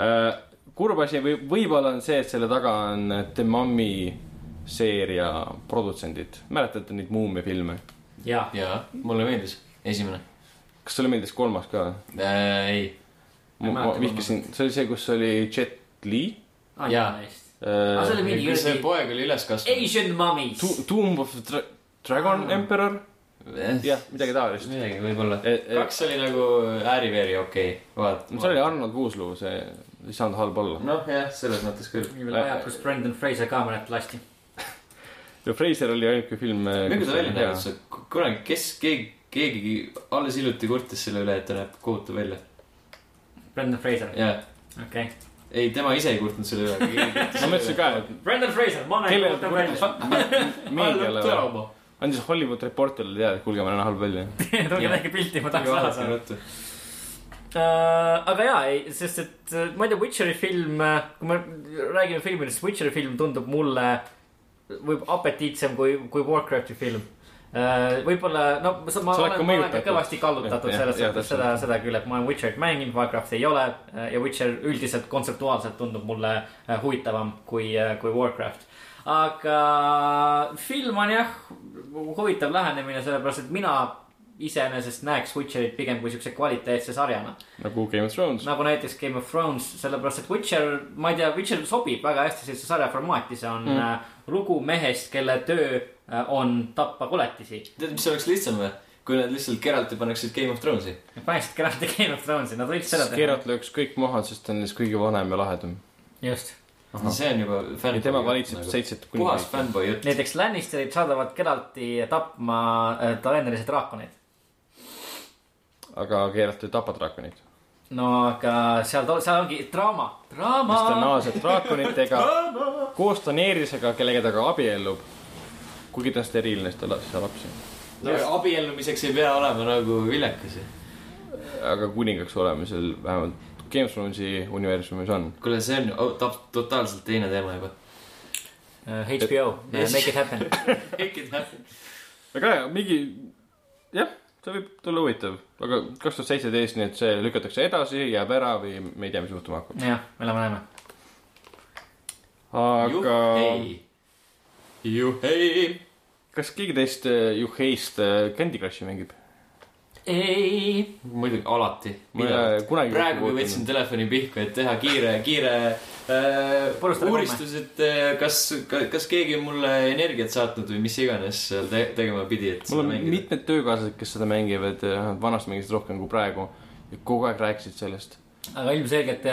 S2: äh, . kurb asi või võib-olla on see , et selle taga on The Mummy seeria produtsendid , mäletate neid Muumia filme ?
S3: jaa ,
S1: jaa , mulle meeldis esimene
S2: kas sulle meeldis kolmas ka ?
S1: äh, . ei ,
S2: ma ma
S3: mäleta
S2: vihkasin , see oli see , kus oli Jet Li
S1: Jaa.
S3: jaa .
S2: äh,
S3: aga Ah, see oli mingi
S1: kui see
S3: kuradi
S1: poeg oli üles kasvanud .
S3: Asian mummies .
S2: Tu- Tomb of the Dra Dragon ah. Emperor , jah , midagi taolist .
S1: Eh, midagi võib-olla .
S2: E-
S1: kaks oli nagu ääri-veeri okei okay. , vaat- .
S2: no see oli Arnold Vosloo , see ei saanud halb olla .
S1: noh , jah , selles mõttes küll .
S3: nii veel
S2: Äh.
S3: aja , kus Brendan Fraser kaamerat lasti .
S2: ja Fraser oli ainuke film . eh,
S1: mingi ta välja näeb , et sa kunagi , kes , keegi , keegi alles hiljuti kurtis selle üle , et ta näeb kohutav välja .
S3: Brendan Fraser ,
S1: jaa ,
S3: okei .
S1: ei , tema ise ei kurtnud selle üle .
S2: ma mõtlesin ka , et
S3: Brendan Fraser , ma näen ,
S2: Kellele
S3: kuulutan välja .
S2: meediale või ? andis Hollywood Reporterile teada , et kuulge , ma näen halb välja .
S4: tulge
S1: Jah.
S4: väike pilti , ma tahaks
S3: altså.
S4: näha seda .
S3: Eh, aga jaa , ei , sest et äh, ma ei tea , Witcheri film , kui me räägime filmidest , Witcheri film tundub mulle eh, võib apetiitsem kui , kui Warcrafti film . võib-olla , no ma , ma
S2: Sa oled ka
S3: olen, ma olen ka
S2: mõjutatud.
S3: kõvasti kallutatud
S2: Jah, jah,
S3: selles
S2: jah,
S3: suhtes ,
S2: täpselt.
S3: seda , seda küll , et ma olen Witcherit mänginud , Warcrafti ei ole äh, ja Witcher üldiselt kontseptuaalselt tundub mulle äh, huvitavam kui , kui Warcraft . aga film on jah , huvitav lähenemine , sellepärast et mina iseenesest näeks Witcherit pigem kui siukse kvaliteetse sarjana .
S2: nagu Game of Thrones .
S3: nagu näiteks Game of Thrones , sellepärast et Witcher , ma ei tea , Witcher sobib väga hästi sellise sarja formaati , see on
S2: Mm.
S3: mm. lugu mehest , kelle töö äh, on tappa koletisi .
S1: tead , mis oleks lihtsam või ? kui nad lihtsalt Geralti paneksid Game of Thronesi .
S3: paneksid kenasti Game of Thronesi , nad võiks seda teha .
S2: Geralt lööks kõik maha , sest ta on neist kõige vanem ja lahedam .
S3: just ,
S1: see on juba
S2: ja
S1: fänn .
S2: tema valitseb seitset
S1: nagu puhas
S2: kuningriiki .
S1: fännboi jutt .
S3: näiteks Lannisterid saadavad Geralti tapma äh, Talendalisi draakoneid .
S2: aga Geralt ei tapa draakonit .
S3: no aga seal , seal ongi draama , draama
S2: siis ta . naaseb draakonitega koos Daenerysega , kellega ta ka abiellub . kuigi ta on steriilne , siis ta las- ei saa lapsi .
S1: abiellumiseks ei pea olema nagu viljakas .
S2: aga kuningaks olemisel vähemalt Game of Thronesi universumis on .
S1: kuule , see on oh, tap- totaalselt teine teema juba .
S3: Äh, HBO , make it happen .
S2: väga hea , mingi , jah , see võib tulla huvitav , aga kaks tuhat seitseteist , nii et see lükatakse edasi , jääb ära või me ei tea , mis juhtuma hakkab .
S3: jah , me läheme ,
S2: aga
S1: juhhei . juhhei .
S2: kas keegi teist äh, Juheist äh, Candy Crushi mängib ?
S3: läheme . ei
S1: muidugi , alati .
S2: ma ei ole kunagi .
S1: praegu , kui võtsin . telefoni pihku , et teha kiire , kiire äh,
S3: Purustada
S1: uuristus , et äh, kas , kas keegi on mulle energiat saatnud või mis iganes seal te tegema pidi , et
S2: mul
S1: seda
S2: on
S1: mängida .
S2: mitmed töökaaslased , kes seda mängivad , vanasti mängisid rohkem kui praegu ja kogu aeg rääkisid sellest .
S3: aga ilmselgelt ,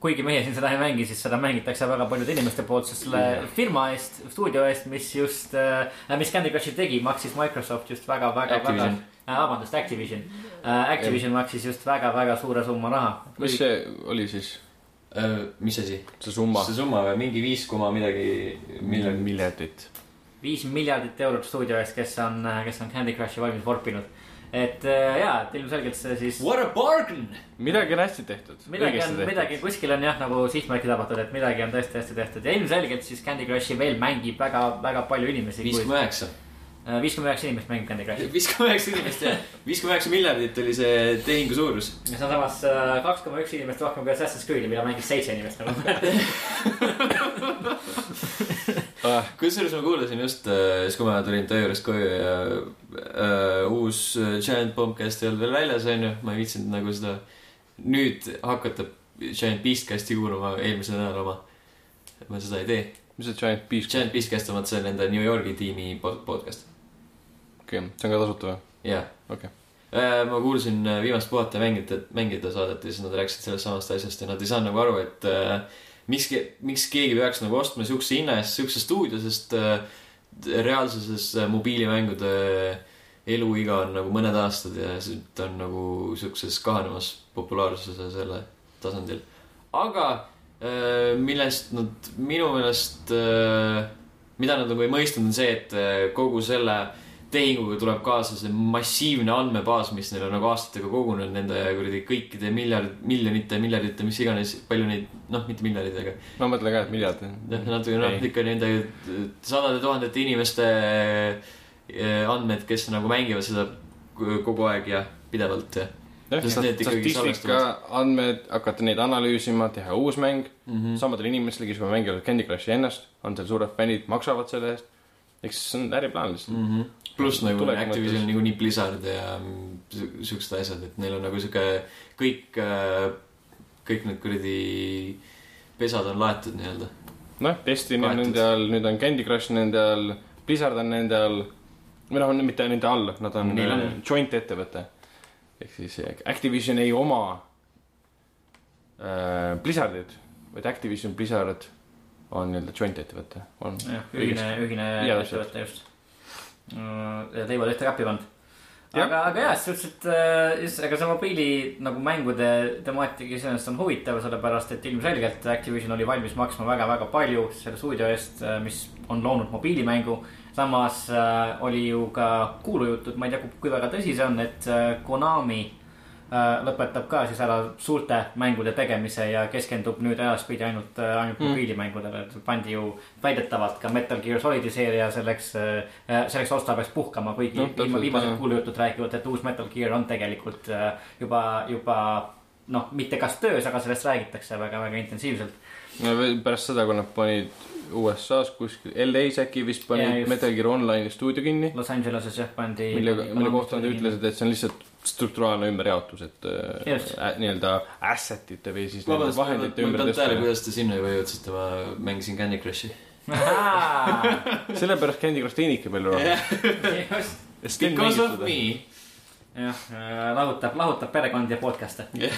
S3: kuigi meie siin seda ei mängi , siis seda mängitakse väga paljude inimeste poolt , sest selle firma eest , stuudio eest , mis just , mis Candy Crushi tegi , maksis Microsoft just väga , väga , väga
S1: Activision. ,
S3: vabandust , Activision . Activision maksis just väga-väga suure summa raha .
S2: mis see oli siis ,
S1: Äh, mis asi ?
S2: see summa ?
S1: see summa Mm. või mingi viis koma midagi miljonit .
S2: miljardit .
S3: viis miljardit eurot stuudio eest , kes on , kes on Candy Crushi valmis vorpinud . et äh, jaa , et ilmselgelt see siis .
S1: What a bargain !
S2: midagi on hästi tehtud .
S3: midagi on , midagi . kuskil on jah , nagu sihtmärki tabatud , et midagi on tõesti hästi tehtud ja ilmselgelt siis Candy Crushi veel mängib väga-väga palju inimesi .
S1: viiskümmend üheksa .
S3: Äh, viiskümmend üheksa inimest mängib Candy Crushi .
S1: viiskümmend üheksa inimest jah , viiskümmend üheksa miljardit oli see tehingu suurus .
S3: ja see on samas äh, kaks koma üks inimest rohkem kui Assassin's Creed'i , mida mängis seitse inimest nagu .
S1: kusjuures ma kuulasin just , siis kui ma tulin töö juurest koju ja äh, uus Giant Bombcast ei olnud veel väljas , onju , ma ei viitsinud nagu seda nüüd hakata Giant Beastcasti kuulama eelmisel nädalal oma . ma seda ei tee .
S2: mis see Giant Beast ,
S1: Giant Beastcast on vaata see nende New Yorgi tiimi pod- podcast .
S2: okei , see on ka tasuta või ?
S1: jaa .
S2: Okei. .
S1: ma kuulsin äh, viimast puhata mängida , mängida saadet ja siis nad rääkisid sellest samast asjast ja nad ei saanud nagu aru , et äh, miks , miks keegi peaks nagu ostma siukse hinna eest siukse stuudio , sest äh, reaalsuses äh, mobiilimängude äh, eluiga on nagu mõned aastad ja see- ta on nagu siukses kahanemas populaarsuse selle tasandil . aga äh, millest nad minu meelest , mida nad nagu ei mõistnud , on see , et äh, kogu selle tehinguga tuleb kaasa see massiivne andmebaas , mis neil on nagu aastatega kogunenud nende kuradi kõikide miljard , miljonite , miljardite , mis iganes , palju neid , noh , mitte miljardeid , aga
S2: no ma mõtlen ka , et miljard .
S1: noh , natuke noh ,
S2: Ei.
S1: ikka nende sadade tuhandete inimeste eh, andmed , kes nagu mängivad seda kogu aeg ja pidevalt ja Sest need ikkagi
S2: statistika
S1: salvestavad.
S2: andmed , hakata neid analüüsima , teha uus mäng
S1: mm . -hmm.
S2: samadel inimestel , kes juba mängivad Candy Crushi ennast , on seal suured fännid , maksavad selle eest . eks see on äriplaan lihtsalt .
S1: mm . -hmm. pluss nagu
S2: Tuleviku
S1: Activision
S2: mõttes.
S1: niikuinii Blizzard ja mm, si- siuksed asjad , et neil on nagu sihuke kõik , kõik need kuradi pesad on laetud nii-öelda .
S2: noh , Destiny on
S1: Kaetud.
S2: nende all , nüüd on Candy Crush nende all , Blizzard on nende all . või noh , mitte nende all , nad on
S1: Neil on.
S2: äh, joint ettevõte . ehk siis eh, Activision ei oma äh, Blizzardit , vaid Activision Blizzard on nii-öelda joint ettevõte . on
S3: ühine , Äh, ühine
S2: Jaa, täpselt.
S3: ettevõte just . ja teevad ühte kapi pannud .
S2: Jah.
S3: aga , aga jaa , selles suhtes , et äh, just , aga see mobiili nagu mängude temaatika iseenesest on huvitav , sellepärast et ilmselgelt Activision oli valmis maksma väga-väga palju selle stuudio eest , mis on loonud mobiilimängu . samas äh, oli ju ka kuulujutud , ma ei tea , kui väga tõsi see on , et äh, Konami äh, lõpetab ka siis ära suurte mängude tegemise ja keskendub nüüd edaspidi ainult , ainult mm. mobiilimängudele , et pandi ju väidetavalt ka Metal Gear Solidi seeria selleks , selleks otstarbeks puhkama , kuigi
S2: No,
S3: no,
S2: täpselt,
S3: viimased
S2: jah.
S3: kuulujutud räägivad , et uus Metal Gear on tegelikult äh, juba , juba noh , mitte kas töös , aga sellest räägitakse väga-väga intensiivselt .
S2: no veel pärast seda , kui nad panid USA-s kuskil , LA-s äkki vist
S3: Jaa,
S2: panid
S3: just.
S2: Metal Gear Online'i stuudio kinni ,
S3: Los Angeleses jah pandi .
S2: mille , mille kohta nad ütlesid , et see on lihtsalt strukturaalne ümberjaotus , et äh,
S3: Just.
S2: ä- nii-öelda asset'ite või siis nende
S1: vabandust , ma ma ei
S2: vahendite
S1: pannud tähele ,
S2: ümbertõstmine .
S1: kuidas te sinna juba jõudsite , ma mängisin Candy Crushi .
S2: sellepärast Candy Crush teenibki palju raha .
S3: just ,
S1: Because of me .
S3: jah , lahutab , lahutab perekondi ja podcast'e .
S1: Jah.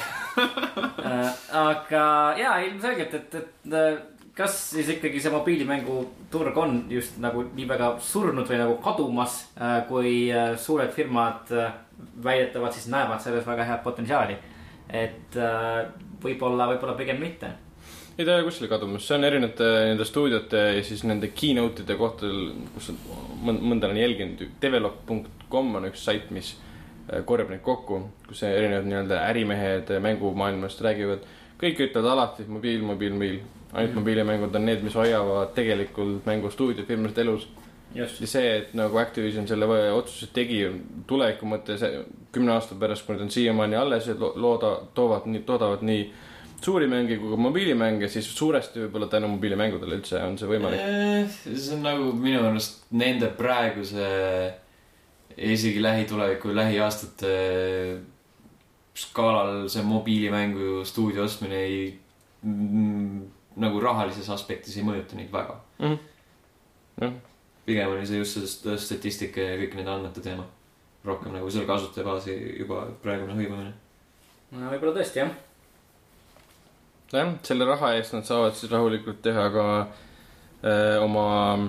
S3: Äh, aga jaa , ilmselgelt , et , et äh, kas siis ikkagi see mobiilimänguturg on just nagu nii väga surnud või nagu kadumas , kui äh, suured firmad äh, väidetavalt siis näevad selles väga head potentsiaali . et äh, võib-olla , võib-olla pigem mitte .
S2: ei ta ei ole kuskile kadumas , see on erinevate nende stuudiote ja siis nende keynote ide kohtadel , kus on- mõnd- mõnda olen jälginud , develop.com on üks sait , mis äh, korjab neid kokku , kus erinevad nii-öelda ärimehed äh, mängumaailmast räägivad . kõik ütlevad alati et mobiil , mobiil , mobiil , ainult mobiilimängud on need , mis hoiavad tegelikult mängustuudiot filmist elus .
S3: just ,
S2: ja see , et nagu Activision selle võ- otsuse tegi tuleviku mõttes eh, kümne aasta pärast , kui nad on siiamaani alles ja lo- looda , toovad nii , toodavad nii suuri mänge kui ka mobiilimänge , siis suuresti võib-olla tänu mobiilimängudele üldse on see võimalik .
S1: see on nagu minu arust nende praeguse ja isegi lähituleviku , lähiaastate eh, skaalal see mobiilimängu stuudio ostmine ei , nagu rahalises aspektis ei mõjuta neid väga .
S2: noh ,
S1: pigem oli see just see st- statistika ja kõik nende andmete teema . rohkem nagu selle kasutajabaasi juba praegune hõivamine .
S3: võib-olla tõesti jah .
S2: jah , selle raha eest nad saavad siis rahulikult teha ka äh, oma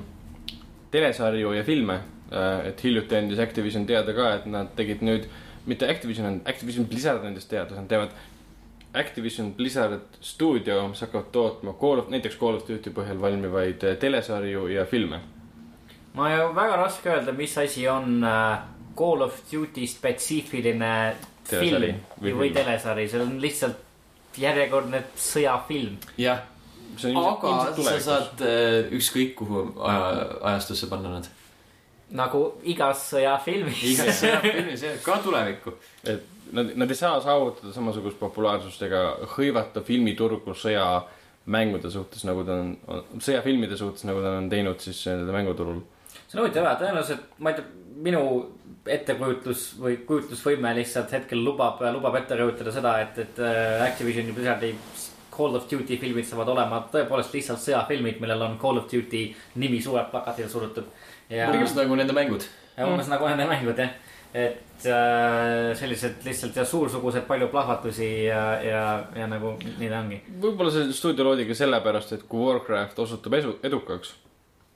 S2: telesarju ja filme äh, . et hiljuti andis Activision teada ka , et nad tegid nüüd , mitte Activision , Activision Blizzard andis teada , nad teevad Activision Blizzard stuudio , mis hakkavad tootma Call of , näiteks Call of Duty põhjal valmivaid äh, telesarju ja filme .
S3: ma ju väga raske öelda , mis asi on äh, Call of Duty spetsiifiline
S2: Telesari
S3: film
S2: või
S3: või
S2: film.
S3: telesari , see on lihtsalt järjekordne sõjafilm .
S1: jah ,
S2: see on ilmselt ,
S1: aga
S2: ilmselt
S1: sa
S2: tulevikus .
S1: saad äh, ükskõik kuhu aja , ajastusse panna nad .
S3: nagu igas sõjafilmis .
S1: igas sõjafilmis jah , ka tulevikku .
S2: et nad , nad ei saa saavutada samasugust populaarsust ega hõivata filmiturgu sõjamängude suhtes , nagu ta on, on , sõjafilmide suhtes , nagu ta on teinud siis nende mänguturul .
S3: see on huvitav jah , tõenäoliselt ma ei tea , minu ettekujutlus või kujutlusvõime lihtsalt hetkel lubab , lubab ette rõhutada seda , et , et äh, Activision ja Blizzardi Call of Duty filmid saavad olema tõepoolest lihtsalt sõjafilmid , millel on Call of Duty nimi suurelt plakatile surutud . ja
S1: tegelikult nagu nende mängud .
S3: ja umbes nagu nende mängud jah , et äh, sellised lihtsalt ja suursugused palju plahvatusi ja , ja , ja nagu nii ta ongi .
S2: võib-olla see stuudio loodi ka sellepärast , et kui Warcraft osutub esu , edukaks ,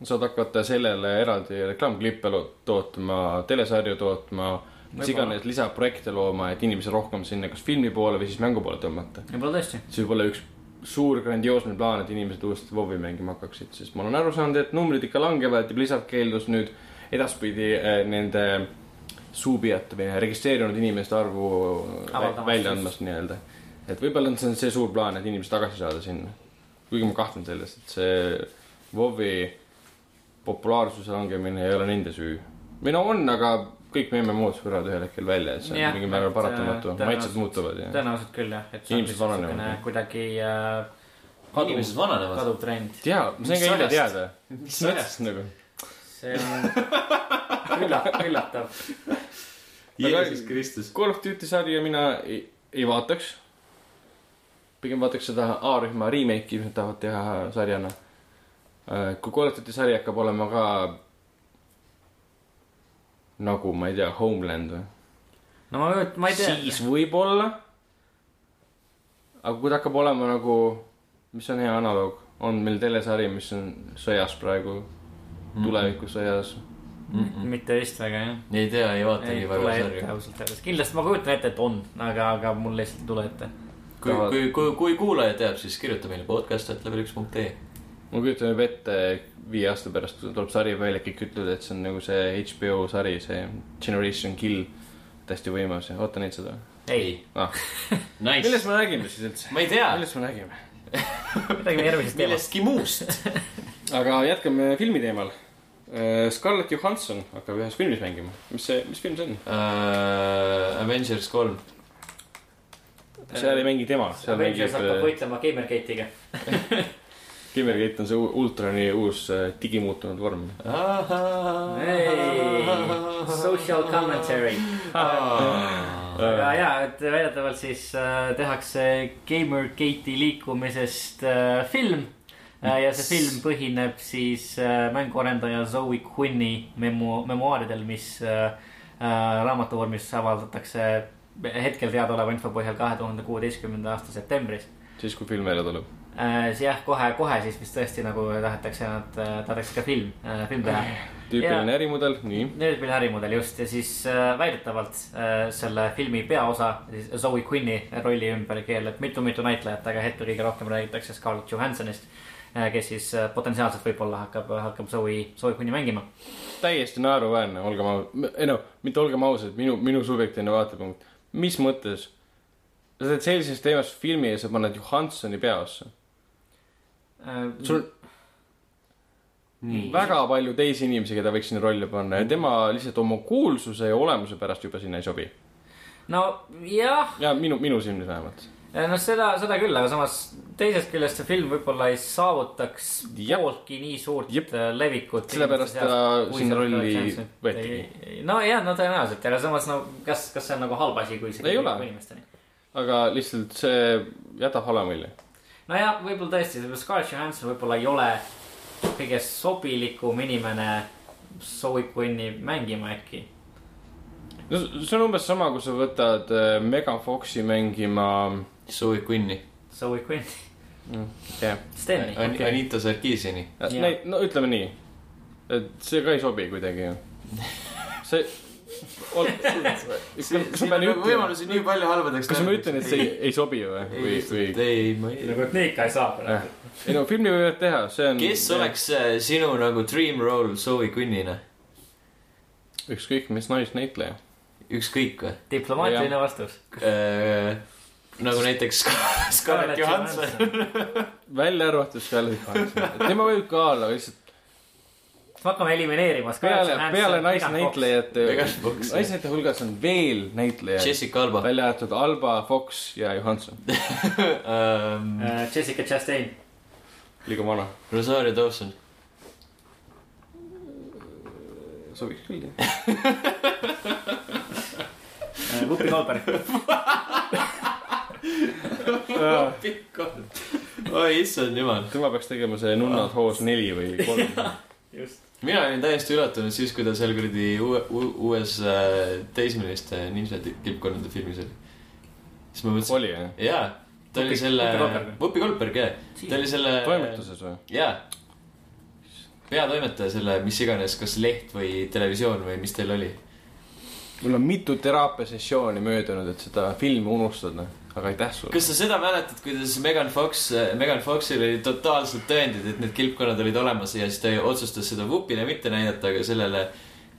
S2: saad hakata sellele eraldi reklaamklippe lo- tootma , telesarju tootma , mis
S3: Võib-olla.
S2: iganes lisaprojekte looma , et inimesi rohkem sinna kas filmi poole või siis mängu poole tõmmata .
S3: võib-olla tõesti .
S2: see võib olla üks suur grandioosne plaan , et inimesed uuesti WoW-i mängima hakkaksid , sest ma olen aru saanud , et numbrid ikka langevad ja Blizzard keeldus nüüd edaspidi eh, nende suupidajate või registreerunud inimeste arvu
S3: Avaldamast
S2: vä- välja andmast nii-öelda . et võib-olla on see on see suur plaan , et inimesi tagasi saada sinna . kuigi ma kahtlen selles , et see WoW-i populaarsuse langemine ei ole nende süü . või no on , aga kõik meie muud surevad ühel hetkel välja , et see
S3: Jah,
S2: on mingil määral
S3: et, äh,
S2: paratamatu , maitsed
S3: tõenäoliselt-
S2: muutuvad ja .
S3: tõenäoliselt küll jah , et see on
S2: Inimesed
S3: lihtsalt
S2: vananevad,
S3: niisugune
S2: jah.
S3: kuidagi äh, kaduv
S1: inimesed , vananevad .
S3: kaduv trend .
S2: jaa , ma sain
S1: Mis
S2: ka eile
S1: ajast?
S2: teada .
S1: mis
S2: mis mõttes nagu ?
S3: see on üllatav , üllatav .
S1: Jeesus Kristus .
S2: Call of Duty sarja mina ei, ei vaataks . pigem vaataks seda A-rühma remake'i , mis nad tahavad teha sarjana . kui Call of Duty sari hakkab olema ka nagu ma ei tea , Homeland või ?
S3: no ma , ma ei tea .
S2: siis võib-olla . aga kui ta hakkab olema nagu , mis on hea Mhm. analoog , on meil telesari , mis on sõjas praegu , tulevikusõjas ,
S1: Mm -mm.
S3: mitte vist väga jah .
S1: ei tea , ei vaata
S3: ei
S1: nii
S3: tule
S1: väga
S3: ette
S1: sarja .
S3: ausalt öeldes , kindlasti ma kujutan ette , et on , aga , aga mul lihtsalt ei tule ette .
S1: kui , kui , kui , kui kuulaja teab , siis kirjuta meile podcast.level1.ee .
S2: ma kujutan juba ette , viie aasta pärast tuleb sari välja , kõik ütlevad , et see on nagu see HBO sari , see Generation Kill . täiesti võimas ja oota neid seda .
S3: ei ,
S2: ah. .
S1: Nice .
S2: millest me räägime siis üldse ?
S1: ma ei tea ,
S2: millest me räägime ?
S3: midagi järgmisest teemast .
S1: millestki muust .
S2: aga jätkame filmi teemal . Scarlett Johansson hakkab ühes filmis mängima . mis see , mis film see on ?
S1: Äh, Avengers kolm .
S2: seal ei mängi tema , seal äh,
S3: Avengers hakkab
S2: mängib .
S3: võitlema Gamergate'iga .
S2: Kimmergate on see u- Ultrani uus äh, digimuutunud vorm .
S3: Social commentary .
S1: Ah.
S3: aga ja , et väidetavalt siis äh, tehakse Gamergate'i liikumisest äh, film äh, ja see film põhineb siis äh, mänguarendaja Zoe Quinni memo- , memuaaridel , mis äh, äh, raamatu vormis avaldatakse hetkel teadaoleva info põhjal kahe tuhande kuueteistkümnenda aasta septembris .
S2: siis , kui film välja tuleb .
S3: Äh, siis jah , kohe-kohe siis vist tõesti nagu tahetakse nad , tahetakse ka film , film teha .
S2: tüüpiline ärimudel , nii .
S3: Nööbili ärimudel just ja siis äh, väidetavalt äh, selle filmi peaosa , siis Zoe Quinni rolli ümber keerleb mitu-mitu näitlejat , aga hetkel kõige rohkem räägitakse Scarlett Johanssonist , kes siis äh, potentsiaalselt võib-olla hakkab , hakkab Zoe , Zoe Quinni mängima .
S2: täiesti naeruväärne , olgem au- , ei no , mitte olgem ausad , minu , minu subjektiivne vaatepunkt . mis mõttes ? sa teed sellisest teemast filmi ja sa paned Johansoni peaosse . sul on
S3: Äh, Nii.
S2: väga palju teisi inimesi , keda võiks sinna rolli panna ja tema lihtsalt oma kuulsuse ja olemuse pärast juba sinna ei sobi .
S3: nojah ,
S2: ja minu , minu silmis vähemalt .
S3: Eh, no seda , seda küll , aga samas teisest küljest see film võib-olla ei saavutaks
S2: Jep.
S3: pooltki nii suurt
S2: Jep.
S3: äh, levikut .
S2: Sellepärast ta sinna rolli võetigi. .
S3: no ja , no tõenäoliselt , aga samas no kas , kas see on nagu halb asi , kui see
S2: Ei
S3: kõik
S2: ole.
S3: jõuab inimesteni ?
S2: aga lihtsalt see jätab halva mulje .
S3: nojah , võib-olla tõesti , võib-olla Scarlett Johansson võib-olla ei ole kõige sobilikum inimene Zoe Quinni mängima äkki .
S2: no s- see on umbes sama , kui sa võtad äh, Megan Foxi mängima ,
S1: Zoe Quinni ,
S3: Zoe Quinn ,
S2: Mm, jah
S3: Steni .
S2: Okei.
S1: Anita Sarkisini .
S3: Jah.
S2: Neid , Äh, no ütleme nii , et see ka ei sobi kuidagi ju . see , kas ma pean ütlema ,
S1: võimalusi nii palju halbadeks .
S2: kas ma ütlen , et see ei, ei sobi või , või , või ?
S1: ei , ma ei .
S3: nagu , et nii ikka ei saa praegu .
S2: ei no filmi võivad teha , see on .
S1: kes ? oleks äh, sinu nagu dream role Zoe Quinnina ?
S2: ükskõik mis naisnäitleja .
S1: ükskõik või ?
S3: diplomaatiline vastus .
S1: nagu näiteks Scar- Scarlett Johansson ..
S2: välja arvatud Scarlett Johansson , tema võib ka olla lihtsalt
S3: hakkame elimineerima .
S2: peale , peale naisnäitlejate
S1: Megan , Fox.
S2: naisnäitlejate hulgas on veel näitlejaid ,
S1: Jessica Alba .
S2: välja arvatud Alba , Fox ja Johanson .
S1: Ähm,
S3: Äh, Jessica Chastain .
S2: liiga vana .
S1: Rosario Dawson .
S2: sobiks küll jah .
S3: Lupi äh, Goldberg .
S1: pikk on . oi , issand jumal .
S2: tema peaks tegema see Nunnad hoos neli või kolm .
S3: just .
S1: mina olin täiesti üllatunud siis , kui ta seal kuradi uue , uues äh, teismeliste ninja ti- tippkondade filmis oli . siis ma mõtlesin ,
S2: oli jah ?
S1: jaa , ta oli
S3: Whoopi-
S1: selle
S3: Whoopi Goldberg või? ,
S1: Whoopi Goldberg jah , ta oli selle .
S2: toimetuses või ?
S1: jaa . peatoimetaja selle , mis iganes , kas leht või televisioon või mis teil oli .
S2: mul on mitu teraapiasessiooni möödunud , et seda filmi unustada , aga aitäh sulle .
S1: kas sa seda mäletad , kuidas Megan Fox , Megan Foxil oli totaalselt tõendid , et need kilpkonnad olid olemas ja siis ta otsustas seda Whoopile mitte näidata , aga sellele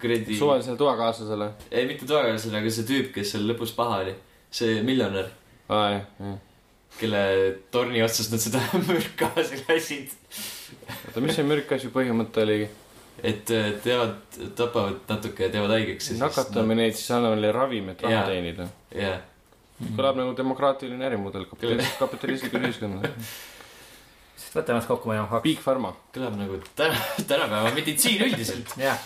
S1: kuradi ,
S2: suvalisele toakaaslasele .
S1: ei mitte toakaaslasele , aga see tüüp , kes seal lõpus paha oli , see miljonär ,
S2: oota ,
S1: kelle torni otsast nad seda mürkgaasi lasid .
S2: mis see mürkasju põhimõte oligi ?
S1: et äh, teevad , tapavad natuke ja teevad haigeks .
S2: nakatame . neid , siis anname neile ravimeid et raha
S1: Jaa. Mhm.
S2: teenida .
S1: jah ,
S2: kõlab nagu demokraatiline ärimudel kapitalist , kapitalistlik ühiskond .
S3: võtame ennast kokku , meil on kaks .
S2: Big Pharma .
S1: kõlab nagu täna , tänapäeva meditsiin üldiselt .
S3: jah .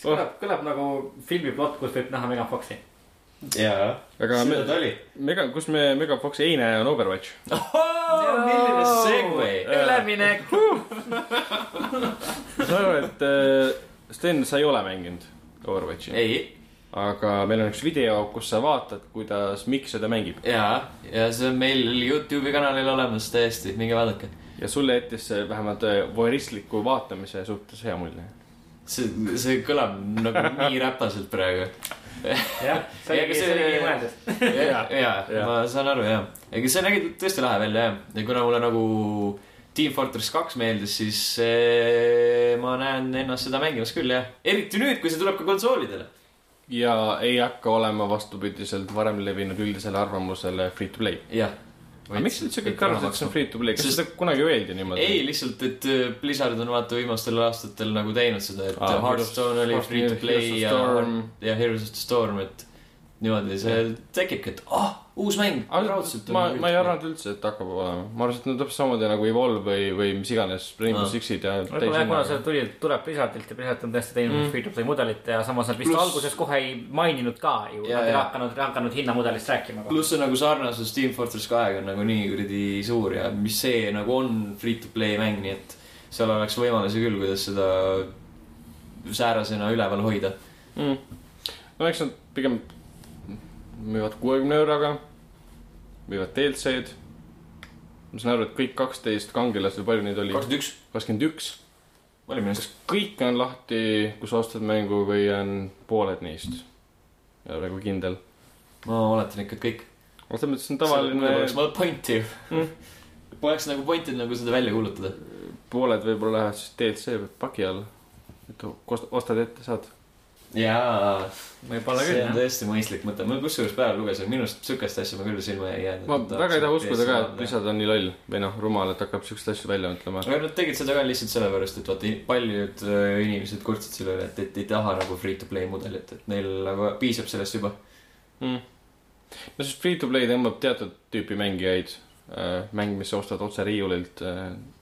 S1: Oh.
S3: kõlab , kõlab nagu filmiplott , kus võib näha Megan Foxi .
S1: jaa ,
S2: aga me ,
S1: ta oli .
S2: mega , kus me Mega Fox ei näe , on Overwatch .
S1: milline segue .
S3: üleminek .
S2: ma saan aru , et äh, Sten , sa ei ole mänginud Overwatchi .
S1: ei
S2: aga meil on üks video , kus sa vaatad , kuidas Mikk seda mängib .
S1: ja , ja see on meil Youtube'i kanalil olemas täiesti , minge vaadake .
S2: ja sulle jättis see vähemalt äh, voyeuristliku vaatamise suhtes hea mulje .
S1: see , see kõlab nagu nii räpaselt praegu .
S4: jah , see
S1: Ja, aga
S4: oli ,
S1: see-
S4: see oli mõeldud .
S1: ja ,
S2: Jaa.
S1: ja ma saan aru ja , ega see nägi tõesti lahe välja jah , ja kuna mulle nagu Team Fortress kaks meeldis , siis eh, ma näen ennast seda mängimas küll jah , eriti nüüd , kui see tuleb ka konsoolidele .
S2: ja ei hakka olema vastupidiselt varem levinud üldisele arvamusele free to play .
S1: jah .
S2: aga miks üldse kõik arvasid , et see on free to play , kas
S1: Sest-
S2: seda kunagi öeldi niimoodi ?
S1: ei , lihtsalt , et eh, Blizzard on vaata viimastel aastatel nagu teinud seda , et
S2: Aa,
S1: ah, Hearthstone oli free to play ja , ja Heroes of the Storm , et niimoodi see tekibki , et ah , uus mäng .
S2: raudselt ma , ma ei . arvanud üldse , et hakkab olema , ma arvasin , et nad täpselt samamoodi nagu Evolve või , või mis iganes , Rainbow
S1: Aa.
S2: Sixid ja
S3: võib-olla jah , kuna see tuli , tuleb Blizzardilt ja Blizzard on tõesti teinud mm. free to play mudelit ja samas nad vist
S1: Pluss-
S3: Plus... alguses kohe ei maininud ka ju ,
S1: Jaa,
S3: nad ei
S1: jaa.
S3: hakanud , hakanud hinnamudelist rääkima .
S1: pluss see nagu sarnasus Team Fortress kahega on nagu nii kuradi suur ja mis see nagu on free to play mäng , nii et seal oleks võimalusi küll , kuidas seda säärasena üleval hoida .
S2: mm. . no eks nad pigem müüvad kuuekümne euroga , müüvad DLC-d . ma saan aru , et kõik kaksteist kangelast või palju neid oli ?
S1: kakskümmend üks ,
S2: kakskümmend üks .
S1: oli minu arust .
S2: kas kõik on lahti , kus ostad mängu või on pooled neist ? ei ole nagu kindel .
S1: ma oletan ikka , et kõik .
S2: no selles mõttes see on tavaline ,
S1: oleks vaja pointi ju
S2: Mm. .
S1: Poleks nagu pointi nagu seda välja kuulutada .
S2: pooled võib-olla lähevad siis DLC paki alla . et kost- ostad ette , saad .
S1: jaa ,
S3: võib-olla
S1: see
S3: küll
S1: on
S3: jah .
S1: tõesti mõistlik mõte , ma kusjuures päeval lugesin , minu arust siukest asja ma küll silma ei jäänud .
S2: ma väga ei taha uskuda ka , et lisad on nii loll või noh , rumal , et hakkab siukseid asju välja mõtlema .
S1: aga nad tegid seda ka lihtsalt sellepärast , et vaata , paljud öö, inimesed kurtsid selle üle , et , et ei taha nagu free to play mudelit , et neil nagu piisab sellest juba .
S2: mm. . no siis free to play tõmbab teatud tüüpi mängijaid , mäng , mis sa ostad otse riiulilt ,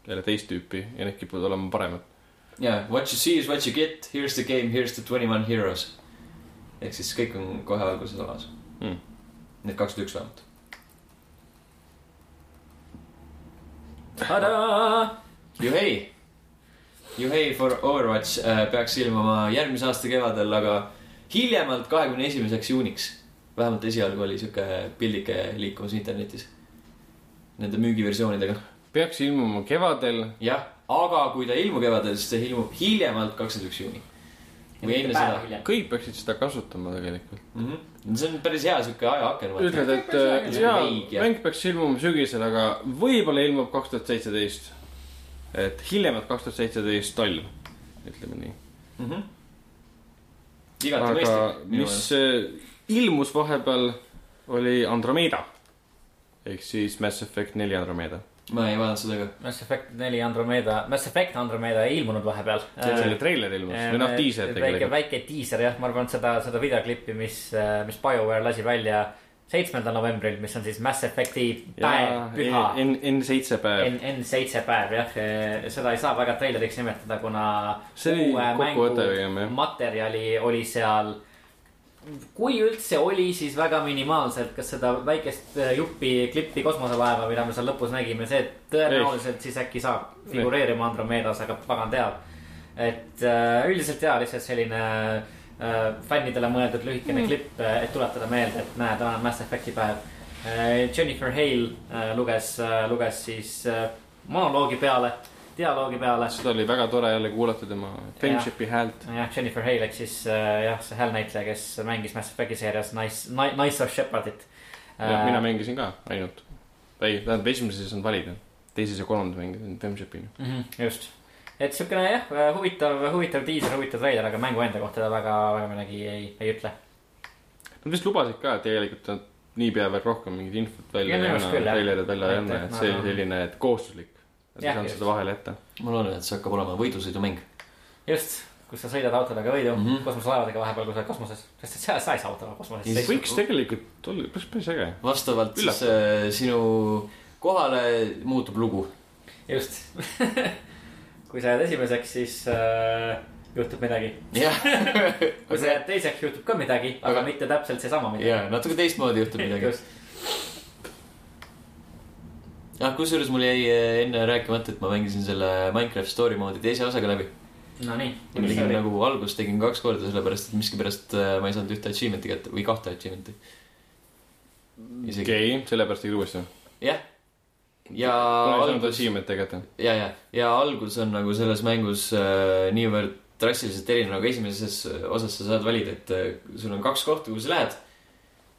S2: jälle teist tüüpi ja need kipuvad olema paremad .
S1: jaa , what you see is what you get , here's the game , here's the twenty one heroes . ehk siis kõik on kohe alguses olemas
S2: Mm. .
S1: Need kakskümmend üks vähemalt . Juhei , Juhei for Overwatch äh, peaks ilmuma järgmise aasta kevadel , aga hiljemalt kahekümne esimeseks juuniks . vähemalt esialgu oli sihuke pildike liikumas internetis nende müügiversioonidega .
S2: peaks ilmuma kevadel ,
S1: jah , aga kui ta ei ilmu kevadel , siis ta ilmub hiljemalt kakskümmend üks juuni . või enne seda .
S2: kõik peaksid seda kasutama tegelikult .
S1: see on päris hea sihuke ajaaken .
S2: ütled , et äh,
S1: See on
S2: jaa
S1: õige. ,
S2: mäng peaks ilmuma sügisel , aga võib-olla ilmub kaks tuhat seitseteist . et hiljemalt kaks tuhat seitseteist talv , ütleme nii .
S1: Mhm. igati
S2: aga
S1: mõistlik .
S2: mis äh, ilmus vahepeal , oli Andromeda ehk siis Mass Effect neli Andromeda .
S1: ma ei vaadanud seda ka .
S3: Mass Effect neli Andromeda , Mass Effect Andromeda ei ilmunud vahepeal .
S2: selle treiler ilmus või noh , diiser
S3: väike ,
S2: tegelikult .
S3: väike diiser jah , ma arvan , et seda , seda videoklippi , mis , mis BioWare lasi välja seitsmendal novembril , mis on siis Mass Effecti päev , püha .
S2: N , N7 päev .
S3: N , N7 päev jah , seda ei saa väga treileriks nimetada , kuna
S2: See oli
S3: uue
S2: kokkuvõte
S3: mängu
S2: pigem, jah.
S3: materjali oli seal , kui üldse oli , siis väga minimaalselt , kas seda väikest äh, juppi klippi kosmoselaeva , mida me seal lõpus nägime , see tõenäoliselt siis äkki saab figureerima Andromedas , aga pagan teab . et äh, üldiselt jaa , lihtsalt selline äh, fännidele mõeldud lühikene mm. klipp , et tuletada meelde , et näe , täna on Mass Effecti päev . Eh, Jennifer Hale äh, luges , luges siis äh, monoloogi peale , dialoogi peale .
S2: seda oli väga tore jälle kuulata tema Friendshipi häält .
S3: jah , Jennifer Hale ehk siis äh, jah , see häälnäitleja , kes mängis Mass Effecti seerias Nice , Nice of Shepardit . Eh,
S2: mina mängisin ka ainult . ei , tähendab esimeses on valida , teises ja kolmandas mängisin Friendshipina .
S3: mängisin . mhm, just , et siukene jah , huvitav , huvitav diiser , huvitav treiler , aga mängu enda kohta ta väga , väga midagi ei , ei ütle .
S2: Nad vist lubasid ka , et tegelikult nad niipea veel rohkem mingit infot välja
S3: Ja
S2: ei
S3: minu arust
S2: anna ,
S3: küll, jah.
S2: treilerid välja ei anna , et see oli
S3: Aga-
S2: selline , et kohustuslik . et ei
S3: Jah,
S2: saanud
S3: just.
S2: seda vahele jätta .
S1: ma loodan , et see hakkab olema võidusõidumäng .
S3: just , kus sa sõidad autodega võidu mm
S1: Mhm.
S3: -hmm. kosmoselaevadega vahepeal , kui sa oled kosmoses , sest et sa , sa ei saa autoga
S1: Ja
S3: kosmoses
S1: siis-
S3: sõita .
S2: võiks tegelikult olla , päris , päris äge .
S1: vastavalt siis
S2: Üllatav.
S1: äh, sinu kohale muutub lugu .
S3: just , kui sa jääd esimeseks , siis äh, juhtub midagi ,
S1: jah ,
S3: kui sa jääd teiseks , juhtub ka midagi , aga
S1: Aga-
S3: mitte täpselt seesama midagi .
S1: ja natuke teistmoodi juhtub midagi .
S3: just ,
S1: jah , kusjuures mul jäi eh, enne rääkimata , et ma mängisin selle Minecraft story moodi teise osaga läbi .
S3: Nonii .
S1: ma tegin nagu algust tegin kaks korda , sellepärast et miskipärast eh, ma ei saanud ühte achievement'i kätte või kahte achievement'i . isegi ,
S2: okei , sellepärast tegid uuesti .
S1: jah . ja
S2: kuna ei saanud
S1: algus ,
S2: achievement'i kätte .
S1: ja , ja , ja algus on nagu selles mängus äh, niivõrd drastiliselt erinev , nagu esimeses osas sa saad valida , et äh, sul on kaks kohta , kuhu sa lähed .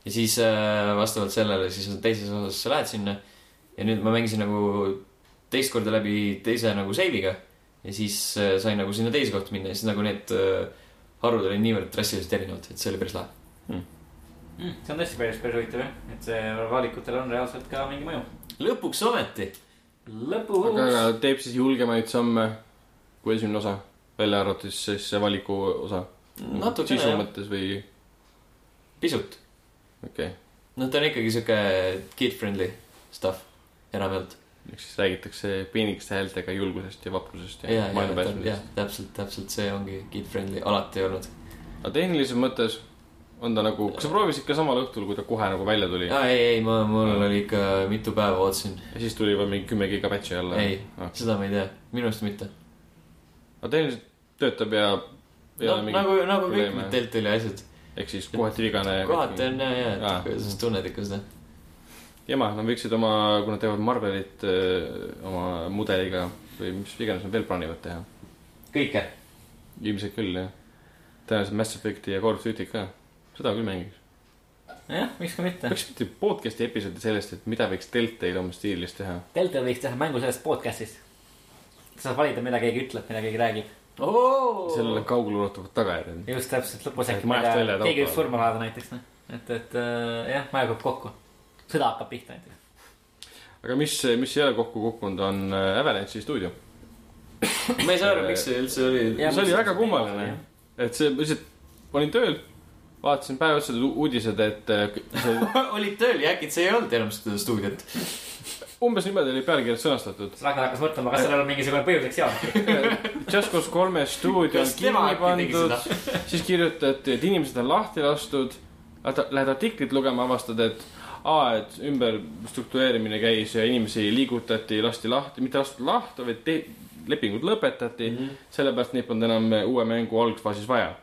S1: ja siis äh, vastavalt sellele , siis on teises osas sa lähed sinna . ja nüüd ma mängisin nagu teist korda läbi teise nagu seiviga ja siis äh, sain nagu sinna teise kohta minna ja siis nagu need äh, harud olid niivõrd drastiliselt erinevad , et see oli päris lahe .
S3: Mm, see on tõesti päris , päris huvitav jah , et see valikutel on reaalselt ka mingi mõju .
S1: lõpuks ometi .
S2: aga
S3: lõpuks .
S2: aga teeb siis julgemaid samme kui esimene osa , välja arvatud siis see valiku osa . Mm, sisu
S1: natukene ,
S2: mõttes või ,
S1: pisut .
S2: okei okay. ,
S1: noh , ta on ikkagi sihuke kid-friendly stuff enamjaolt .
S2: eks siis räägitakse peenikeste häältega julgusest ja vaprusest
S1: ja ,
S2: ja
S1: ja ,
S2: maailma
S1: ja
S2: päästmisest .
S1: täpselt , täpselt see ongi kid-friendly , alati olnud .
S2: aga tehnilises mõttes on ta nagu , kas sa proovisid ka samal õhtul , kui ta kohe nagu välja tuli ja,
S1: aa , ei , ei , ma , mul oli ikka mitu päeva ootasin .
S2: ja siis tuli juba mingi kümme giga patch'i alla ?
S1: ei
S2: Ah. ,
S1: seda ma ei tea , minu arust mitte .
S2: aga tehniliselt töötab ja ei
S1: no
S2: ole mingit ,
S1: nagu , nagu kõik
S2: probleeme.
S1: need Deltali asjad .
S2: ehk siis kohati vigane .
S1: kohati on ja , ja ,
S2: Aa.
S1: et sa tunned ikka seda .
S2: jama , nad võiksid oma , kui nad teevad Marvelit öö, oma mudeliga või mis iganes nad veel plaanivad teha .
S1: kõike .
S2: ilmselt küll , jah . tõenäoliselt Mass Effecti ja Call of Duty't ka . seda küll mängiks .
S3: jah , miks ka mitte .
S2: peaks mitte podcast'i episoodi sellest , et mida võiks Deltail oma stiilis teha .
S3: Delta võiks teha mängu sellest podcast'ist . saad valida , mida keegi ütleb , mida keegi räägib .
S2: sellel on kaugeleulatuvad tagajärjed .
S3: just täpselt , lõpus äkki
S2: Et majast välja
S3: mida-
S2: ja tauba
S3: keegi võib
S2: alla.
S3: surma laada näiteks , noh . et , et äh, jah , maja kukub kokku . sõda hakkab pihta näiteks .
S2: aga mis , mis ei ole kokku kukkunud , on äh, Avalanche'i stuudio .
S1: ma ei saa aru , miks see üldse oli
S3: Jah. .
S2: see oli
S3: mis-
S2: väga kummaline . et see , ma lihtsalt olin tööl , vaatasin päev otsa u- uudised , et äh, see
S1: olid tööl ja äkki see ei olnud enam seda stuudiot .
S2: umbes niimoodi oli pealkirjas sõnastatud .
S3: Ragnar hakkas mõtlema , kas sellel on mingisugune põhjuseks jaoks .
S2: Just Cause kolme stuudio on
S1: kas tema
S2: kinni
S1: äkki tegi
S2: pandud
S1: seda ?,
S2: siis kirjutati , et inimesed on lahti lastud . Lähed artiklit lugema , avastad , et aa , et ümberstruktureerimine käis ja inimesi liigutati , lasti lahti , mitte lastud lahti , vaid te- lepingud lõpetati mm .
S1: Mhm.
S2: -hmm. sellepärast neid polnud enam uue mängu algfaasis vaja .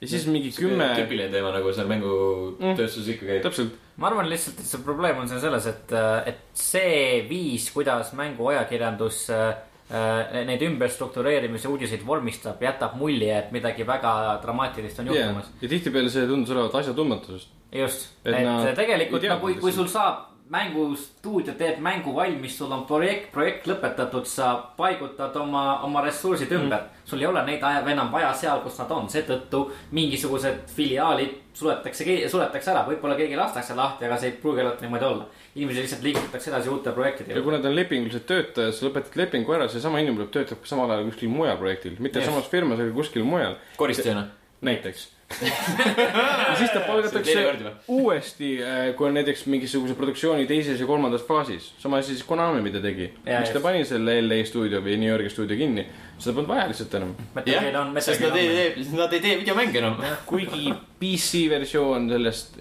S2: ja siis mingi kümme ,
S1: tüüpiline teema nagu seal mängutööstuses ikka käib .
S2: täpselt ,
S3: ma arvan lihtsalt , et see probleem on seal selles , et , et see viis , kuidas mänguajakirjandus äh, äh, neid ümberstruktureerimise uudiseid vormistab , jätab mulje , et midagi väga dramaatilist on
S2: yeah.
S3: juhtumas .
S2: ja tihtipeale see tundus olevat asjatundmatusest .
S3: just ,
S2: Et
S3: et äh,
S2: nad
S3: tegelikult
S2: ei
S3: no kui ,
S2: teadnud
S3: kui
S2: lihtsalt.
S3: sul saab mängustuudio teeb mängu valmis , sul on projekt , projekt lõpetatud , sa paigutad oma , oma ressursid ümber mm. . sul ei ole neid aja- enam vaja seal , kus nad on , seetõttu mingisugused filiaalid suletakse , suletakse ära , võib-olla keegi lastakse lahti , aga see ei pruugi alati niimoodi olla . inimesi lihtsalt liigutatakse edasi uute projektide
S2: ja
S3: juurde .
S2: kuna ta on lepinguliselt töötaja , sa lõpetad lepingu ära , seesama inimene tuleb töötab samal ajal kuskil mujal projektil , mitte
S3: Yes.
S2: yes. samas firmas , aga kuskil mujal .
S1: koristajana .
S2: näiteks . ja siis ta
S1: See on
S2: palgatakse
S1: teine kord juba.
S2: uuesti , kui on näiteks mingisuguse produktsiooni teises ja kolmandas faasis . sama asi siis Konami , mida tegi .
S3: Jaa,
S2: miks ta
S3: just.
S2: pani selle LA stuudio või New Yorgi stuudio kinni , seda polnud vaja lihtsalt enam .
S1: jah , sest nad ei tee , nad ei tee videomänge enam .
S2: kuigi PC versioon sellest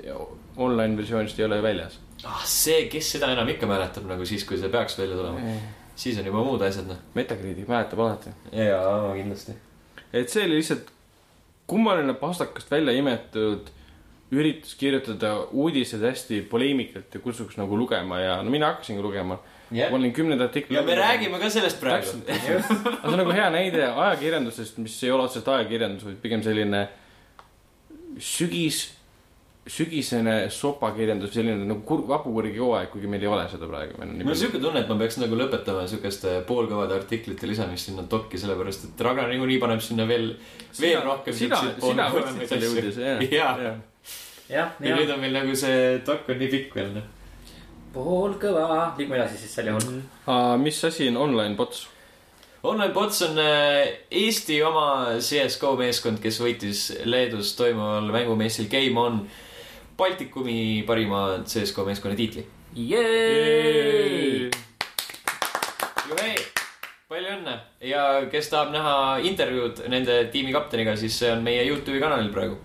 S2: online versioonist ei ole väljas .
S1: ah see , kes seda enam ikka mäletab nagu siis , kui see peaks välja tulema . siis on juba muud asjad , noh .
S2: Metacritic mäletab alati .
S1: jaa , kindlasti .
S2: et see oli lihtsalt kummaline pastakast välja imetud üritus kirjutada uudised hästi poleemikalt ja kutsuks nagu lugema ja no mina hakkasingi lugema .
S1: Jah.
S2: ma olin kümnenda artikli .
S1: ja me räägime ka sellest praegu .
S2: aga see on nagu hea näide ajakirjandusest , mis ei ole otseselt ajakirjandus , vaid pigem selline sügis , sügisene sopakirjandus , selline nagu kur- , vapukurgi hooaeg , kuigi meil ei ole seda praegu .
S1: mul on siuke tunne , et ma peaks nagu lõpetama siukeste poolkõvade artiklite lisamist sinna dokki , sellepärast et Ragnar niikuinii paneb sinna veel , veel rohkem .
S2: sina , sina võtsid selle uudise ,
S1: jaa ,
S2: jah .
S3: jah ,
S1: ja
S3: nii
S1: nüüd
S3: on .
S1: on meil nagu see dokk on nii pikk veel , noh .
S3: pool kõva , liigume edasi siis sel
S1: Mm.
S3: juhul .
S2: Ah, mis asi on online bots ?
S1: Online Pots on äh, Eesti oma CSGO meeskond , kes võitis Leedus toimuval mängumessil Game On Baltikumi parima CSGO meeskonna tiitli .
S3: Jeeeeeeeee .
S1: juhei , palju õnne ja kes tahab näha intervjuud nende tiimi kapteniga , siis see on meie Youtube'i kanalil praegu .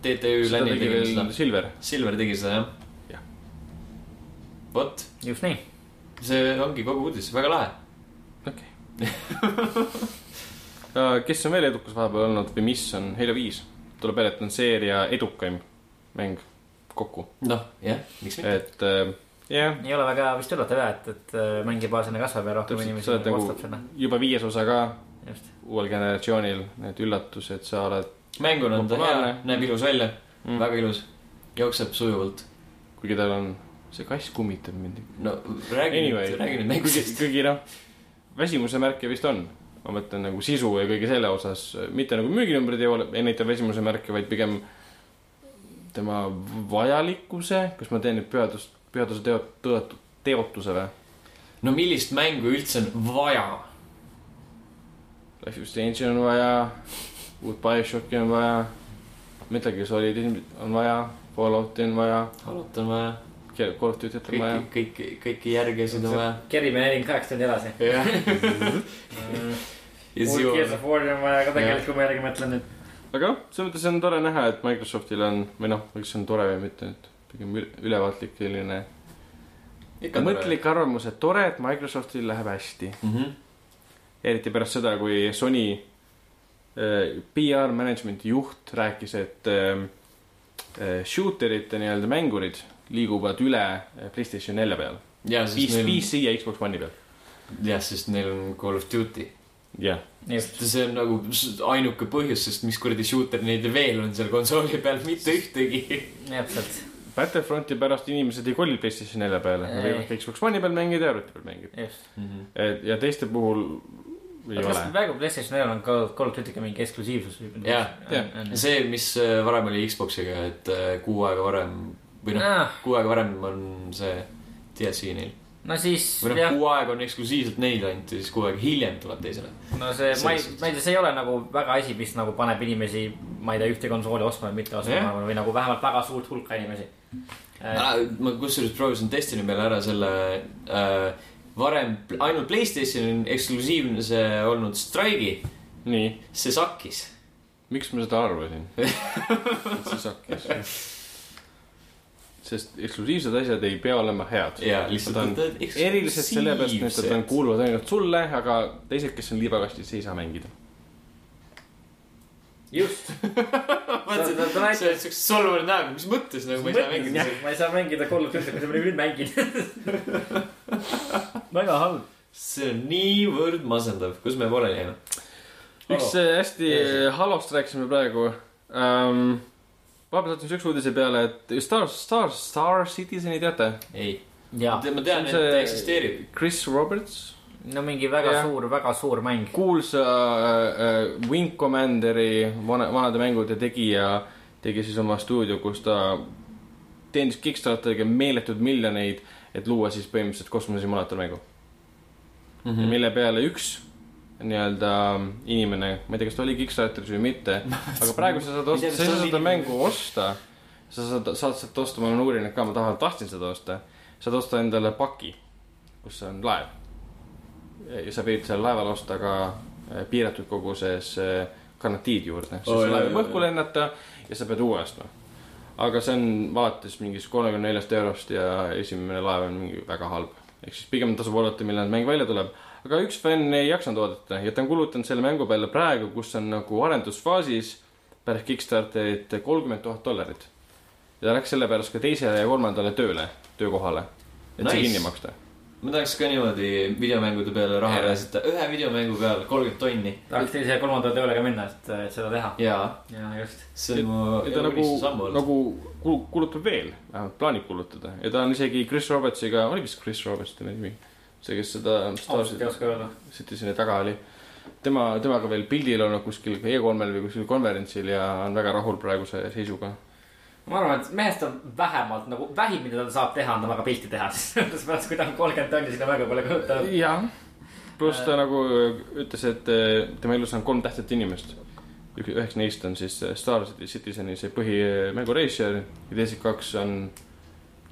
S1: TTÜ
S2: seda
S1: Läni
S2: tegi
S1: tegi seda
S2: veel , Silver .
S1: Silver tegi seda jah
S2: Jah. .
S1: vot ,
S3: just nii .
S1: see ongi kogu uudis , väga lahe .
S2: okei okay. . kes on veel edukas vahepeal olnud või mis on Halo viis ? tuleb välja , et on seeria edukaim mäng kokku ,
S1: noh , jah , miks mitte .
S2: et äh, jah ,
S3: ei ole väga vist üllatav jah , et , et äh, mängija baasina kasvab ja rohkem
S2: Täpselt,
S3: inimesi
S2: sa oled
S3: nagu
S2: nagu-
S3: vastab sinna .
S2: juba viies osa ka
S3: just .
S2: uuel generatsioonil need üllatused , sa oled ,
S1: mänguna on ta hea
S2: Populaarne. ,
S1: näeb ilus välja
S2: Mm.
S1: mm. , väga ilus , jookseb sujuvalt .
S2: kuigi tal on , see kass kummitab mind .
S1: no räägi
S2: Anyway.
S1: nüüd , räägi nüüd
S2: kuigi ,
S1: mängust .
S2: kuigi noh , väsimuse märke vist on . ma mõtlen nagu sisu ja kõige selle osas , mitte nagu müüginumbrid ei ole , ei näita väsimuse märke , vaid pigem tema vajalikkuse , kas ma teen nüüd pühadust , pühaduse teot- , tõotu- , teotuse või ?
S1: no millist mängu üldse on vaja ?
S2: Life is Strange'i on vaja , uut BioShocki on vaja , Metal Gear Solid'i on vaja , Fallouti on vaja ,
S1: Halut on vaja ,
S2: Call of Duty't on vaja
S1: kõiki , kõiki , kõiki järgesid on vaja .
S3: kerime nelikümmend kaheksa tundi edasi .
S1: jah , ja siis
S4: Gears
S1: jõuame
S4: of War'i on vaja ka
S1: Mm. Jah.
S4: tegelikult , kui ma järgi mõtlen , et
S2: aga jah , selles mõttes on tore näha , et Microsoftil on või noh , eks see on tore või mitte nüüd , pigem ül- ülevaatlik selline
S1: ikka mõtlik .
S2: mõtlik arvamus , et tore , et Microsoftil läheb hästi .
S1: Mhm.
S2: eriti pärast seda , kui Sony äh, PR management'i juht rääkis , et äh, äh, shooterite nii-öelda mängurid liiguvad üle äh, PlayStation nelja peal .
S1: ja siis neil ,
S2: PC ja Xbox One'i peal .
S1: jah , sest neil on Call of Duty .
S2: jah ,
S3: just ,
S1: see on nagu s- ainuke põhjus , sest mis kuradi shooter neid veel on seal konsooli peal , mitte ühtegi .
S3: täpselt ,
S2: Battlefronti pärast inimesed ei koli PlayStation nelja peale , nad
S3: Ei.
S2: võivad ka Xbox One'i peal mängida ja arvuti peal mängida .
S3: just .
S2: ja teiste puhul ei
S3: kas
S2: ole .
S3: praegu PlayStation neljal on ka Call of Duty ka mingi eksklusiivsus või ?
S1: Jah, see , mis äh, varem oli Xboxiga , et äh, kuu aega varem või noh ,
S3: noh .
S1: kuu aega varem on see DLC neil .
S3: no siis
S1: või noh ,
S3: jah ,
S1: kuu aega on eksklusiivselt neil ainult ja siis kuu aega hiljem tuleb teisele .
S3: no see , ma ei
S1: selles , suhtes.
S3: ma ei tea , see ei ole nagu väga asi , mis nagu paneb inimesi , ma ei tea , ühte konsooli ostma või mitte ostma
S1: Jah.
S3: yeah. või nagu vähemalt väga suurt hulka inimesi . Äh,
S1: ma kusjuures proovisin Destiny peale ära selle äh, varem pl- ainult Playstationi eksklusiivne see olnud Strike'i ,
S2: nii ,
S1: see sakkis .
S2: miks ma seda arvasin ? et see sakkis . sest eksklusiivsed asjad ei pea olema head .
S1: ja lihtsalt
S2: Nad on
S1: nad on
S2: erilised sellepärast , et nad on
S1: eksklusiivsed.
S2: kuuluvad ainult sulle , aga teised , kes on liivakastis , ei saa mängida .
S3: just ,
S1: vaatasin ,
S3: Sa-
S1: et
S3: sa näitad-
S1: sa oled siukse solvunud näoga , mis mõttes nagu ma ei saa mängida .
S3: ma ei saa mängida Call of Duty , mida ma nüüd mängin . väga halb .
S1: see on niivõrd masendav , kus me pooleli jääme . Oh.
S2: üks äh, hästi
S1: Jaa.
S2: halost rääkisime praegu ähm, . vahepeal sattus üks uudise peale , et Star , Star , Star Citizeni teate ?
S1: ei ,
S3: jaa ,
S1: ma tean , et
S2: See on
S1: ta
S2: see-
S1: eksisteerib .
S2: Chris Roberts ,
S3: no mingi väga
S2: Jah.
S3: yeah. suur , väga suur mäng .
S2: kuulsa äh, äh, Wing Commanderi vana , vanade mängude tegija , tegi siis oma stuudio , kus ta teenis Kickstarteriga meeletud miljoneid , et luua siis põhimõtteliselt kosmosesimulaatormängu .
S1: Mhm.
S2: mm -hmm. mille peale üks nii-öelda inimene , ma ei tea , kas ta oli Kickstarteris või mitte , aga praegu sa saad
S1: Ma ei tea, kas ta
S2: osta , sa ei saa
S1: oli
S2: seda
S1: inimene.
S2: mängu osta . sa saad , saad sealt osta , ma olen uurinud ka , ma tahan , tahtsin seda osta . saad osta endale paki , kus on laev . ja sa võid seal laeval osta ka eh, piiratud koguses eh, granatiid juurde , siis
S1: Oi,
S2: sa laev
S1: oi,
S2: võib õhku
S1: oi.
S2: lennata ja sa pead uue ostma . aga see on alates mingist kolmekümne neljast eurost ja esimene laev on mingi väga halb . ehk siis pigem tasub oodata , millal mäng välja tuleb . aga üks fänn ei jaksanud oodata ja ta on kulutanud selle mängu peale praegu , kus on nagu arendusfaasis pärast Kickstarterit kolmkümmend tuhat dollarit . ja ta läks sellepärast ka teisele ja kolmandale tööle , töökohale , et nice. see
S1: Nice.
S2: kinni maksta .
S1: ma tahaks ka niimoodi videomängude peale raha
S2: Jah.
S1: raisata , ühe videomängu peale kolmkümmend tonni
S3: tahaks teise ja kolmanda tööle ka minna , et , et seda teha .
S1: ja
S3: jaa , just .
S1: see on mu
S2: ja ta nagu
S1: elulisse sammu , olnud .
S2: nagu kul- kulutab veel , vähemalt plaanib kulutada ja ta on isegi Chris Robertsiga , oli vist Chris Roberts tema nimi , see , kes seda Star
S3: ausalt ei oska öelda .
S2: Citizeni taga oli . tema , temaga veel pildil olnud kuskil E3-l või kuskil konverentsil ja on väga rahul praeguse seisuga .
S3: ma arvan , et mehest on vähemalt nagu vähim , mida ta saab teha , on temaga pilti teha , sellepärast kui ta on kolmkümmend tonni , sinna väga pole kujutanud .
S2: jah . pluss
S3: Äh.
S2: ta nagu ütles , et eh, tema elus on kolm tähtsat inimest . üks , üheks neist on siis eh, Star Citizeni see põhimängu reisijal ja teised kaks on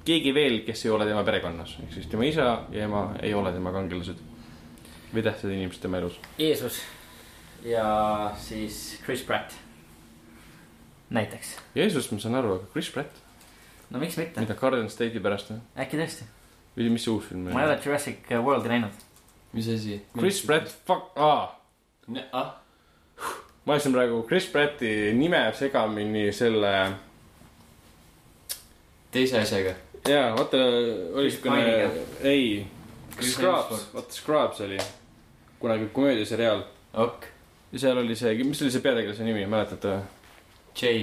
S2: keegi veel , kes ei ole tema perekonnas , ehk siis tema isa ja ema ei ole tema kangelased või tähtsad inimesed tema elus .
S3: Jeesus ja siis Chris Pratt . näiteks .
S2: Jeesus , ma saan aru , aga Chris Pratt ,
S3: no miks mitte ,
S2: mida Garden State'i pärast või?
S3: äkki tõesti .
S2: või mis see uus film
S3: ma ei ole Jurassic World'i näinud .
S1: mis asi ?
S2: Chris . Pratt , fuck , aa ,
S1: ah ,
S2: ma ajasin praegu Chris Pratti nime segamini selle ,
S1: teise asjaga .
S2: jaa , vaata , oli
S3: Chris
S2: siukene
S3: Pine'iga. ,
S2: ei ,
S1: Chris
S2: Scrubs ,
S1: Hemsworth.
S2: vaata Scrubs oli kunagi komöödiaseriaal ,
S1: ok ,
S2: ja seal oli see , mis oli see peategelase nimi , mäletate või ?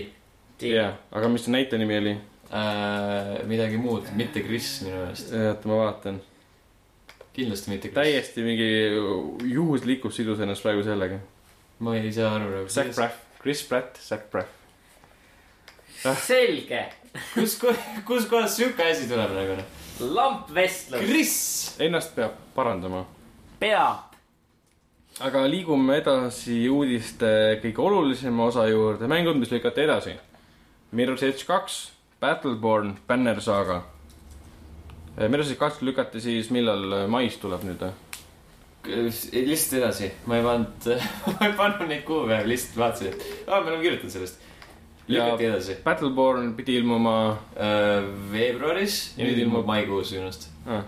S1: J
S2: jah , aga mis see näitleja nimi oli ?
S1: äh, , midagi muud , mitte Kris minu meelest ,
S2: oota , ma vaatan .
S1: kindlasti mitte Kris .
S2: täiesti mingi juhuslikkus sidus ennast praegu sellega .
S1: ma ei saa aru
S2: Zac
S1: nagu ,
S2: Braff , Chris Pratt , Zac Braff .
S3: selge ,
S1: kus , kus kohas sihuke asi tuleb nagu noh ,
S3: lampvestlus ,
S1: Kris .
S2: Ennast peab parandama .
S3: peab .
S2: aga liigume edasi uudiste kõige olulisema osa juurde , mängud , mis lükati edasi . Mirror's Edge kaks , Battleborn , Banner Saga . Mirror's Edge kaks lükati siis , millal mais tuleb nüüd eh? või ?
S1: lihtsalt edasi , ma ei pannud , ma ei pannud neid kuupäevi , lihtsalt vaatasin , et aa , me oleme kirjutanud sellest . lükati edasi
S2: Battleborn pidi ilmuma
S1: äh, veebruaris ja nüüd
S2: Nüüd
S1: ilmub
S2: ilmub-
S1: maikuus minu arust
S2: ah. ,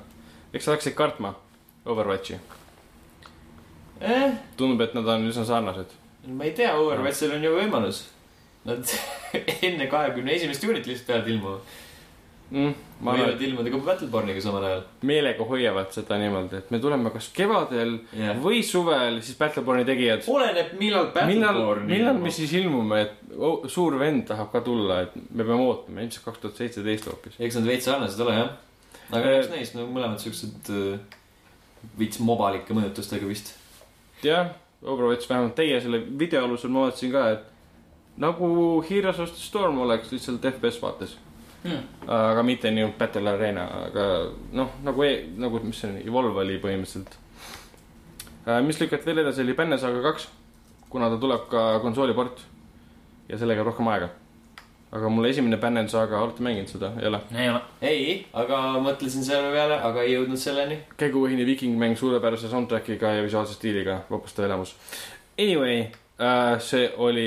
S2: eks sa hakkasid kartma Overwatchi .
S1: eh, .
S2: tundub , et nad on üsna sarnased .
S1: ma ei tea , Overwatchil on ju võimalus . Nad enne kahekümne esimest juunit lihtsalt peavad ilmuma .
S2: mm, . ma arvan ,
S1: võivad ilmuda ka Battleborniga samal ajal .
S2: et meelega hoiavad seda niimoodi , et me tuleme kas kevadel
S1: jah .
S2: või suvel , siis Battleborni tegijad .
S1: oleneb , millal
S2: millal
S1: Battleborn ,
S2: millal me siis ilmume , et oh, suur vend tahab ka tulla , et me peame ootama , ilmselt kaks tuhat seitseteist hoopis .
S1: eks nad veits sarnased ole jah . aga
S2: Eh.
S1: eks neist nagu mõlemad siuksed äh, veits mobalike mõjutustega vist .
S2: jah , Overwatch vähemalt teie selle video alusel ma vaatasin ka , et nagu Heroes of the Storm oleks lihtsalt FPS vaates
S3: Hmm.
S2: aga mitte nii Battle Arena , aga noh , nagu , nagu , mis see on , Evolve oli põhimõtteliselt . mis lükati veel edasi , oli Banner Saga kaks , kuna ta tuleb ka konsooliport ja sellega jääb rohkem aega . aga mul esimene Banner Saga , olete mänginud seda , ei ole ?
S3: ei ole .
S1: ei , aga mõtlesin selle peale , aga ei jõudnud selleni .
S2: käigupõhine viikingmäng suurepärase soundtrack'iga ja visuaalse stiiliga , vapustav elamus . Anyway äh, , see oli ,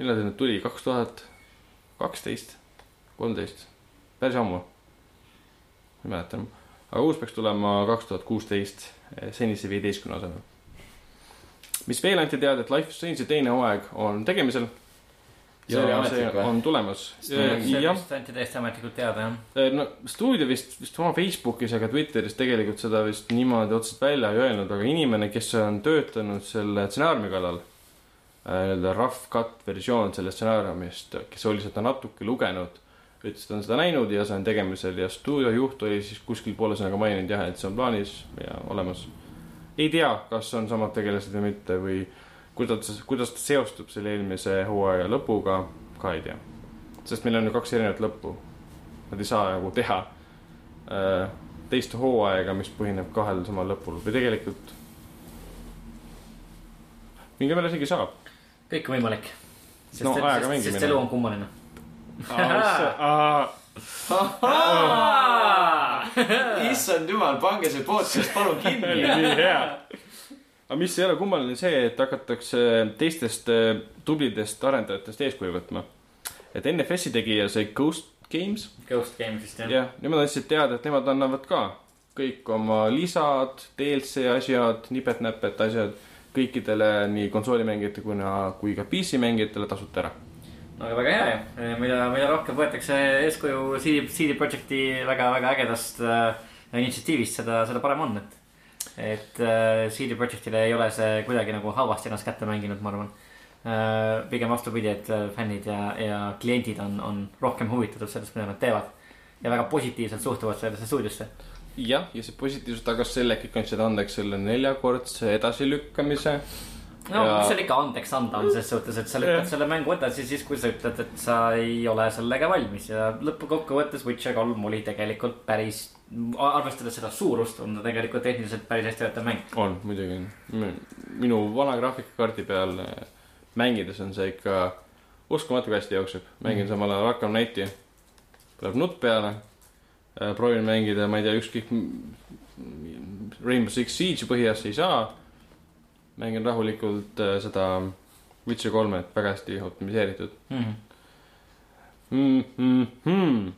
S2: millal ta nüüd tuli , kaks tuhat kaksteist , kolmteist , päris ammu . ei mäleta enam , aga uus peaks tulema kaks tuhat kuusteist , senise viieteistkümne asemel . mis veel anti teada , et Life is Strange'i teine hooaeg on tegemisel .
S1: See oli ametlik või?
S2: on tulemas .
S3: see
S2: jah ,
S3: vist anti täiesti ametlikult teada jah .
S2: Äh, no stuudio vist , vist oma Facebookis ega Twitteris tegelikult seda vist niimoodi otseselt välja ei öelnud , aga inimene , kes on töötanud selle stsenaariumi kallal äh, , nii-öelda rough cut versioon sellest stsenaariumist , kes oli seda natuke lugenud , ütles , et ta on seda näinud ja see on tegemisel ja stuudio juht oli siis kuskil poole sõnaga maininud jah , et see on plaanis ja olemas . ei tea , kas on samad tegelased või mitte või kuidas , kuidas ta seostub selle eelmise hooaja lõpuga , ka ei tea . sest meil on ju kaks erinevat lõppu Nad ei saa nagu teha äh, teist hooaega , mis põhineb kahel samal lõpul või tegelikult . mingil määral isegi saab .
S3: kõik on võimalik . sest
S2: No,
S3: et-
S2: ajaga
S3: sest-
S2: mängimine.
S3: sest elu on kummaline .
S1: issand jumal , pange see podcast palun kinni .
S2: nii hea . aga mis ei ole kummaline , see , et hakatakse teistest äh, tublidest arendajatest eeskuju võtma . et NFS-i tegija , see Ghost Games ,
S3: Ghost Game vist jah .
S2: jah , nemad andsid teada , et nemad annavad ka kõik oma lisad , DLC asjad , nipet-näpet asjad kõikidele nii konsoolimängijate kuna , kui ka PC mängijatele tasuta ära .
S3: no aga väga hea ju , mida , mida rohkem võetakse eeskuju CD , CD Projekti väga-väga ägedast äh, initsiatiivist , seda , seda parem on , et . et äh, CD Projektile ei ole see kuidagi nagu halvasti ennast kätte mänginud , ma arvan äh, . pigem vastupidi , et äh, fännid ja , ja kliendid on , on rohkem huvitatud sellest , mida nad teevad . ja väga positiivselt suhtuvad sellesse stuudiosse .
S2: jah , ja see positiivsus tagas selle , et kõik andsid andeks selle neljakordse edasilükkamise .
S3: no
S2: Ja-
S3: ja... see on ikka andeks anda on ses suhtes , et sa
S2: Jah.
S3: lükkad selle mängu edasi siis , kui sa ütled , et sa ei ole sellega valmis ja lõppkokkuvõttes Witcher kolm oli tegelikult päris , arvestades seda suurust , on ta tegelikult tehniliselt päris hästi töötav mäng .
S2: on , muidugi on . minu vana graafikakaardi peal äh, mängides on see ikka uskumatu , kui hästi jookseb . mängin samal ajal Arkham Knighti , tuleb nutt peale , proovin mängida , ma ei tea , ükskõik m- Rainbow Six Siege'i põhiasja ei saa . mängin rahulikult äh, seda Witcher kolmet , väga hästi optimiseeritud mm . -hmm. Mm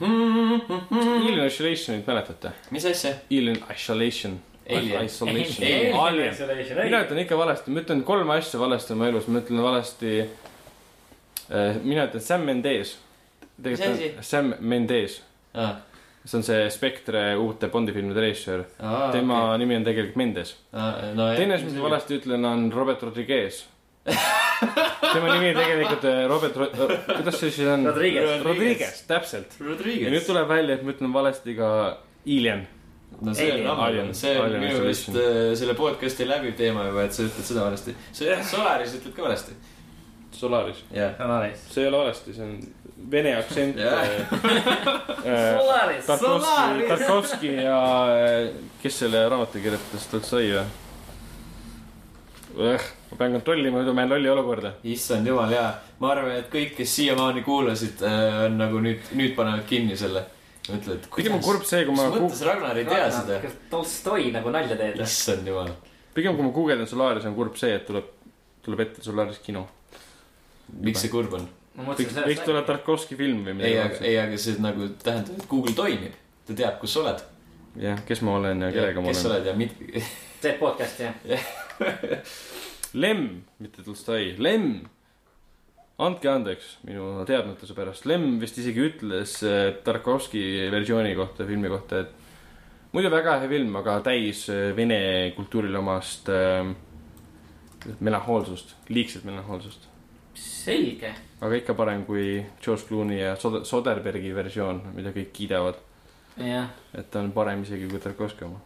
S2: -hmm. Alien Isolationit mäletate ?
S1: mis asja ?
S2: Alien Isolation .
S1: Alien.
S2: Isolation
S1: Alien. .
S2: mina
S3: Alien .
S2: ütlen ikka valesti , ma ütlen kolme asja valesti oma elus , ma ütlen valesti . eh, mina ütlen Sam Mendes .
S1: Mis asi? Ah.
S2: Sam Mendes , see on see Spectre uute Bondi filmide režissöör .
S1: Aa,
S2: tema okay. nimi on tegelikult Mendes .
S1: okay. . No,
S2: teine asi , mis ma valesti ütlen , on Robert Rodriguez . tema nimi tegelikult eh, Robert , kuidas see siis on ?
S3: Rodriguez.
S2: Rodriguez , täpselt . ja nüüd
S1: Rodriguez .
S2: tuleb välja , et ma ütlen valesti ka Alien .
S1: no see on
S3: Alien.
S1: ammu ,
S2: Alien.
S1: see on
S2: Alien
S1: minu meelest äh, selle podcast'i läbiv teema juba , et sa ütled seda valesti . sa jah , Solaris ütled ka valesti .
S2: Solaris .
S1: jah ,
S4: Solaris .
S2: see ei ole valesti , see on vene aktsent
S1: Jah.
S2: eh, eh,
S3: Solaris .
S2: Tarkovski , Tarkovski ja eh, kes selle raamatu kirjutas , Tolstoi või ? eh, ma pean kontrollima , muidu ma jään lolli olukorda .
S1: issand jumal jaa . ma arvan , et kõik , kes siiamaani kuulasid , on nagu nüüd , nüüd panevad kinni selle . mõtled ,
S2: pigem on kurb
S1: kuidas ,
S2: see , kui ma
S1: mis , mõttes Ragnar ei tea seda ?
S3: kas Tolstoi nagu nalja teed ?
S1: issand jumal .
S2: pigem kui ma guugeldan Solaris , on kurb see , et tuleb , tuleb ette Solaris kino .
S1: miks see kurb on ?
S3: ma mõtlesin
S2: võiks , võiks tulla Tarkovski film või
S1: ei , aga ,
S2: midagi .
S1: ei , aga see nagu tähendab , et Google toimib . ta teab , kus sa oled .
S2: jah , kes ma olen ja kellega ma
S1: kes sa
S2: olen .
S1: oled ja mit- ,
S3: teed podcast'i jah ?
S2: Lemm , mitte Tolstoi , Lemm . andke andeks minu teadmatuse pärast , Lemm vist isegi ütles eh, Tarkovski versiooni kohta , filmi kohta , et muidu väga hea film , aga täis eh, vene kultuurile omast äh, melanhoolsust , liigset melanhoolsust .
S3: selge .
S2: aga ikka parem kui George Clooney ja Sod- Soderbergi versioon , mida kõik kiidavad ,
S3: jah .
S2: et ta on parem isegi kui Tarkovski oma .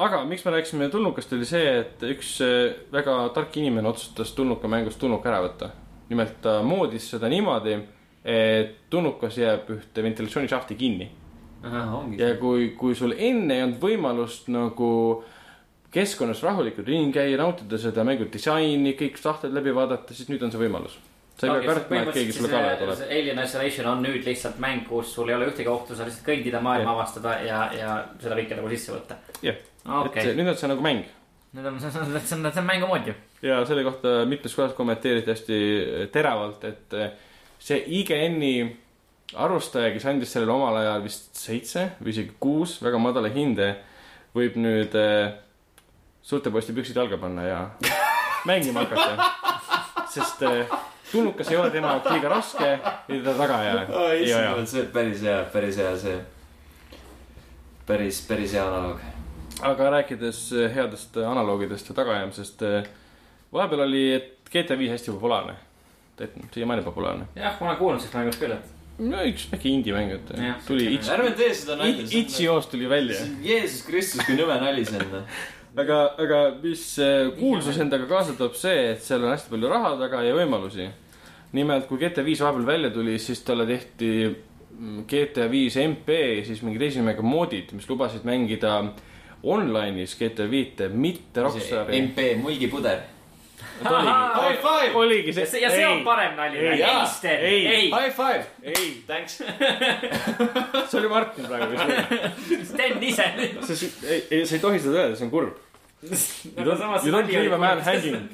S2: aga miks me rääkisime tulnukast , oli see , et üks äh, väga tark inimene otsustas tulnuka mängust tulnuka ära võtta . nimelt ta moodis seda niimoodi , et tulnukas jääb ühte ventilatsioonishahti kinni
S1: ahah , Äh, ongi .
S2: ja kui , kui sul enne ei olnud võimalust nagu keskkonnas rahulikult ringi käia , nautida seda mängu disaini , kõik sahtlid läbi vaadata , siis nüüd on see võimalus . sa ei pea kartma , et keegi sulle
S3: äh,
S2: kallale tuleb .
S3: Alien Isolation on nüüd lihtsalt mäng , kus sul ei ole ühtegi ohtu , sa lihtsalt kõndida , maailma
S2: Jah.
S3: avastada ja , ja seda kõike nagu sisse võtta .
S2: jah , et
S3: okei
S2: see- , nüüd on see nagu mäng
S3: nüüd on , see on , see on , see on mängu mood ju .
S2: ja selle kohta mitmes kohas kommenteeriti hästi eh, teravalt , et eh, see IGN-i arvustaja , kes andis sellele omal ajal vist seitse või isegi kuus väga madala hinde , võib nüüd eh, suurte poiste püksid jalga panna ja mängima hakata . sest eh, tulnukas ei ole tema jaoks liiga raske ja ta taga ei aja .
S1: aa ,
S2: ei
S1: issand
S2: aja .
S1: jumal , see on päris hea , päris hea see . päris , päris hea analoog .
S2: aga rääkides eh, headest analoogidest ja tagaajamisest , vahepeal oli , et GTA viis hästi populaarne . siiamaani populaarne .
S3: jah , ma olen kuulnud sellest mängust küll , et
S2: no üks väike indie-mäng , et
S3: Jah.
S2: tuli Itch-
S1: ärme tee seda nalja . nagu
S2: It- Itšiost tuli välja .
S1: Jeesus Kristus , kui nõme nali see on . noh.
S2: aga , aga mis eh, kuulsus endaga kaasa toob see , et seal on hästi palju raha taga ja võimalusi . nimelt , kui GTA viis vahepeal välja tuli , siis talle tehti mm, GTA viis MP ja siis mingi teise nimega moodid , mis lubasid mängida online'is GTA viite , mitte Rockstari .
S1: MP mulgipuder .
S2: oligi ,
S1: High five ,
S2: oligi
S3: ja see , ja see on . parem nali .
S2: ei,
S1: jaa,
S3: Gangster ,
S2: ei.
S3: ei ,
S1: high five ,
S2: ei ,
S1: thanks .
S2: see oli Martin praegu ,
S3: Sten ise .
S2: sest ei , ei , sa ei tohi seda öelda , see on kurb . you don't leave a man hanging.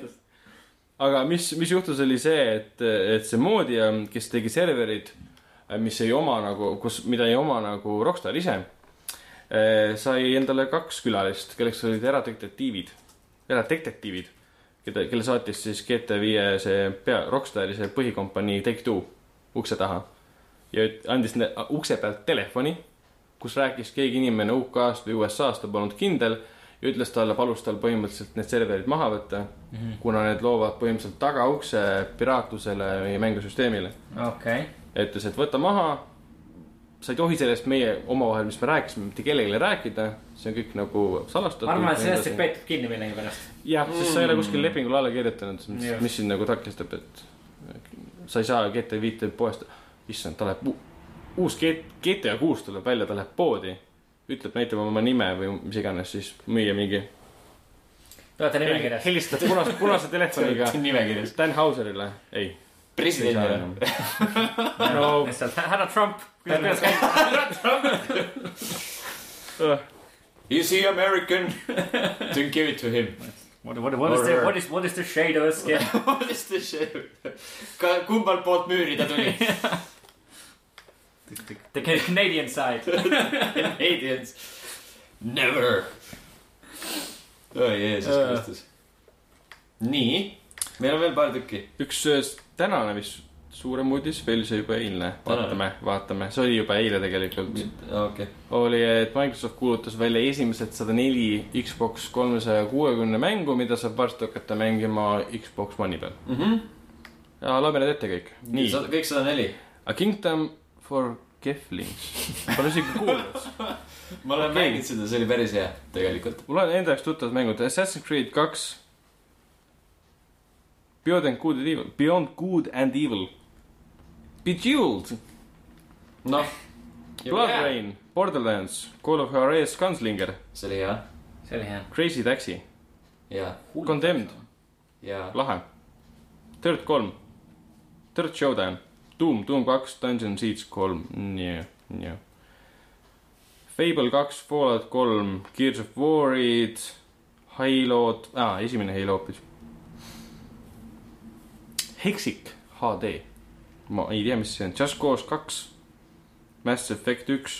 S2: aga mis , mis juhtus , oli see , et , et see moodija , kes tegi serverid , mis ei oma nagu , kus , mida ei oma nagu Rockstar ise , sai endale kaks külalist , kelleks olid eradetektiivid , eradetektiivid , keda , kelle saatis siis GTA viie see pea , Rockstari see põhikompanii Take Two ukse taha ja üt- andis ne- ukse pealt telefoni , kus rääkis keegi inimene UK-st või USA-st , ta polnud kindel ja ütles talle , palus tal põhimõtteliselt need serverid maha võtta mm ,
S3: Mhm.
S2: -hmm. kuna need loovad põhimõtteliselt tagaukse piraatlusele meie mängusüsteemile .
S3: okei .
S2: ja ütles , et võta maha , sa ei tohi sellest meie omavahel , mis me rääkisime , mitte kellelegi rääkida , see on kõik nagu salastatud .
S3: ma arvan , et sellest saab peetud kinni millegipärast .
S2: jah , sest sa ei ole
S3: Mm.
S2: kuskil lepingule alla kirjutanud ,
S3: Just.
S2: mis sind nagu takistab , et sa ei saa GTA viite poest , issand , ta läheb , uus G- GTA kuus tuleb välja , ta läheb poodi , ütleb , näitab oma nime või mis iganes , siis müüa mingi ,
S3: Te olete nimekirjas .
S2: helistab punase , punase telefoniga
S1: nimekirjas .
S2: Dan Hauserile , ei .
S1: presidendile .
S2: no
S3: härra Trump .
S1: Is he American ? Don't give it to him .
S4: What , what , what is the , what is , what is the shade of his skin ?
S1: What is this shit ? ka kumbalt poolt müüri ta tuli ?
S3: The Canadian side .
S1: Canadians . Never . oi , Jeesus
S3: Äh.
S1: Kristus . nii , meil on veel paar tükki .
S2: üks äh, tänane vist suurem uudis veel see juba eilne , vaatame , vaatame , see oli juba eile tegelikult .
S1: okei ,
S2: oli , et Microsoft kuulutas välja esimesed sada neli Xbox kolmesaja kuuekümne mängu , mida saab varsti hakata mängima Xbox One'i peal . loeme need ette kõik . nii ,
S1: kõik sada neli .
S2: A Kingdom for Keflings . Pole isegi kuulnud .
S1: ma olen okay. mänginud seda , see oli päris hea tegelikult .
S2: mul on enda jaoks tuttavad mängud Assassin's Creed kaks . Beyond and Good and Evil , Beyond Good and Evil . Bejeweled ,
S1: noh .
S2: Blood yeah. . Rain , Borderlands , Call of Juarez , Gunslinger ,
S1: see oli hea ,
S3: see oli hea .
S2: Crazy Taxi ,
S1: ja ,
S2: Condemned ,
S1: ja
S2: lahe . Dirt kolm , Dirt Showdown , Doom , Doom kaks , Dungeon Siege kolm , nii , nii . Fable kaks , Fallout kolm , Gears of War'id , Halo'd ah, , esimene Halo hoopis . Hexic HD , ma ei tea , mis see on , Just Cause kaks , Mass Effect üks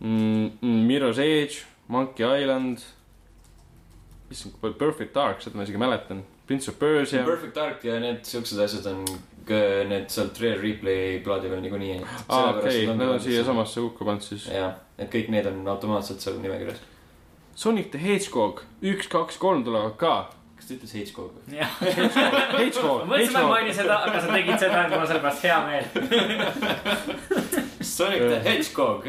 S2: mm, , Mirror's Edge , Monkey Island , issand , kui palju , Perfect Dark , seda ma isegi mäletan , Prince of Persia
S1: see . Perfect Dark ja need siuksed asjad on , need sealt Rare Replay plaadi peal niikuinii .
S2: aa , Ah, okei , nad on siiasamasse hukka pannud siis .
S1: jah , et kõik need on automaatselt seal nimekirjas .
S2: Sonic the Hedgehog üks , kaks , kolm tulevad ka .
S1: kas ta ütles H-Code või ?
S4: jah ,
S2: Hedgehog
S4: ma , mõtlesin , et ma ei
S2: Hedgehog ,
S4: maini seda , aga sa tegid seda ja mul on selle pärast hea meel .
S1: Sonic the Hedgehog .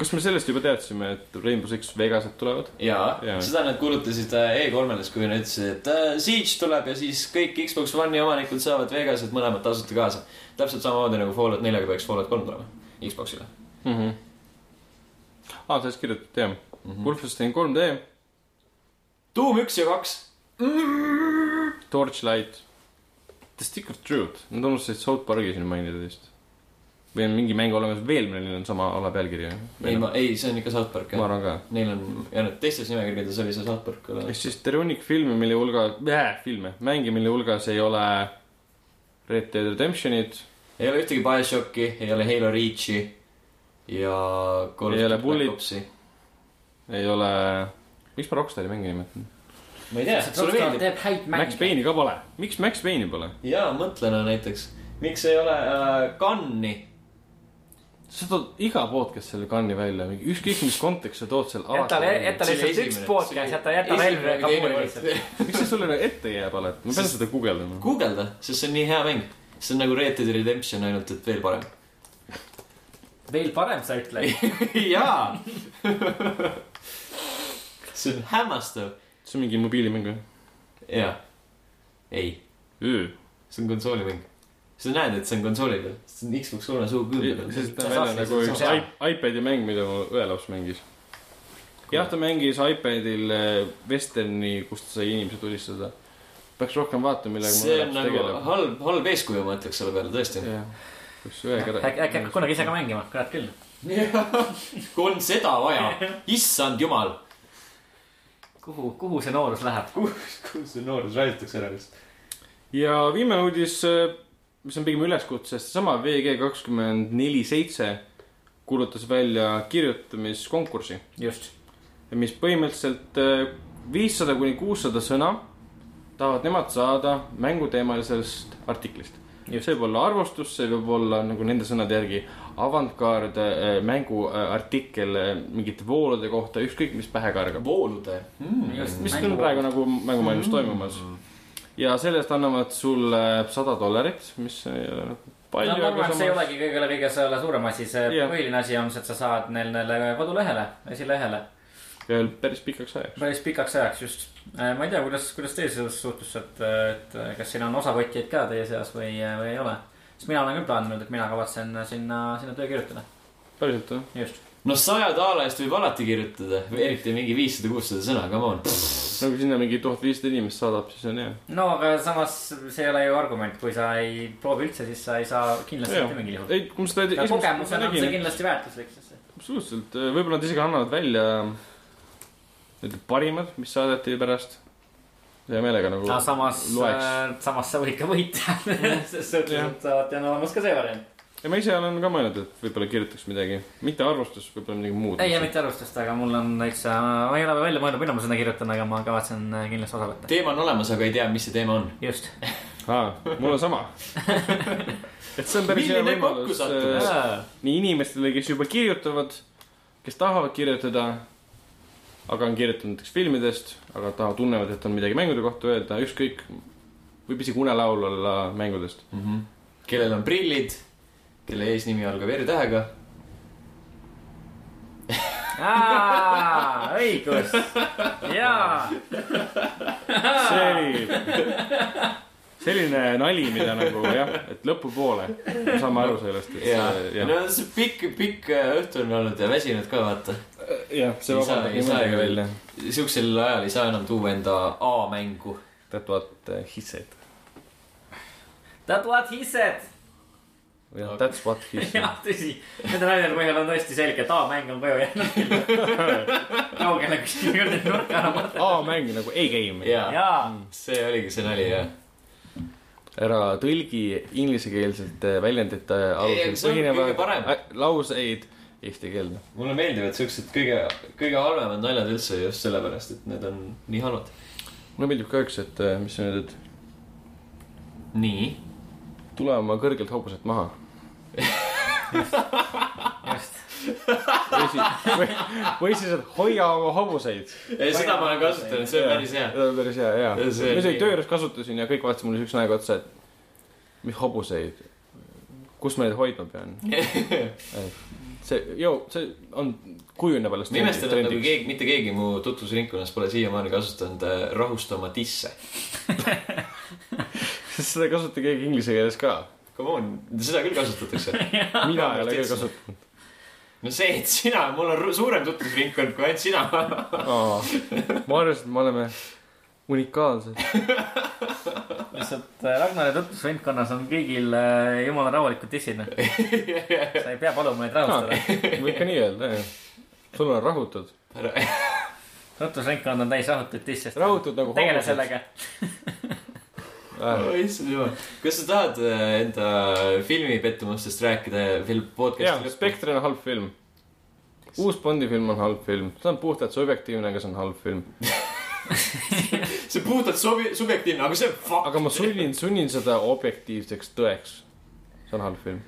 S2: kas me sellest juba teadsime , et Rainbow Six Vegased tulevad ?
S1: jaa
S2: Jaa.
S1: ja. , seda nad kuulutasid äh, E3-s , kui nad ütlesid , et äh, Siege tuleb ja siis kõik Xbox One'i omanikud saavad Vegaselt mõlemad tasuta kaasa . täpselt samamoodi nagu Fallout neljaga peaks Fallout kolm tulema Xbox'ile
S2: aa , Ah, sellest kirjutatud jah .
S1: mm . -hmm.
S2: Wolfenstein 3D ,
S1: Doom üks ja kaks .
S2: Torchlight , The Stick of Truth , nad unustasid South Park'i siin mainida vist . või on mingi mäng olemas veel , millel on sama ala pealkiri ?
S1: ei , ma , ei , see on ikka South Park
S2: ma
S1: jah .
S2: arvan ka .
S1: Neil on , ja need teistes nimekirjades oli see South Park .
S2: ehk siis terve hunnik filme , mille hulgas , filme , mänge , mille hulgas ei ole Red Dead Redemptionit ,
S1: ei ole ühtegi BioShocki , ei ole Halo Reach'i ja .
S2: Ei ole Bullet- . ei ole , miks ma Rockstari mänge nimetan ?
S1: ma ei tea , sulle meeldib .
S3: teeb häid
S2: Max
S3: mänge .
S2: Payne'i ka pole , miks Max Payne'i pole ?
S1: jaa , mõtlena näiteks , miks ei ole äh, Gunni
S2: sa tood iga podcast selle kanni välja , ükskõik mis kontekst sa tood seal
S4: jäta ,
S2: alati .
S4: jäta lihtsalt üks podcast , jäta , jäta relv ja kabuuri lihtsalt .
S2: miks see sulle nagu ette jääb alati , ma pean seda guugeldama .
S1: guugelda , sest see on nii hea mäng . see on nagu Red Dead Redemption , ainult et veel parem .
S4: veel parem sa ütled .
S1: jaa . see on hämmastav .
S2: see on mingi mobiilimäng või ?
S1: jaa . ei , see on konsoolimäng . sa näed , et see on konsooli peal , see on Xbox kolme suu külge peal .
S2: sest ta välja nagu üks
S1: Sa-
S2: i- iPad'i mäng , mida mu õelaps mängis . jah , ta mängis iPad'il eh, vesterni , kust sai inimesi tulistada . peaks rohkem vaatama , millega mu
S1: see on
S2: õelaps
S1: nagu
S2: tegeleb .
S1: halb , halb eeskuju , ma ütleks selle peale tõesti .
S2: jah , kus ühega .
S4: äkki , äkki hakkad kunagi ise ka mängima , kurat küll .
S1: kui on seda vaja , issand jumal .
S4: kuhu , kuhu see noorus läheb ?
S1: kus see noorus raiutakse ära vist ?
S2: ja viimane uudis , mis on pigem üleskutse , seesama VG kakskümmend neli seitse kuulutas välja kirjutamiskonkursi ,
S4: just .
S2: mis põhimõtteliselt äh, viissada kuni kuussada sõna tahavad nemad saada mänguteemalisest artiklist . see võib olla arvustus , see võib olla nagu nende sõnade järgi avantgaard äh, mänguartikkel äh, mingite voolude kohta , ükskõik mis pähe kargab .
S1: voolude
S4: Hmm.
S1: mm. .
S3: just ,
S2: mis on praegu . nagu mängumaailmas
S3: Mm-hmm.
S2: toimumas . ja selle eest annavad sulle äh, sada dollarit , mis ei ole nagu
S3: no
S2: palju ,
S3: ma
S2: aga
S3: arvan , et see ei
S2: samas .
S3: olegi kõige , kõige selle suurem asi , see
S2: Jah.
S3: põhiline asi on see , et sa saad neil neile kodulehele , esilehele
S2: veel päris pikaks ajaks .
S3: päris pikaks ajaks just . ma ei tea , kuidas , kuidas teie selles suhtes , et , et äh, kas siin on osavõtjaid ka teie seas või , või ei ole ? sest mina olen küll plaaninud , et mina kavatsen sinna , sinna töö kirjutada ,
S2: päriselt või ?
S3: just .
S1: no saja daala eest võib alati kirjutada , eriti mingi viissada , kuussada sõna , come on .
S2: no kui Nagu sinna mingi tuhat viissada inimest saadab , siis on hea .
S3: no aga samas see ei ole ju argument , kui sa ei proovi üldse , siis sa ei saa kindlasti
S2: Jah.
S3: mitte mingil juhul .
S2: ei , kui ma seda
S3: ja kogemusena on see
S2: tegin ,
S3: kindlasti väärtuslik , sest
S2: absoluutselt , võib-olla nad isegi annavad välja need parimad , mis saadeti pärast . hea meelega nagu
S4: aga samas
S3: äh,
S2: loeks .,
S4: samas sa võid ka võita .
S3: sest sa ütled , et sa oled ja no olemas ka see variant .
S2: ja ma ise olen ka mõelnud , et võib-olla kirjutaks midagi , mitte arvustus , võib-olla midagi muud .
S3: ei , ja mitte arvustust , aga mul on täitsa , ma ei ole veel välja mõelnud , millal ma sinna kirjutan , aga ma kavatsen äh, kindlasti äh, osa võtta .
S1: teema on olemas , aga ei tea , mis see teema on .
S3: just ,
S2: aa , mul on sama . et see on päris hea
S1: milline
S2: võimalus
S1: kokkusattumus
S2: äh, . nii inimestele , kes juba kirjutavad , kes tahavad kirjutada , aga on kirjutanud näiteks filmidest , aga tahavad , tunnevad , et on midagi mängude kohta öelda , ükskõik , võib isegi unelaul olla mängudest .
S1: Mhm. kellel on prillid , kelle eesnimi algab R-tähega .
S4: õigus , jaa .
S2: see oli selline nali , mida nagu jah , et lõpupoole me saame aru sellest , et
S1: ja
S2: see , jah
S1: no see pikk , pikk õhtu on olnud ja väsinud ka , vaata .
S2: jah , see
S1: Ei saa-
S2: vabandab
S1: ei saa
S2: niimoodi
S1: ju-
S2: välja .
S1: sihukesel ajal ei saa enam tuua enda A-mängu .
S2: That what uh, he said .
S3: That what he said .
S2: jah , that's what he said .
S3: jah , tõsi , nende naljade põhjal on tõesti selge , et A-mäng on koju jäänud . kaugele kuskile kuradi nurka ära mõtlema .
S2: A-mäng nagu A-game .
S1: jaa ,
S4: jaa ,
S1: see oligi see nali jah .
S2: ära tõlgi inglisekeelsete väljendite
S1: Ei,
S2: alusel
S1: see on kõige parem.
S2: põhinevaid ä- lauseid eesti keelde .
S1: mulle meeldivad siuksed kõige , kõige halvemad naljad üldse just sellepärast , et need on nii halvad .
S2: mulle meeldib ka üks , et äh, mis sa nüüd , et
S1: nii .
S2: tule oma kõrgelt hobuselt maha .
S3: just ,
S2: või siis , või, või siis , et hoia oma hobuseid .
S1: ei , seda ma olen kasutanud , see on päris hea .
S2: see on päris hea , jaa .
S1: Ja see
S2: ma
S1: on
S2: isegi
S1: nii-
S2: töö juures kasutasin ja kõik vaatasid mulle siukse näoga otsa , et mis hobuseid , kus ma neid hoidma pean . see , joo , see on , kujuneb alles
S1: ma imestan , et nagu . keegi , mitte keegi mu tutvusringkonnas pole siiamaani kasutanud äh, rahusta oma disse .
S2: sest seda ei kasuta keegi inglise keeles ka .
S1: Come on , seda küll kasutatakse .
S2: mina ei ole küll kasutanud .
S1: no see , et sina , mul on ru- suurem tutvusringkond kui ainult sina .
S2: ma arvasin , et me oleme unikaalsed .
S4: lihtsalt äh, Ragnari tutvusringkonnas on kõigil äh, jumala rahulikud dissid , noh . sa ei pea paluma neid rahustada .
S2: võib ka nii öelda , jah . sul on rahutud .
S4: tutvusringkond on täis rahutuid disse .
S2: rahutud nagu
S4: tegele . sellega .
S2: Ah.
S1: Oh, issand jumal , kas sa tahad äh, enda filmipettumustest rääkida veel
S2: jaa ,
S1: podcast'i lõppu ?
S2: Spekter on halb film . uus Bondi film on halb film , see on puhtalt subjektiivne , aga see on halb film .
S1: see on puhtalt sobi- , subjektiivne , aga see on fuck .
S2: aga ma sunnin , sunnin seda objektiivseks tõeks . see on halb film .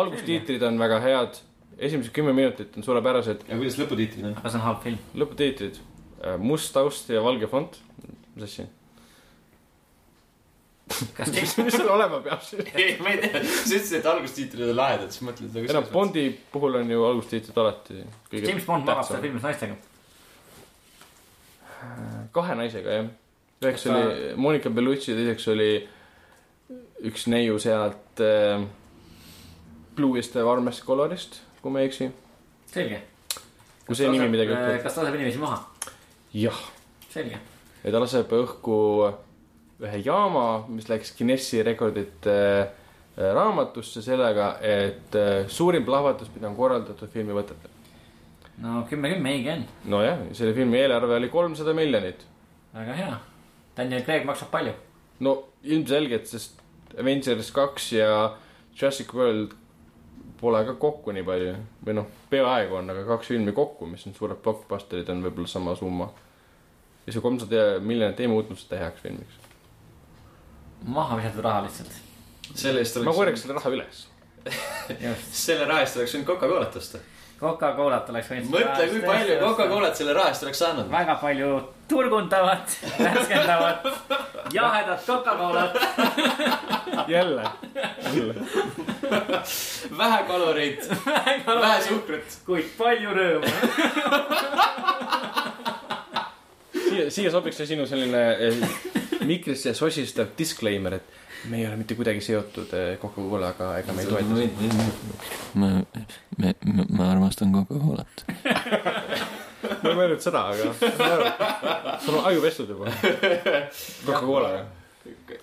S2: algustiitrid on väga head , esimesed kümme minutit on suurepärased ,
S1: ja kuidas lõputiitrid on ?
S4: aga see on halb film .
S2: lõputiitrid , must taust ja valge fond , mis asja ?
S4: kas
S2: mis , mis seal olema peab siis ?
S1: ei , ma ei tea , sa ütlesid , et algustiitrid on lahedad , siis mõtled nagu
S2: ei noh , Bondi puhul on ju algustiitrid alati kõige
S4: James Bond magab seal
S2: tähtsam .
S4: filmis naistega ?
S2: kahe naisega , jah . üheks
S3: Ta-
S2: oli Monica Bellucci , teiseks oli üks neiu sealt äh, Blue'ist ja Warmest Colorist , kui ma ei eksi .
S3: selge .
S2: kui see nimi midagi ütleb .
S3: kas ta laseb eh, inimesi maha ?
S2: jah ,
S3: selge .
S2: ja ta laseb õhku ühe jaama , mis läks Guinessi rekordite äh, raamatusse sellega , et äh, suurim plahvatus , mida on korraldatud filmivõtetel .
S4: no kümme , kümme , õige on .
S2: nojah , selle filmi eelarve oli kolmsada miljonit .
S4: väga hea .
S3: Daniel Craig maksab palju .
S2: no ilmselgelt , sest Avengers kaks ja Jurassic World pole ka kokku nii palju või noh , peaaegu on , aga kaks filmi kokku , mis on suured blockbusterid , on võib-olla sama summa . ja see kolmsada miljonit ei muutnud seda heaks filmiks .
S4: maha visatud raha lihtsalt .
S1: selle eest
S2: ma korjaks
S1: oleks ,
S2: selle raha üles .
S4: just .
S1: selle raha eest oleks võinud Coca-Colat osta .
S4: Coca-Colat oleks võinud .
S1: mõtle , kui palju . Coca-Colat selle raha eest oleks saanud .
S4: väga palju turgundavat , värskendavat , jahedat Coca-Colat .
S2: jälle .
S1: vähe kaloreid , vähe suhkrut .
S4: kuid palju rõõmu .
S2: siia , siia sobiks see sinu selline eh, mikrisse sosistav disclaimer , et me ei ole mitte kuidagi seotud eh, Coca-Colaga ega me ei toeta seda .
S1: ma , me , ma armastan Coca-Colat .
S2: ma ei mõelnud seda , aga sul on aju pestud juba . Coca-Cola ,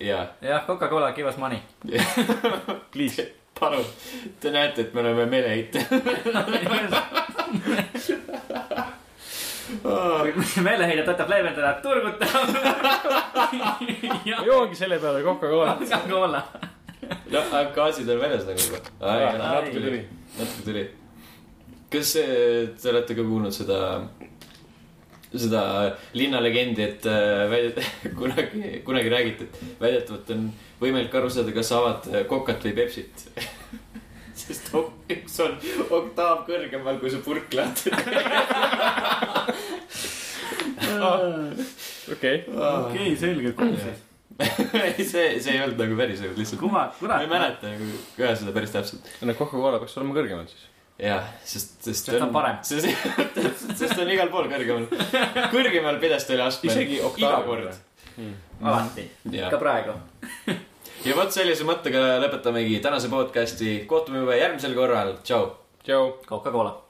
S1: jaa ,
S4: jah , Coca-Cola give us money .
S2: please .
S1: palun . Te näete , et me oleme meeleheite .
S4: meeleheide tõttab leevendada turgutav
S2: ma joongi selle peale Coca-Cola .
S4: Coca-Cola .
S1: noh , aga gaasid on väljas nagu juba . natuke tuli , eh, natuke tuli . kas äh, te olete ka kuulnud seda seda linnalegendi , et äh, väidet- , kunagi , kunagi räägiti , et väidetavalt on võimalik aru saada , kas sa avad äh, kokat või Pepsit . sest ok- üks on oktav kõrgemal , kui sa purk lähed .
S2: okei .
S4: okei , selge , kuus siis .
S1: ei , see , see ei olnud nagu päris , lihtsalt . ma
S4: kumma , kurat .
S1: ei mäleta nagu ka seda päris täpselt .
S2: no Coca-Cola peaks olema kõrgemal siis .
S1: jah , sest , sest .
S4: Sest ta on parem.
S1: sest sest ta on igal pool kõrgemal . kõrgemal pidesteli astmel .
S2: Isegi oktaavi
S1: iga kord .
S3: alati ,
S1: Jah.
S3: ka praegu .
S1: ja vot sellise mõttega lõpetamegi tänase podcasti , kohtume juba järgmisel korral , tšau .
S2: tšau .
S3: Coca-Cola .